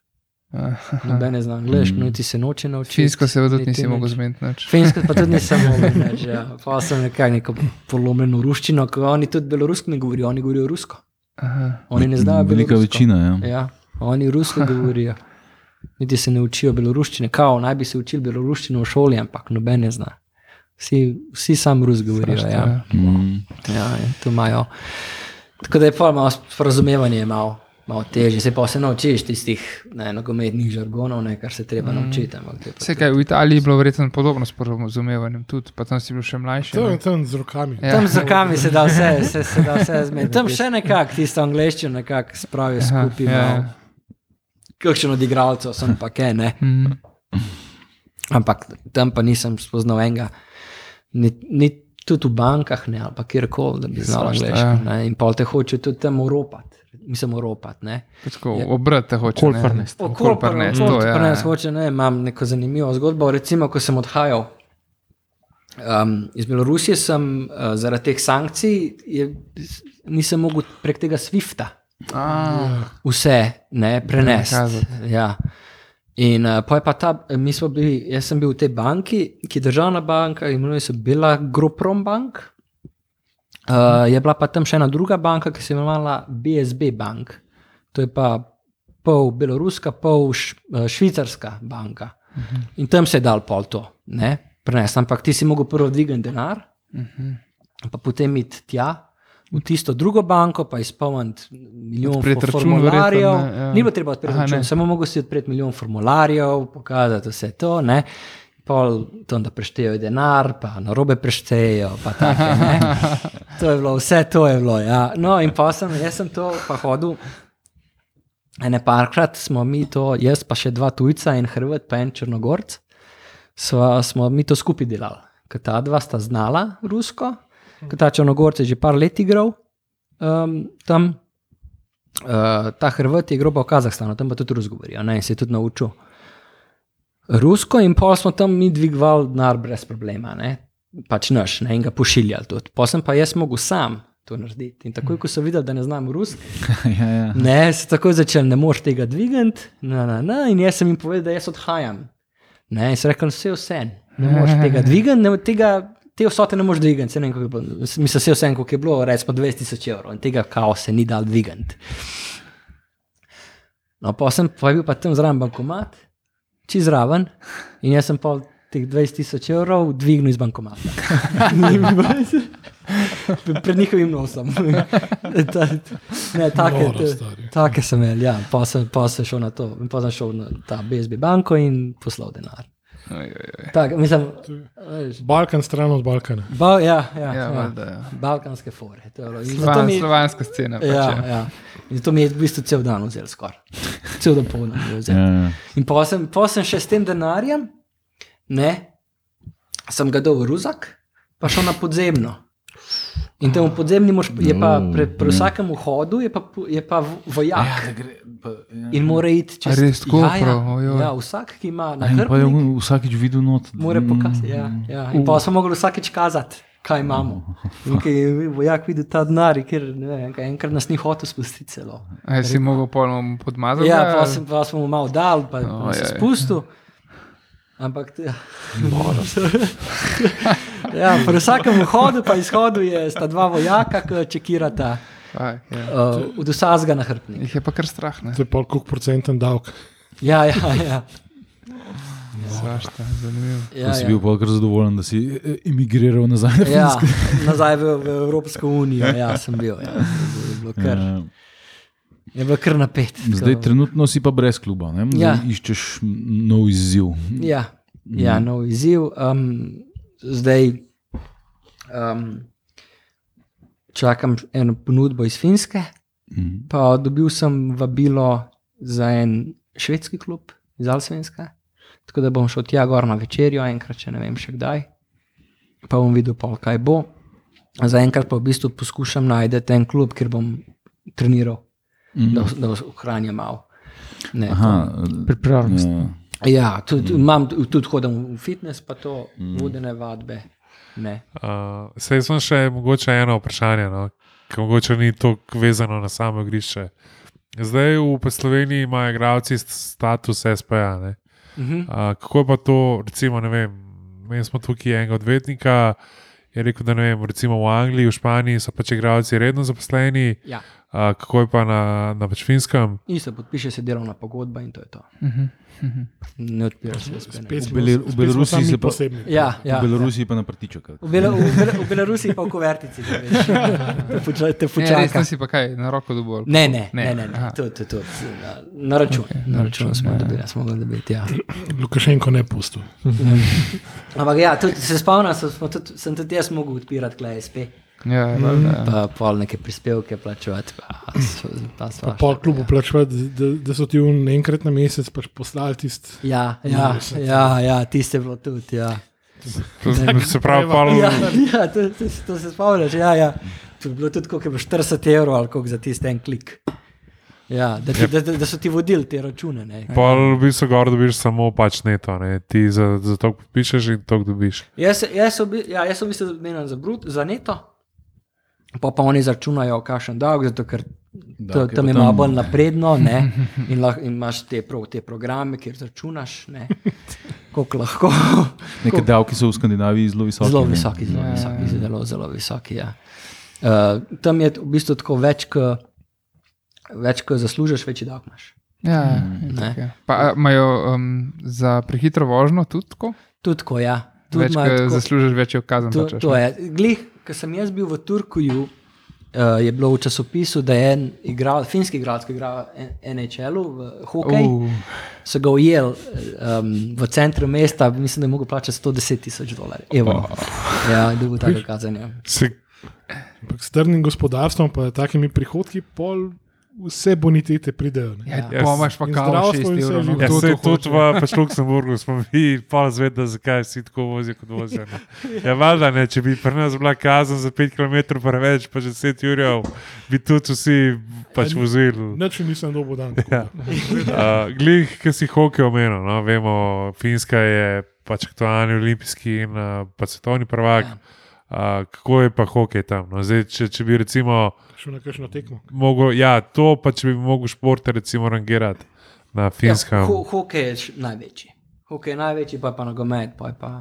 Aha.
Nobene za angliško,
Mm.
mm. niti se noče naučiti.
Finsko se tudi nisi
nič.
mogel zmeniti. nič.
Finsko pa tudi nisem mogel več. Ja. Pa sem nekaj neko polomljeno ruščino, ko oni tudi belorusko ne govorijo, oni govorijo rusko.
Aha.
Oni ne znajo
Velika
belorusko.
večina. Ja.
Ja, oni rusko govorijo. Niti se ne učijo beloruščine, kao naj bi se učili beloruščino v šoli, ampak noben ne zna. Vsi, vsi sam rus govorijo.
Strašno,
Ja.
ja.
Mm.
Ja, in to imajo. Tako da je pa malo razumevanje, malo, malo težje. Se pa se naučiš tistih ne, nogometnih žargonov, ne, kar se treba mm. naučiti. ampak to je pa
Vse
tudi-
kaj v Italiji je bilo verjetno podobno s porazumevanjem, tudi pa tam si bil še mlajši.
To
ne?
je tam z rokami.
Ja.
Tam za kami se da vse, se, se da vse zmeti. Tam še nekako tisto angliščino nekako spravijo
Aha,
skupaj.
ja,
malo.
ja.
Kakšen od igralcev sem pa kaj, ne.
Mm.
Ampak tam pa nisem spoznal enega, ni, ni tudi v bankah, ne, ali pa kjerkoli, da bi znal
Svašta,
angliško.
ja.
ne. In pol te hoče tudi tam uropati, mislim, uropati. ne.
Tako,
Ja.
obrat te Pač hoče.
Okol
ne?
prinesti.
Okol
Okol
prinesti,
prinesti,
to,
okol
ja,
prinesti
ja.
hoče, no, ne, imam neko zanimivo zgodbo. Recimo, ko sem odhajal um, iz Belorusije, sem uh, zaradi teh sankcij je, nisem mogel prek tega SWIFT-a
Ah,
Ja. vse ne, prenesti.
Nakazati.
Ja. In uh, pa je pa ta, mi smo bili, jaz sem bil v tej banki, ki je državna banka, imenuje se bila Groprom Bank. Uh, je bila pa tam še ena druga banka, ki se je imenovala BSB Bank. To je pa pol beloruska, pol š, eh, švicarska banka. Uh -huh. In tam se je dal pol to, ne, prenesti. Ampak ti si mogel prvo dvigati denar, uh -huh. pa potem iti tja. V tisto drugo banko pa izpolniti milijon
Odpreti
fo-
račun
formularjev.
verjetno, ne, ja.
Ni bilo treba odpreti
Aha, ne.
računa, samo mogel si odpreti milijon formularjev, pokazati vse to. Ne. Pol tam, da preštejejo denar, pa na robe preštejejo. pa Take, ne. to je bilo, vse to je bilo. Ja. No, in pa sem, jaz sem to pa hodil. Ene parkrat smo mi to, jaz pa še dva tujca, en Hrvat, pa en Črnogorc, sva, smo mi to skupaj delali. Ker ta dva sta znala rusko, ker ta Črnogorc je že par let igral um, tam. Uh, ta Hrvat je igral pa v Kazahstanu, tam pa tudi rus govorijo, ne, in se je tudi naučil. Rusko in pa smo tam mi dvigovali denar brez problema, ne? pač naš, ne? in ga pošiljali tudi. Potem pa jaz mogel sam to narediti. In takoj, ko so videli, da ne znam rusko,
ja, ja.
ne, so takoj začeli, ne moreš tega dvigati, na, na, na, in jaz sem jim povedal, da jaz odhajam. Ne, in so rekli, vse vse, ne moreš tega dvigati, ne, tega, te vsote ne moreš dvigati. saj ne vem, kako je bilo. Mislim, vse vse, koliko je bilo, recimo 20.000 evrov, in tega kao se ni dal dvigati. No, pa sem pa je bil pa tam zraven bankomat, čez raven, in jaz sem pa teh 20.000 evrov dvignil iz bankomata. Ni mi bilo- Pred njihovim nosom. Ta- ne, take,
Noro,
te-
stari.
take sem imel, ja. pa, sem, pa sem šel na to, in pa sem šel na ta BSB banko in poslal denar. Tak, mislim, veš,
Balkan stran od Balkana.
ba, ja, ja,
Ja,
ja,
valjda, ja.
balkanske fore. to je bilo. In zato
Slovan,
mi-
Slovanska scena. Pač,
Ja,
ja.
ja. In zato mi je v bistvu cel dan vzel skoraj. Cel dan polno mi je vzel.
Ja, ja.
In pa sem, pol sem še s tem denarjem, ne, sem ga dal v ruzak, pa šel na podzemno. In tam v podzemni mož, je pa
No,
pri, pri vsakem vhodu je pa, pu- je pa v-
Ja,
vojak in mora iti čez
A res tako
ja, ja,
prav? Ojoj.
ja, vsak, ki ima na
In pa je
hrbtu,
on vsakič videl not. Mm.
mora pokazati. Ja, ja. In pa smo mogli vsakeč kazati, kaj imamo. In ki je vojak videl ta denar, ker ne vem, kaj, enkrat nas ni hotel spustiti celo.
A si mogel polno podmazati?
Ja, pa, sem, pa smo mu malo dal, pa oh, se
Ojej.
spustil. Ampak, te- ja, pri vsakem vhodu in izhodu je sta dva vojaka, ki čekirata
Aj, ja.
uh, od vsazga na hrbtnik.
Jih je pa kar strah, ne?
To je pol kuk procenten davek.
Ja, ja, ja.
Svašta, zanimivo.
ja,
Ja, si
ja.
bil pa kar zadovoljen, da si eh, emigriral nazaj na
Ja,
Finsko.
nazaj v, v Evropsko unijo, ja, sem bil. Ja. Je, bilo kar,
Ja.
je bilo kar napet.
Zdaj,
tako.
trenutno si pa brez kluba, ne? Zdaj
Ja.
iščeš nov izziv.
Ja, ja
Mhm.
nov izziv. Um, zdaj um, čakam eno ponudbo iz Finske,
Mhm.
pa dobil sem vabilo za en švedski klub iz Alsvenska. Tako da bom šel tja gor na večerjo, enkrat, če ne vem še kdaj. Pa bom videl, pol, kaj bo. Zaenkrat pa v bistvu poskušam najti en klub, kjer bom treniral, mm. da, da ohranjam malo. Ne, to-
Mhm. Aha,
Pripravljenost.
ja.
Ja, tudi, mm. imam, tu- tudi hodim v fitness, pa to mm. vodene vadbe. Ne.
Uh, Sej sem še mogoče eno vprašanje, no, ki mogoče ni tako vezano na samo igrišče. Zdaj v pa Sloveniji imajo igravci st- status SPA. Ne?
Uh -huh.
Uh, kako je pa to, recimo, ne vem, imeli smo tukaj enega odvetnika, je rekel, da ne vem, recimo v Angliji, v Španiji so pač igravci redno zaposleni,
Ja.
uh, kako je pa na, na pač finskem.
In se podpiše se delovna pogodba, in to je to.
Mhm.
Ne odpira se spet.
Mhm. Spet smo-
V Bele- v
spet smo
Belorusiji
sami
se pa-
posebni.
Ja, ja.
V Belorusiji pa na prtiček.
V, Bela, v, Bela, v Belorusiji pa v kuvertici, da veš. Te poča- Te
Ne, resno
počaka.
si pa kaj, na roko dobil.
Ne, ne, ne, ne,
aha.
ne. To, to, to. Na, na račun. Okay, na račun smo dobili, smo ga dobili. Ja.
Lukašenko ne pustu.
Ampak ja, tudi, se spomnim, sem, smo tudi, sem tudi jaz mogel odpirati klej SP,
Ja, valjda, ja.
pa pol neke prispevke plačevati, pa, s- pa sva.
Pol klubu plačevati, da, da so ti un enkrat na mesec pač poslali tisti.
Ja, ja, ja, ja tiste je bilo tudi. Ja.
To Se pravi,
treba.
pol,
Ja, ja, to, to, to se spomniš. Ja, ja. To je bilo tudi koliko je bilo 40 evrov ali koliko za tisti en klik. Ja, da, ti, da, da da so ti vodili te račune. Ne.
pol v bistvu gor dobiš samo pač neto, ne? ti za, za to pišeš in to dobiš.
Jaz, jaz, obi, ja, jaz sem v bistvu zamenjal za, brut, za neto, pa pa oni zračunajo, kakšen davek, zato ker to,
Davek je
tam
pa
je malo
tam,
bolj
ne.
napredno ne, in, lah, in imaš te, prav, te programe, kjer zračunaš, ne, koliko lahko.
Neke davke so v Skandinaviji zelo visoke.
Zelo
ne.
visoki, zelo
Ja,
visoki, zelo, zelo visoki. Ja. Uh, tam je v bistvu tako več, ko, več, ko zaslužiš, večji davek imaš.
Ja, je
Ne.
tako, ja. Pa a, imajo um, za prehitro vožnjo tudi tako?
Tudi tako, ja. Tudi
Več, pač,
imajo
ko
tako-
zaslužiš, več je kazen.
To, to je. Glih, ko sem jaz bil v Turkuju, uh, je bilo v časopisu, da je en igral, finski igralec, ki igra v NHL-u, v hokeju,
Uh,
so ga ujeli um, v centru mesta, mislim, da je mogel plačati 110 tisoč dolarjev. evrov.
Oh.
Ja, dolgo tako kazanje.
Se,
Ampak s trdnim gospodarstvom, pa takimi prihodki, pol vse bonitete pridejo. Ne?
ja,
Jaz-
ja. Pomaž pa
in
kao
zdravstvo
6
in vse
evrov.
živo.
no,
Ja,
kdo
se
to
tudi
hoče?
v pač Luksemburgu smo mi pa zvedeli, zakaj vsi tako vozijo kot vozijo. ne. Ja, valjda ne, če bi pri nas bila kazen za 5 km preveč, pa že 10 ur, bi tudi vsi pač vozili.
Nič nisem dobil dan.
Ja. Uh, glih, ki si hokej omenil, no, vemo, Finska je pač aktualni olimpijski in uh, pa svetovni prvak.
Ja.
Uh, kako je pa hokej tam? No? Zdaj, če, če bi recimo
Šel na kakšno tekmo.
mogel, ja, to pa če bi mogel športe recimo rangirati na Finskem.
Ja, ho hokej je š- največji. Hokej je največji, pa je pa nogomet, pa je pa.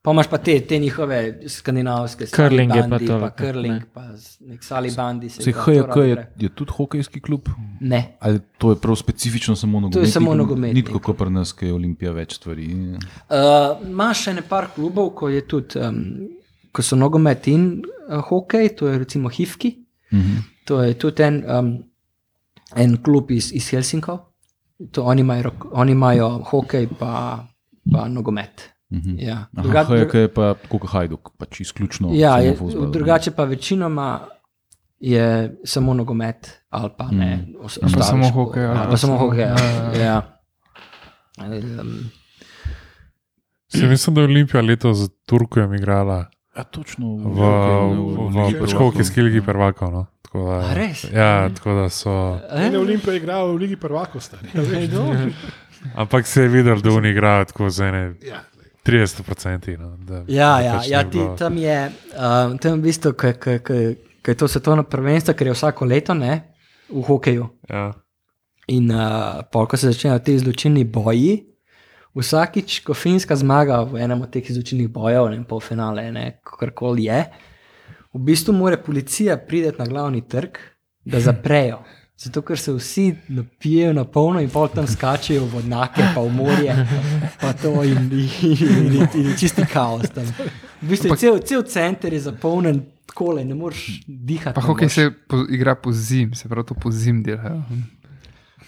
Pa imaš pa te, te njihove skandinavske
Curling je pa
salibandi,
to,
pa
ne.
Curling, ne. pa z- nek salibandi. se
Se
igra,
HJK
to
je,
rado gre.
je tudi hokejski klub?
Ne.
Ali to je prav specifično samo nogomet?
samo nogometnikom.
Ni tako kot pri nas, ki je Olimpija več stvari.
Uh, Imaš še nekaj klubov, ko, je tudi, um, ko so nogomet in uh, hokej, to je recimo Hivki,
Mhm.
to je tudi en, um, en klub iz, iz Helsinkov, to oni imajo, rok- oni imajo hokej, pa, pa nogomet.
Mhm.
Ja.
Aha,
Druga-
HJK je pa tako kot Hajduk, pač izključno.
Ja,
samo
je,
fuzbal.
drugače pa večinoma je samo nogomet ali pa ne. Mm. Os, ostali
samo
špo-
hokej, ali
Ali
pa
pa samo
samo-
hokej. Ja.
Ja, ja.
Ja. Um, Mm.
Se mislim, da je Olimpija letos z Turkom igrala.
Ja, točno
v, v, pač v Školki
Mm.
skilgi prvakov. No. Tako da,
A res?
Ja, tako da so.
Eh?
Ne, Olimpija je igrala v Ligi prvakov, stari.
Ja,
a veš.
no.
Ampak se je videl, da oni igrajo tako za ene 30%. No, da,
Ja,
da
ja,
pač
ja
ni
ti,
bilo-
tam je, um, tam v bistvu, ker je to svetovno prvenstvo, ker je vsako leto ne, v hokeju.
Ja.
In uh, pol, ko se začnejo ti izločilni boji, vsakič, ko Finska zmaga v enem od teh izločilnih bojev, ne pol finale, ne karkoli je, v bistvu mora policija priti na glavni trg, da zaprejo. Zato, ker se vsi napijejo na polno in pol tam skačejo v vodnake, pa v morje, pa to in, in, in, in, in čisti kaos tam. V bistvu je cel, cel center je zapolnjen takole, ne moreš dihati.
Pa
ne
hokej
moreš.
se po, igra po zim, se pravi, to po zim ja. delajo.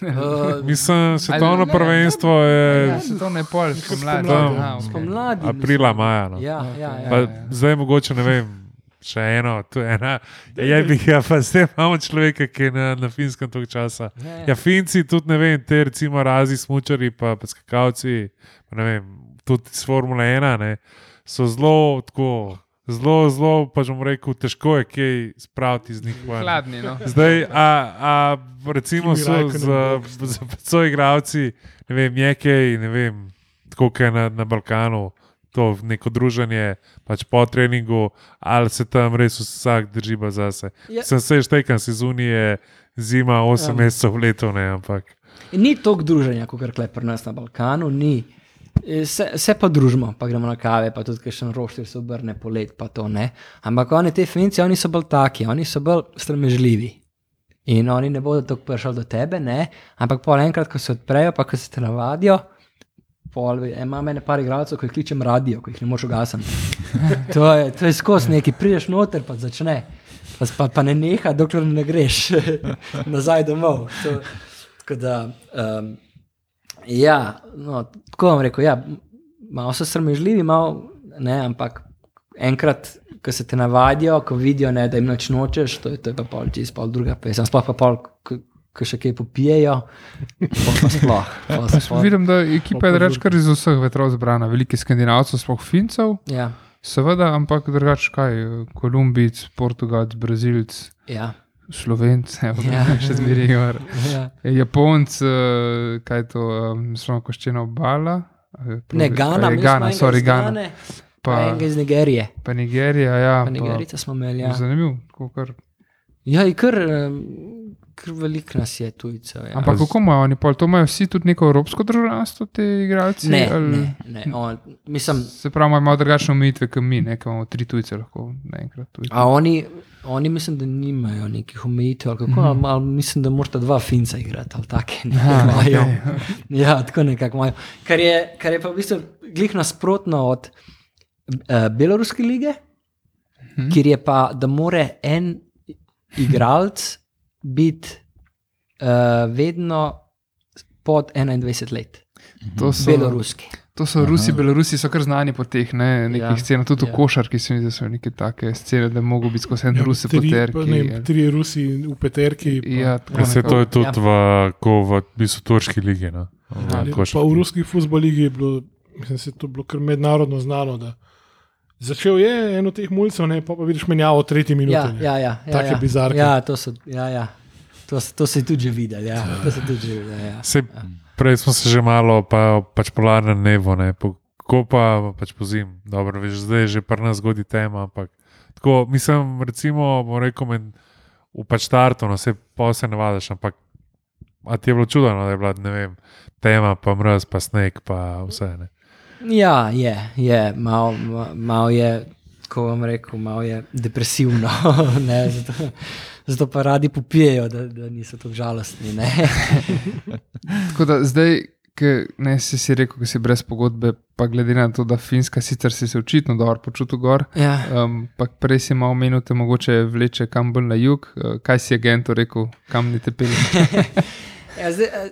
Eh,
Mislim, svetovno
ne,
prvenstvo je
Ja, se to ne pol, spomladi.
Tam,
aha, ja, okej.
Spomladi.
aprila, maja. No.
Ja, ja, ja.
Pa, zdaj mogoče ne vem. Še eno, tu je ena. Je bi ja, pa zdaj imamo človeka, ki je na, na finskem toliko časa.
Ja, ja.
Ja, Finci tudi ne vem, te recimo razi smočari, pa, pa skakavci, pa ne vem, tudi iz Formule 1, ne, so zelo tako. Zelo, zelo, pa že bom rekel, težko je kaj spraviti iz njih. ven.
Hladni, no.
Zdaj, a, a recimo
Kimi
so
Raikkonen
z,
bog.
z soigravci, ne vem, je kaj, ne vem, tako kaj na, na Balkanu, to neko druženje, pač po treningu, ali se tam res vsak drži pa zase.
Ja.
Ja. Sem se štekan, sezoni je zima, 8
Ja.
ja. mesecev leto, ne, ampak.
In E, Ni toliko druženja, kot je pri nas na Balkanu, ni. E, Se, se pa družimo, pa gremo na kave, pa tudi še en roštilj se obrne polet, pa to ne. Ampak oni, te finci, oni so bolj taki, oni so bolj stremežljivi. In oni ne bodo tako prišli do tebe, ne? ampak pol enkrat, ko se odprejo, pa ko se te navadijo, pol, e, imam ene par igralcev, ko jih kličem radio, ko jih ne moš ugasniti. To je, to je skozi neki, prideš noter, pa začne. Pa, pa, pa ne neha, dokler ne greš nazaj domov. To, tako da, um, ja, no, tako vam rekel, ja, malo so sramežljivi, malo ne, ampak enkrat, ko se te navadijo, ko vidijo, ne, da jim noč nočeš, to je, to je pa pol čez pol druga pesem, sploh pa pol, ko še kaj popijejo, pol pa sploh. Pol,
Jaz pa
sploh
Vidim, da ekipa je reč kar iz vseh vetrov zbrana, velikih skandinavcev, sploh Fincev,
ja,
seveda, ambic drugače kaj, Kolumbic, Portugalc, Brazilc,
ja,
Slovenc, evo,
Ja.
še zmeraj gor.
ja.
Japonc, eh, kaj je to, samo koščena obala. eh,
Ne, Gana,
pa je
imeli
Gana,
smo enega
sorry,
iz
Gana.
Gane, Pa
Pa,
enega iz Nigerije.
pa Nigerija, ja.
Pa
Pa
Nigerica smo imeli. Ja,
Zanimivo, tako kar.
ja in kar, em, kar veliko nas je tujcev. Ja.
Ampak kako imajo oni pol? To imajo vsi tudi neko evropsko državljanstvo, ti igralci?
ne,
ali-
ne, ne. On, mislim,
Se pravi, imajo malo drugačne omejitve, kot mi, ne, ki imamo tri tujce lahko naenkrat. tudi.
a oni, oni mislim, da nimajo nekih omejitev. ali Kako, ali, ali mislim, da morata dva finca igrati ali take. Ne, imajo. ja, tako nekako imajo. Kar je, kar je pa v bistvu glih nasprotno od uh, Beloruske lige, kjer je pa, da more en igralec biti uh, vedno pod 21 let.
Mhm.
To so,
Beloruski.
to so Rusi, Belorusi so kar znani po teh ne, nekih
Ja,
ja, scenah, tudi
ja.
ja. v košarki so, da so neke take scene, da mogo biti skozi en Rus po
Ja, Tri, pa ne
ja.
terki.
vem, trije Rusi v peterki. pa-
Ja,
Ja, se to je tudi
Ja.
ja. v, ko v, v bistvu turški ligi. No.
Ali Pa v ruski futbol ligi je bilo, mislim, se je to bilo kar mednarodno znano. da Začel je eno teh mulcev, ne pa, pa vidiš menjavo v tretji minuti.
Ja,
ne.
ja, ja, ja,
Take
ja.
bizarke.
Ja, to so, ja, ja. To, s- to si tudi že videl. Ja. To si tudi že videl ja.
Se, prej smo se že malo, pa, pač polarno nebo, ne, po, ko pa pač po zim. Dobro, veš, zdaj je že pri nas zgodi tema, ampak tako, mislim, recimo, bom rekel, men, v pač startu, no, se pa se navadiš, ampak a ti je bilo čudno, no, da je bila, ne vem, tema, pa mraz, pa sneg, pa vse ne.
ja, je, je malo ma- malo je, ko vam rekel, malo je depresivno. ne, zato, zato pa radi popijejo, da, da niso tako žalostni. ne.
Tako da zdaj, ki ne si, si rekel, da si brez pogodbe, pa glede na to, da Finska sicer si se očitno dobro počutil gor.
Ja.
Ampak um, prej si malo omenil, da te mogoče vleče kam bolj na jug. Eh, Kaj si agentu rekel, kam ni te pelje?
Ja, zdaj, eh,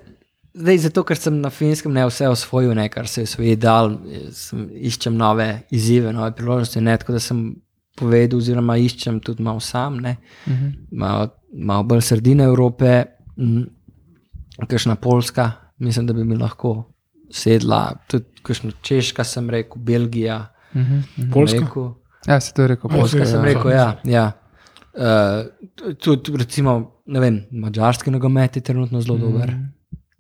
zdaj, zato, ker sem na finskem ne vse osvojil, ne, kar se je osvojil, dal, eh, sem, iščem nove izzive, nove priložnosti. Ne, tako da sem povedal, oziroma iščem tudi malo sam, ne, uh
Mhm.
-huh. malo, malo bolj sredine Evrope, kakšna Poljska, mislim, da bi mi lahko sedla, tudi kakšna Češka, sem rekel, Belgija. Uh -huh.
Poljska?
Rekel,
Mhm, Ja, se to je rekel,
Ja,
Poljska.
saj sem
ja.
Sem rekel, ja. ja. Uh, tudi, recimo, ne vem, mačarski nogomet je trenutno zelo dober.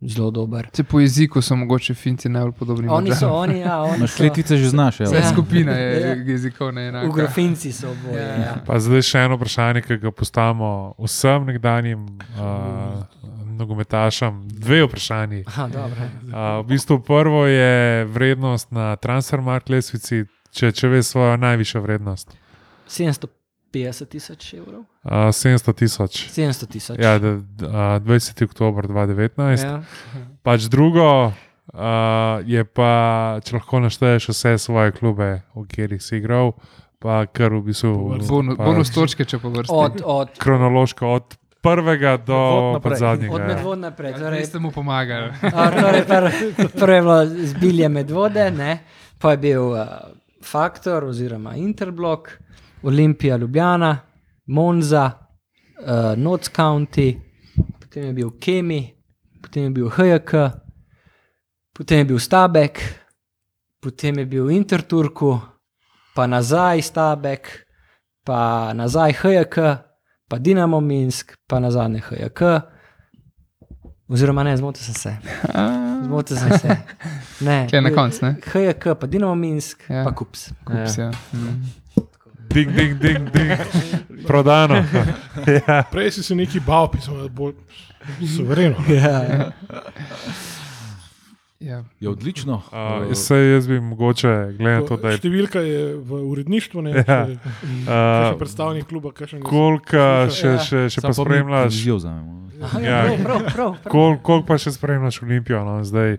Zelo dober.
Se po jeziku so mogoče finci najbolj podobni.
Oni so,
Madžarom.
oni, ja, oni
Naš
so.
kletice že znaš, ja.
Vsa
Ja.
skupina
Ja.
je jezikovna
V
enaka.
Grofinci so boje.
Ja,
Ja.
Pa zdaj še eno vprašanje, ki ga postavimo vsem nekdanjim uh, nogometašem. Dve vprašanji.
Aha, dobro.
Uh, v bistvu prvo je vrednost na transfermarkt lesvici, če, če veš svojo najvišjo vrednost.
750 tisoč evrov.
Uh, 700 tisoč.
700 tisoč.
Ja, da, da, uh, 20. oktober 2019. Ja.
ja.
Pač drugo uh, je pa, če lahko našteješ vse svoje klube, v katerih si igral, pa kar v bistvu.
Bonus,
pa pač
bonus točke, če povrstiš.
Od, od,
Kronološko, od prvega do
naprej.
pač zadnjega.
od
ja.
medvod naprej. Torej,
Res ste mu pomagali.
a, torej pr, prvo je bilo zbilje medvode, ne? pa je bil uh, Faktor oziroma Interblock, Olimpija Ljubljana, Monza, uh, Notts County, potem je bil Kemi, potem je bil HJK, potem je bil Stabek, potem je bil Interturku, pa nazaj Stabek, pa nazaj HJK, pa Dinamo Minsk, pa nazaj HJK. Oziroma, ne, zmotil sem se. Zmotil sem se. Ne,
Tule na koncu, ne?
HJK, pa Dinamo Minsk,
Ja.
ja. pa Kups.
Kups, ja. Mm.
Ding, ding, ding, ding. Prodano.
Prej si se neki bal, pisal je bolj suvereno.
Ja.
Ja.
Je odlično.
Uh, sej jaz bi mogoče, glede na to, da je.
Številka je v uredništvu, ne
Ja.
ja.
Uh,
predstavnik kluba, kakšen
Koliko še, še, še pa spremljaš?
Že vzamemo.
Aha,
Ja.
ja, prav, prav, prav, prav.
Koliko kol pa še spremljaš Olimpijo? No? Zdaj,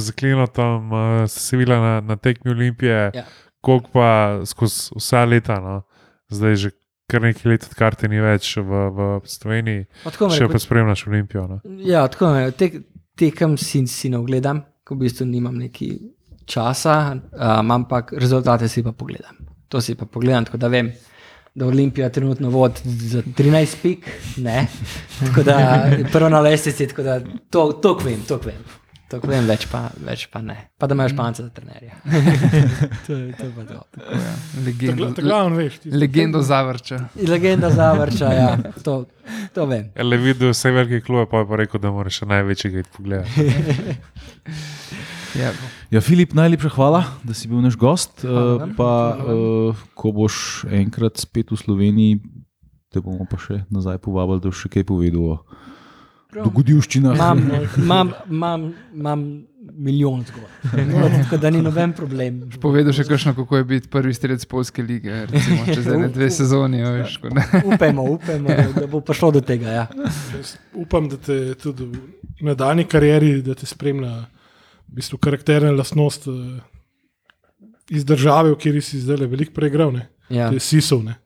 zaklino tam uh, si bila na, na tekmi Olimpije,
Ja.
koliko pa skozi vsa leta, no? zdaj že kar nekaj let, odkar te ni več v, v Sloveniji,
Pa tako bom
še
rekel,
pa spremljaš Olimpijo. No?
Ja, tako je. Tek, tekem si, si ne ogledam, ko v bistvu nimam neki časa, um, ampak rezultate si pa pogledam. To si pa pogledam, tako da vem, da Olimpija trenutno vodi za 13 pik, ne. Tako da je prvo na lestvici, tako da to, to vem, to vem. To vem, več pa, več pa ne. Pa da imaš panca za trenerja. Mm. to, je- to je pa to.
Ja. Legendo,
Glavno veš, ti
legendo zavrča.
Legenda zavrča, ja, to, to vem.
Ja, Le videl vse velike klube, pa je pa rekel, da moraš še največjega iti pogledati.
Ja.
Ja, Filip, najlepša hvala, da si bil naš gost.
Hvala
Eh,
vam.
Pa, eh, ko boš enkrat spet v Sloveniji, te bomo pa še nazaj povabili, da boš še kaj povedal o dogodivščinah.
Imam, imam, imam, imam milijon zgodb, No, tako da ni noben problem.
Povedal še kakšno, kako je biti prvi strelec Polske lige, recimo, čez ene dve sezoni. a Veš, ko ne.
Upajmo, upajmo da- da bo prišlo do tega. Ja.
Jaz upam, da te tudi v nadaljni karieri, da te spremlja v bistvu karakterna lastnost eh, iz države, v kateri si zdaj veliko preigral, ne?
Ja.
to je sisov. Ne?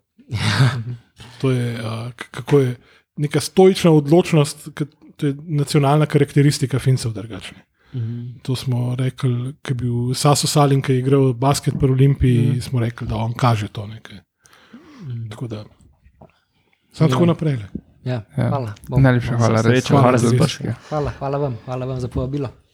To je, a, k- kako je neka stoična odločnost, k- to je nacionalna karakteristika Fincev drugačne.
Mhm.
To smo rekli, ko je bil Saso Salin, ki je igral basket pri Olimpiji,
Mhm.
mm. smo rekli, da on kaže to nekaj. Tako da, samo tako naprej. le.
Ja.
Ja.
Hvala, bom.
Najlepša hvala, res.
Srečo, hvala
za
za
obisk.
obisk. ja.
hvala, hvala vam, hvala vam za povabilo.